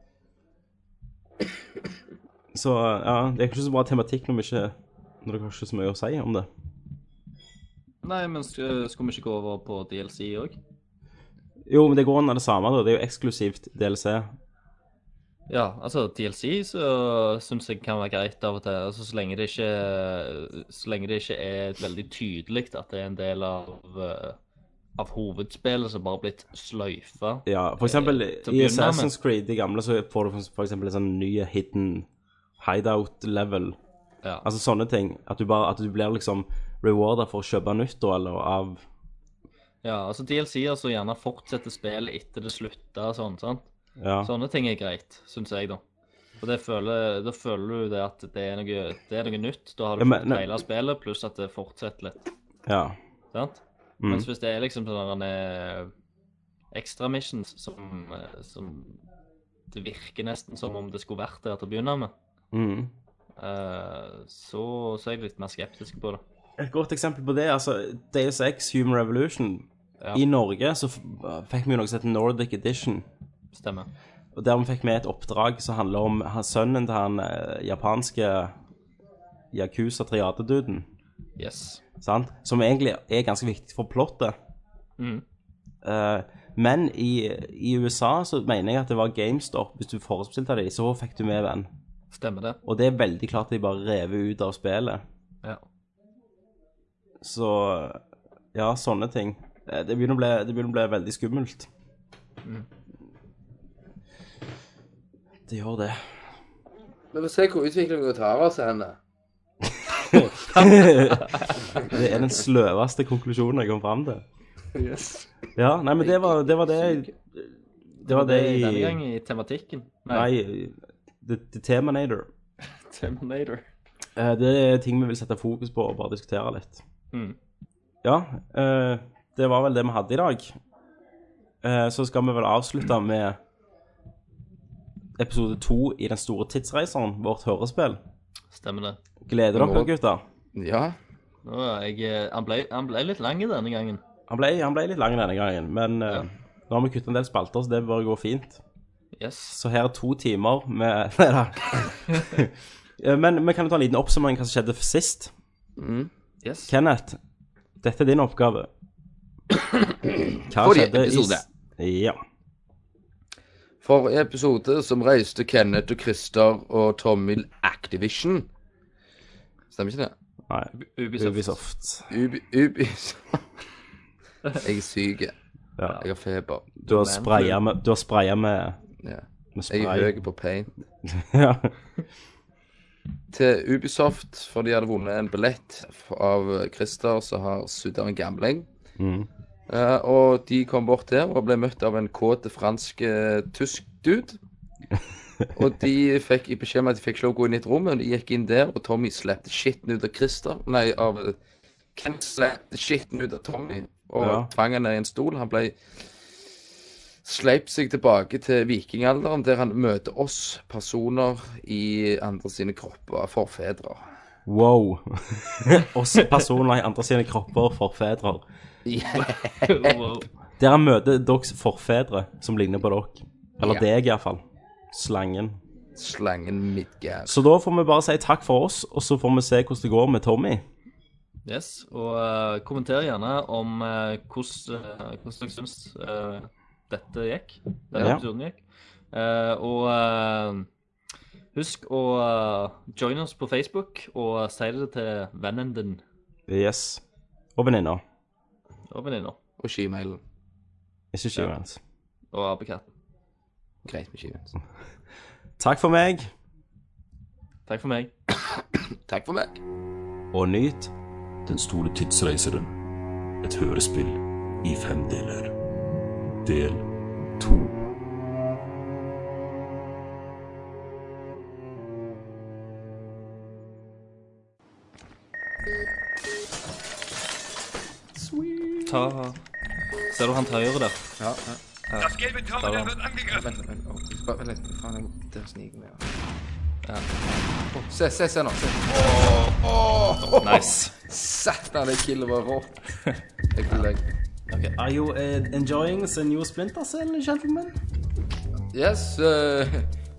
E: Så ja, det er ikke så bra tematikk når vi ikke når det kanskje er så mye å si om det.
F: Nei, men sk- skulle vi ikke gå over på DLC òg?
E: Jo, men det går an av det samme, da. Det er jo eksklusivt DLC.
F: Ja, altså DLC så syns jeg kan være greit av og til. Altså, så, lenge det ikke, så lenge det ikke er veldig tydelig at det er en del av, eh, av hovedspillet som bare har blitt sløyfa.
E: Ja, for eksempel
F: Eh, til å
E: i
F: begynne
E: Assassin's Creed, de gamle, så får du for- for eksempel en sånn ny hidden hideout-level.
F: Ja.
E: Altså sånne ting. At du, bare, at du blir liksom rewarda for å kjøpe nytt, da, eller av
F: ja, altså DLC-er som gjerne fortsetter spillet etter det slutter og sånn, sant.
E: Ja.
F: Sånne ting er greit, syns jeg, da. Og det føler, da føler du det at det er noe, det er noe nytt. Da har du
E: Ja, men-
F: fått hele spillet, pluss at det fortsetter litt.
E: ja.
F: Sant?
E: Mm.
F: Mens hvis det er liksom sånne eh, ekstra missions som, eh, som Det virker nesten som om det skulle vært der til å begynne med,
E: Mm.
F: eh, så, så er jeg litt mer skeptisk på det.
E: Et godt eksempel på det, altså Deus Ex Human Revolution.
F: Ja.
E: I Norge så f fikk vi jo noe som heter Nordic Edition.
F: Stemmer.
E: Og der vi fikk vi et oppdrag som handler om han- sønnen til han eh, japanske Yakuza-triadeduden.
F: Yes.
E: sant? som egentlig er ganske viktig for plottet.
F: Mhm.
E: Eh, men i, i USA så mener jeg at det var GameStop. Hvis du forespestilte dem, så fikk du med den.
F: Stemmer det.
E: Og det er veldig klart de bare rever ut av spillet.
F: Ja.
E: Så ja, sånne ting. Eh, Det begynner å bli, det begynner å bli veldig skummelt. Det gjør det.
D: altså, Men vi får se hvor utviklingen tar oss henne.
E: [LAUGHS] Det er den sløveste konklusjonen jeg kom fram til.
C: Yes.
E: Ja, nei, men det var det, var det, jeg- det, var det
F: i denne
E: i
F: gang i tematikken.
E: Nei, The, the Terminator.
F: [LAUGHS] Terminator.
E: Eh, Det er ting vi vil sette fokus på og bare diskutere litt.
F: Mm.
E: Ja, eh, det var vel det vi hadde i dag. Eh, Så skal vi vel avslutte med episode to i Den store tidsreiseren, vårt hørespill.
F: Stemmer det.
E: Gleder dere,
C: Nå-
E: gutter?
C: Ja.
F: Nå er jeg, eh, han, ble, han ble litt lang i denne gangen.
E: Han ble, han ble litt lang denne gangen, men eh, nå har vi kuttet en del spalter, så det bør gå fint.
F: Yes.
E: Så her er to timer med [LAUGHS] Nei da. Eh, men vi kan jo ta en liten oppsummering av hva som skjedde sist.
F: yes.
E: Kenneth, dette er din oppgave. Hva
C: Forrige
E: skjedde i s-
C: episode.
E: Ja.
C: For i episode som reiste Kenneth og Christer og Tommy Activision. Stemmer ikke det?
E: Nei,
F: Ubisoft.
E: Ubisoft.
C: Ubi... Ubi... [LAUGHS] Jeg er syk. Jeg
E: Ja.
C: har feber.
E: Du har spraya med, du har spraya med,
C: Ja.
E: med
C: eh, Jeg er
E: spray.
C: høy på pain.
E: [LAUGHS] ja.
C: Til Ubisoft, for de hadde vunnet en billett av Christer, som har sudda en gambling.
E: Mm.
C: Eh, og de kom bort der og ble møtt av en kåt fransk eh, tysk
E: [LAUGHS]
C: dude. og de fikk i beskjed om at de fikk ikke lov å gå inn i et rom, men de gikk inn der, og Tommy slepte skitten ut av Christer. Nei, av eh, Ken slepte skitten ut av Tommy og
E: Ja.
C: tvang han ned i en stol. Han ble Sleip seg tilbake til vikingalderen, der han møter oss personer i andre sine kropper, forfedre. [LAUGHS]
E: Wow. [LAUGHS] Også personer i andre sine kropper, forfedre.
F: [LAUGHS] Wow.
E: Der han møter deres forfedre som ligner på dere. Eller
C: Ja.
E: deg, iallfall. Slangen.
C: Slangen Midgard.
E: Så da får vi bare si takk for oss, og så får vi se hvordan det går med Tommy.
F: Yes, og eh, kommenter gjerne om eh, hvordan eh, hvordan dere syns eh, dette gikk. Denne
E: Ja.
F: episoden gikk. Eh, og eh, husk å eh, join oss på Facebook, og si det til vennen din
E: Yes. Og venninna.
F: og venninna
C: Og skimailen.
E: Ikke skiva hans.
F: og apekatten.
C: Greit med skimen.
E: Takk for meg,
F: Takk for meg.
C: Takk for meg.
E: og nyt
I: Den store tidsreiseren. Et hørespill i fem deler. Del to.
F: Ta Ser du han til høyre der?
C: Vent, vent, vent, vent, vent litt. Faen, jeg må der snike meg. Ja. Å, Se, se, se nå. Se.
F: Nice.
C: Satan, det killet var rått. Jeg vil deg.
E: Are you eh, enjoying the new Splinter Cell, gentlemen?
C: Yes, uh,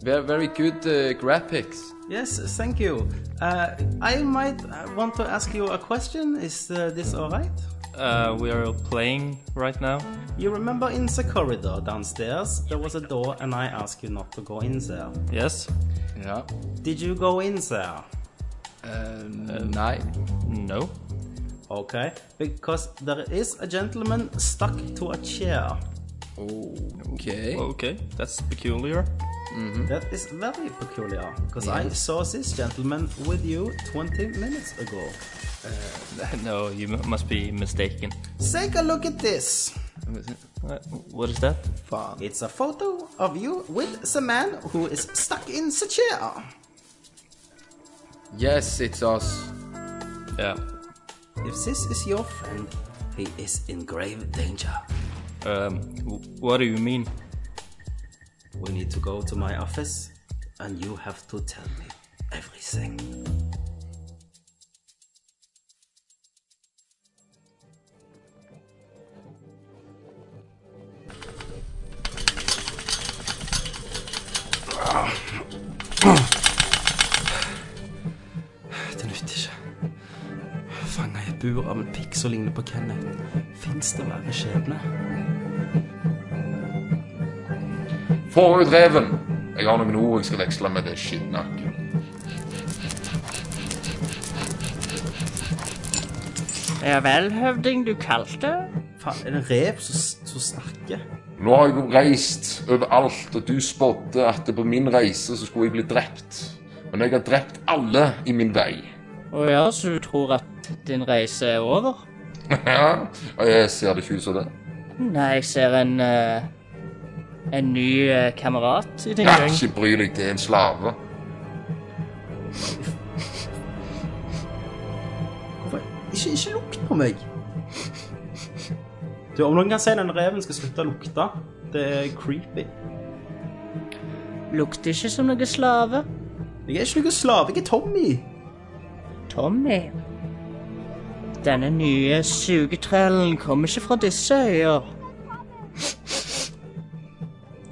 C: very, very good uh, graphics.
E: Yes, thank you. Uh, I might want to ask you a question. Is this all right?
J: Uh, we are playing right now.
E: You remember in the corridor downstairs, there was a door and I asked you not to go in there.
J: Yes?
C: Ja.
E: Did you go in there?
C: Uh, nei.
J: No?
E: Okay, because there is a gentleman stuck to a chair.
C: OK.
F: Oh.
J: Okay, that's peculiar.
K: Hmm?
E: That is very peculiar, because I saw this gentleman with you 20 minutes ago.
J: [LAUGHS] No, you m- must be mistaken.
E: Take a look at this.
J: Uh, what is that?
E: It's a photo of you with the man who is stuck in the chair.
C: Yes, it's us.
J: Yeah.
E: If this is your friend, he is in grave danger.
J: Um, w- what do you mean?
E: We need to go to my office, and you have to tell me everything. Det nytter ikke. Fanga i et bur av en pikk som ligner på Kenneth. Fins det verre skjebne?
A: Forut reven. Jeg har noen ord jeg skal veksle med det skittnakket.
J: Ja vel, høvding, du kalte?
E: Faen, er det en rev som, som snakker?
A: Nå har jeg jo reist overalt, og du spådde at på min reise så skulle jeg bli drept. Men jeg har drept alle i min vei.
J: Å ja, så du tror at din reise er over?
L: Ja, og jeg ser det ikke ut som det.
J: Nei, jeg ser en eh, En ny eh, kamerat i din
L: Ja,
J: gjeng.
L: ikke bry deg, det er en slave.
K: Ikke, ikke lukt på meg. Du, Om noen kan si den reven skal slutte å lukte, det er creepy.
J: Lukter ikke som noe slave.
K: Jeg er ikke noen slave, jeg er Tommy.
J: Tommy. Denne nye sugetrellen kommer ikke fra disse øyer.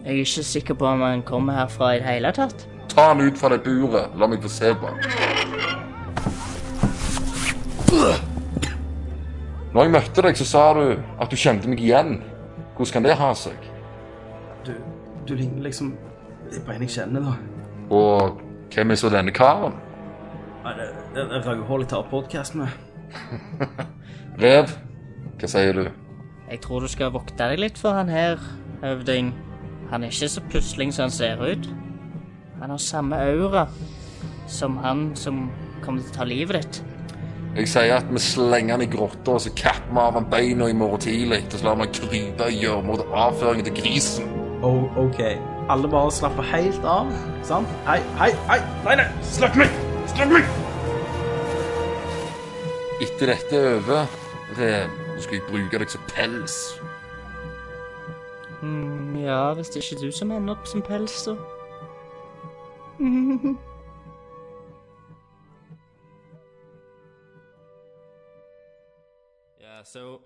J: Jeg er ikke sikker på om han kommer herfra i det hele tatt.
L: Ta han ut fra det buret. La meg få se på han. Når jeg møtte deg, så sa du at du kjente meg igjen. Hvordan kan det ha seg?
K: Du, du ligner liksom det er på en jeg kjenner, da.
L: Og hvem er så denne karen?
K: Nei, det, det, det er Ragnhild jeg tar podkast med.
L: Rev, hva sier du?
J: Jeg tror du skal vokte deg litt for han her, høvding. Han er ikke så pusling som han ser ut. Han har samme aura som han som kommer til å ta livet ditt.
L: Jeg sier at vi slenger han i grotta, og så kapper vi av han beina i morgen tidlig. Og så lar vi han krype i gjørma til avføringen til grisen.
K: Oh, OK. Alle bare slapper helt av, sant? Hei, hei, hei! Nei, nei! Slakk meg! Slakk meg!
L: Etter dette er over, rev, så er- skal jeg bruke deg som pels.
J: Mm, ja, hvis det ikke er du som ender opp som pels, så.
F: Yeah, so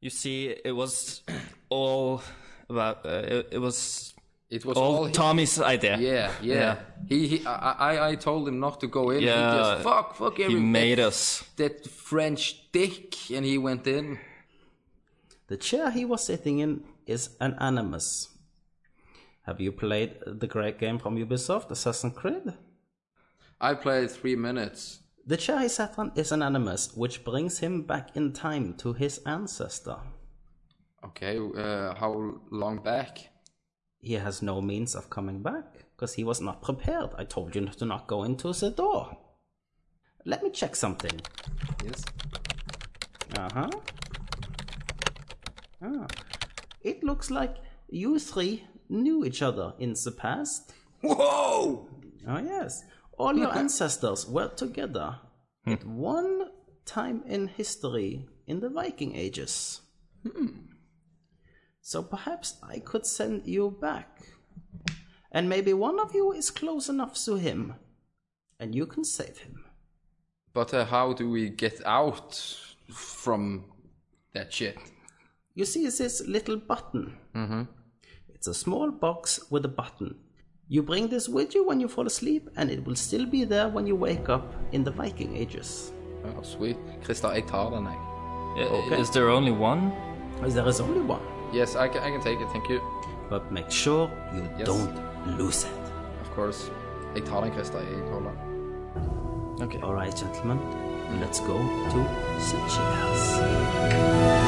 F: you see, it was all about. Uh, it, it was.
M: It
C: was
F: all,
C: all hi-
F: Tommy's idea.
C: Yeah, yeah. He, he, I, I, I told him not to go in. He
F: Yeah,
C: just, fuck, fuck
F: he
C: everything.
F: made us.
C: That French dick, and he went in.
K: The chair he was sitting in is an animus. Have you played the great game from Ubisoft, Assassin's Creed?
C: I played three minutes.
K: The chair he sat on is an animus, which brings him back in time to his ancestor.
C: Okay, uh, how long back?
K: He has no means of coming back, because he was not prepared. I told you to not go into the door. Let me check something.
C: Yes.
K: Uh huh. Ah. It looks like you three knew each other in the past. Whoa! Oh, yes. All your ancestors were together at one time in history in the Viking Ages. So perhaps I could send you back. And maybe one of you is close enough to him, and you can save him.
C: But uh, how do we get out from that shit?
K: You see this little button.
C: Mm-hmm.
K: It's a small box with a button. You bring this with you when you fall asleep, and it will still be there when you wake up in the Viking Ages.
C: Oh, sweet. Christer, jeg tar den, jeg.
K: Okay.
F: Uh, Is there only one?
K: There is only one.
C: Yes, I can, I can take it, thank you.
K: But make sure you
C: Yes.
K: don't lose it.
C: Of course. Jeg tar den, Christer. Jeg holder den.
K: Okay. All right, gentlemen, let's go to Sushi House.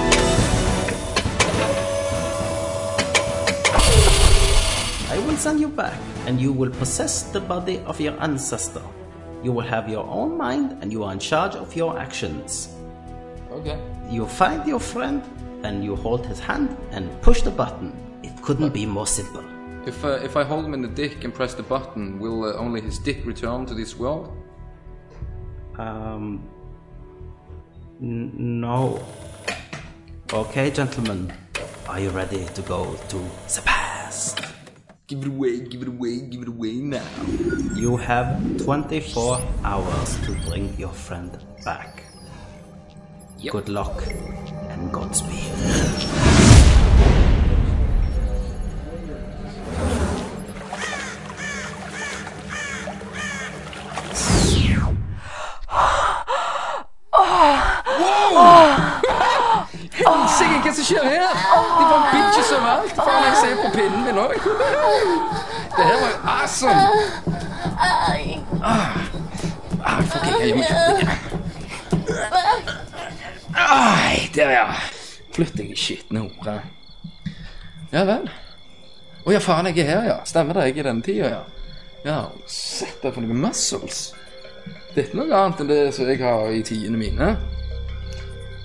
K: I will send you back, and you will possess the body of your ancestor. You will have your own mind, and you are in charge of your actions.
C: Okay.
K: You find your friend, and you hold his hand and push the button. It couldn't be more simple.
C: If, uh, if I hold him in the dick and press the button, will uh, only his dick return to this world?
K: Um. N- no. Okay, gentlemen. Are you ready to go to the past?
C: Give it away, give it away, give it away now.
K: You have 24 hours to bring your friend back. Good luck and Godspeed.
C: Helsike, hva som skjer her? De bare bitches overalt. Faen, jeg ser på pinnen min òg. Det her var jo awesome. Ah, ah, fucking helvete. Ai, der, ja. Flytt deg, skitne hore. Ja vel. Å ja, faen, jeg er her, ja. Stemmer det, jeg er i denne tida, ja. Ja, sett deg for noen muscles. Dette er noe annet enn det som jeg har i tidene mine.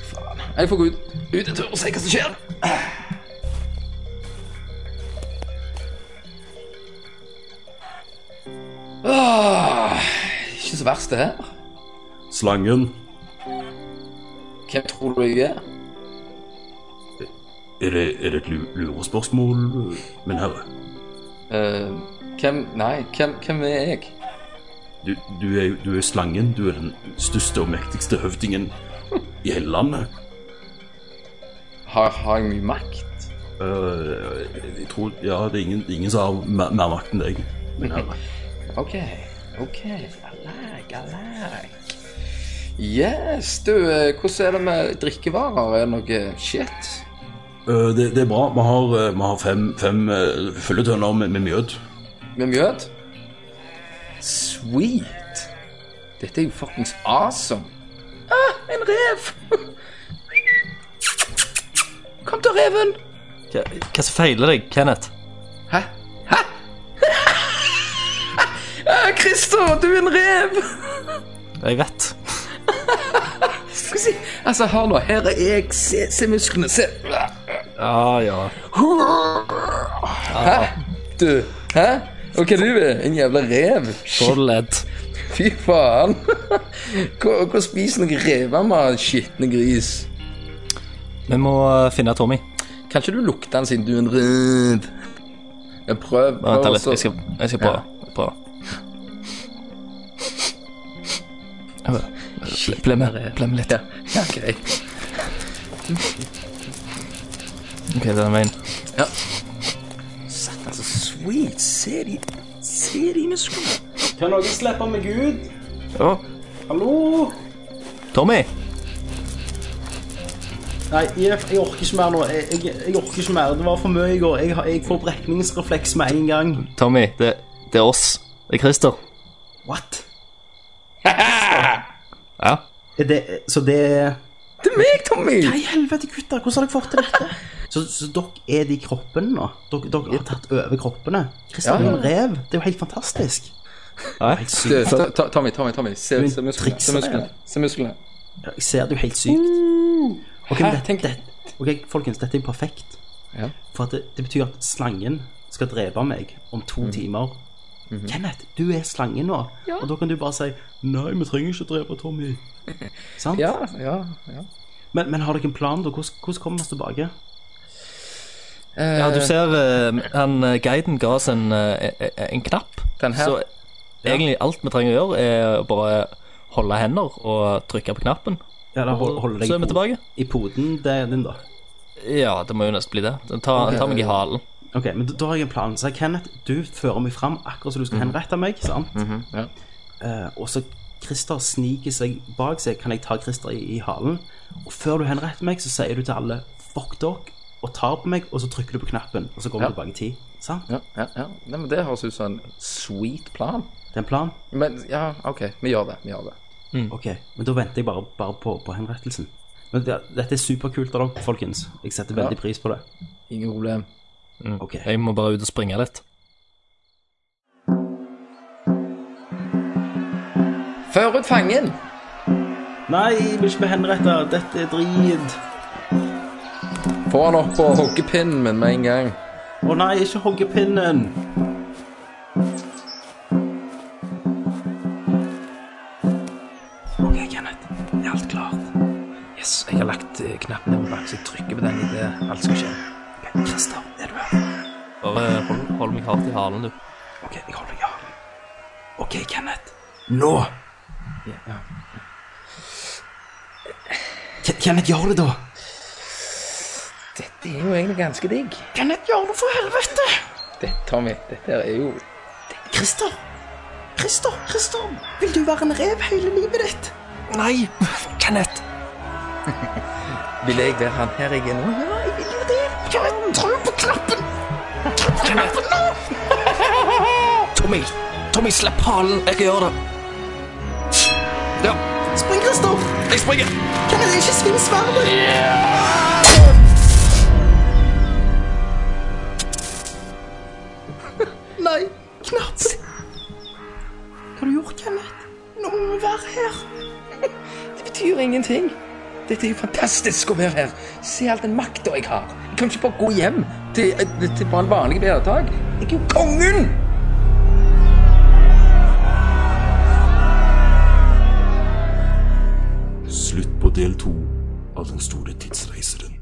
C: Faen. Jeg får gå ut, ut en tur og se hva som skjer. Ah, ikke så verst, det her.
E: Slangen.
C: Hvem tror du jeg er?
E: Er det, er det et lu- lurespørsmål, min herre?
C: Eh, hvem Nei, hvem, hvem er jeg?
E: Du, du, er, jo- du er jo slangen. Du er den største og mektigste høvdingen i hele landet.
C: Har, har jeg mye makt?
E: Øh, jeg tror Ja, det er ingen, ingen som har mer, mer makt enn deg, min herre.
C: OK. OK. Alak, alak. Yes, du, eh, hvordan er det med drikkevarer? Er det noe shit?
E: Eh, det, det er bra. Vi har, eh, vi har fem, fem eh, fylletønner med, med mjød.
C: Med mjød? Sweet. Dette er jo fuckings awesome. Ah, en rev! Kom til reven!
F: Hva, hva som feiler deg, Kenneth?
C: Ah, Christer, du er en rev!
F: Jeg vet.
C: Skal vi si Altså, hør nå. Her er jeg. Se, se musklene. Se.
F: Ja, Ah, ja.
C: Hæ? Ah, Du. Hæ? Og hva er du? En jævla rev?
F: Skjold-ledd.
C: Fy faen. Hva hva spiser noen rever med skitne gris?
F: Vi må eh, finne Tommy.
C: Kan ikke du lukte den siden du er en rev? Jeg prøv, prøv
F: Vent litt,
C: også-
F: jeg skal, jeg skal prøve. prøve. Ble- Ble med, ble med litt.
C: Ja, greit.
F: Ok, den veien.
C: Ja. Satan, så sweet. Se de Se de musklene.
F: Kan noen slippe meg ut? Ja. Hallo? Tommy?
K: Nei, Jeff, jeg orker ikke mer nå. Jeg, jeg, jeg orker ikke mer. Det var for mye i går. Jeg, har- jeg får brekningsrefleks med en gang.
F: Tommy, det, det er oss. Det er Christer.
K: [LAUGHS] What?
F: Ja.
K: Er det, så det er
C: Det er meg, Tommy!
K: Hva i helvete, gutter? Hvordan har dere fått til dette? [LAUGHS] Så, så dere er de kroppene nå? Dere, dere har tatt over kroppene? Christer,
C: Ja,
K: du er
C: ja.
K: en rev. Det er jo helt fantastisk.
C: Du, ta- ta- Tommy, Tommy, Tommy.
K: Du er
C: Se,
K: en
C: se musklene. Se
K: trikser,
C: musklene. Se musklene.
K: Ja, Jeg ser det jo helt sykt. Mm. Ok, men dette, dette, ok, folkens, dette er jo perfekt.
C: Ja.
K: For at det, det betyr at slangen skal drepe meg om to timer. Kenneth, du er slangen nå. Og da kan du bare si 'Nei, vi trenger ikke drepe Tommy'. Sant?
C: Ja, ja, ja.
K: Men, men har dere en plan, da? Hvordan, hvordan kommer vi oss tilbake?
F: Ja, du ser eh, han eh, guiden ga oss en, eh, eh, en knapp.
C: Den her?
F: Så egentlig alt vi trenger å gjøre, er å bare holde hender og trykke på knappen.
K: Ja, eller hold- holde deg
F: Så er vi
K: i po-
F: tilbake.
K: I poden det er din, da.
F: Ja, det må jo nesten bli det. Ta, ta meg i halen.
K: Ok, men da, da har jeg en plan. Så Kenneth, du fører meg fram akkurat som du skal henrette meg, sant? Eh, og så Christer sniker seg bak seg. Kan jeg ta Christer i, i halen? Og før du henretter meg, så sier du til alle 'fuck dere' og tar på meg, og så trykker du på knappen, og så går vi
C: Ja.
K: tilbake i tid. Sant?
C: Ja, ja, ja. Nei, men det høres ut som en sweet plan.
K: Det er en plan?
C: Men ja, OK. Vi gjør det. Vi gjør det.
K: Ok, men da venter jeg bare, bare på, på henrettelsen. Men det, dette er superkult av dere, folkens. Jeg setter
C: Ja. Mm.
K: veldig pris på det.
C: Ingen problem.
F: Jeg må bare ut og springe litt.
C: Før ut fangen!
K: Nei, jeg vil ikke bli henretta. Dette er drit.
C: Få han opp på hoggepinnen min med en gang.
K: Å nei, ikke hoggepinnen!
C: OK, Kenneth. Er alt klart? Yes, jeg har lagt eh, knappen på bak, så jeg trykker på den idet alt skal skje. Christer, er du her?
N: Bare hold, hold meg hardt i halen, du.
K: OK, jeg holder deg i halen. OK, Kenneth. Nå! Ke- Kenneth, gjør det, da!
C: Dette er jo egentlig ganske digg.
K: Kenneth, gjør det, for helvete!
C: Det, Tommy, dette her er jo
K: Christer! Christer! Christer! Vil du være en rev hele livet ditt? Nei! Kenneth!
C: Vil jeg være han her jeg er nå?
K: Nei, jeg vil jo det! Kenneth, tro på knappen! Tro på knappen nå!
F: Tommy! Tommy, slipp halen! Jeg kan gjøre det. Ja.
K: Spring, Christer!
F: Jeg springer!
K: Kenneth, ikke svinn sverdet! Nei, knappen! Hva har du gjort, Kenneth? Nå
O: kommer vi å være her? [LAUGHS] Det betyr ingenting. Dette er jo fantastisk å være her. Se all den makta jeg har. Jeg kan ikke bare gå hjem til, til bare en vanlig hverdag. Jeg er jo kongen!
I: Slutt på del to av Den store tidsreiseren.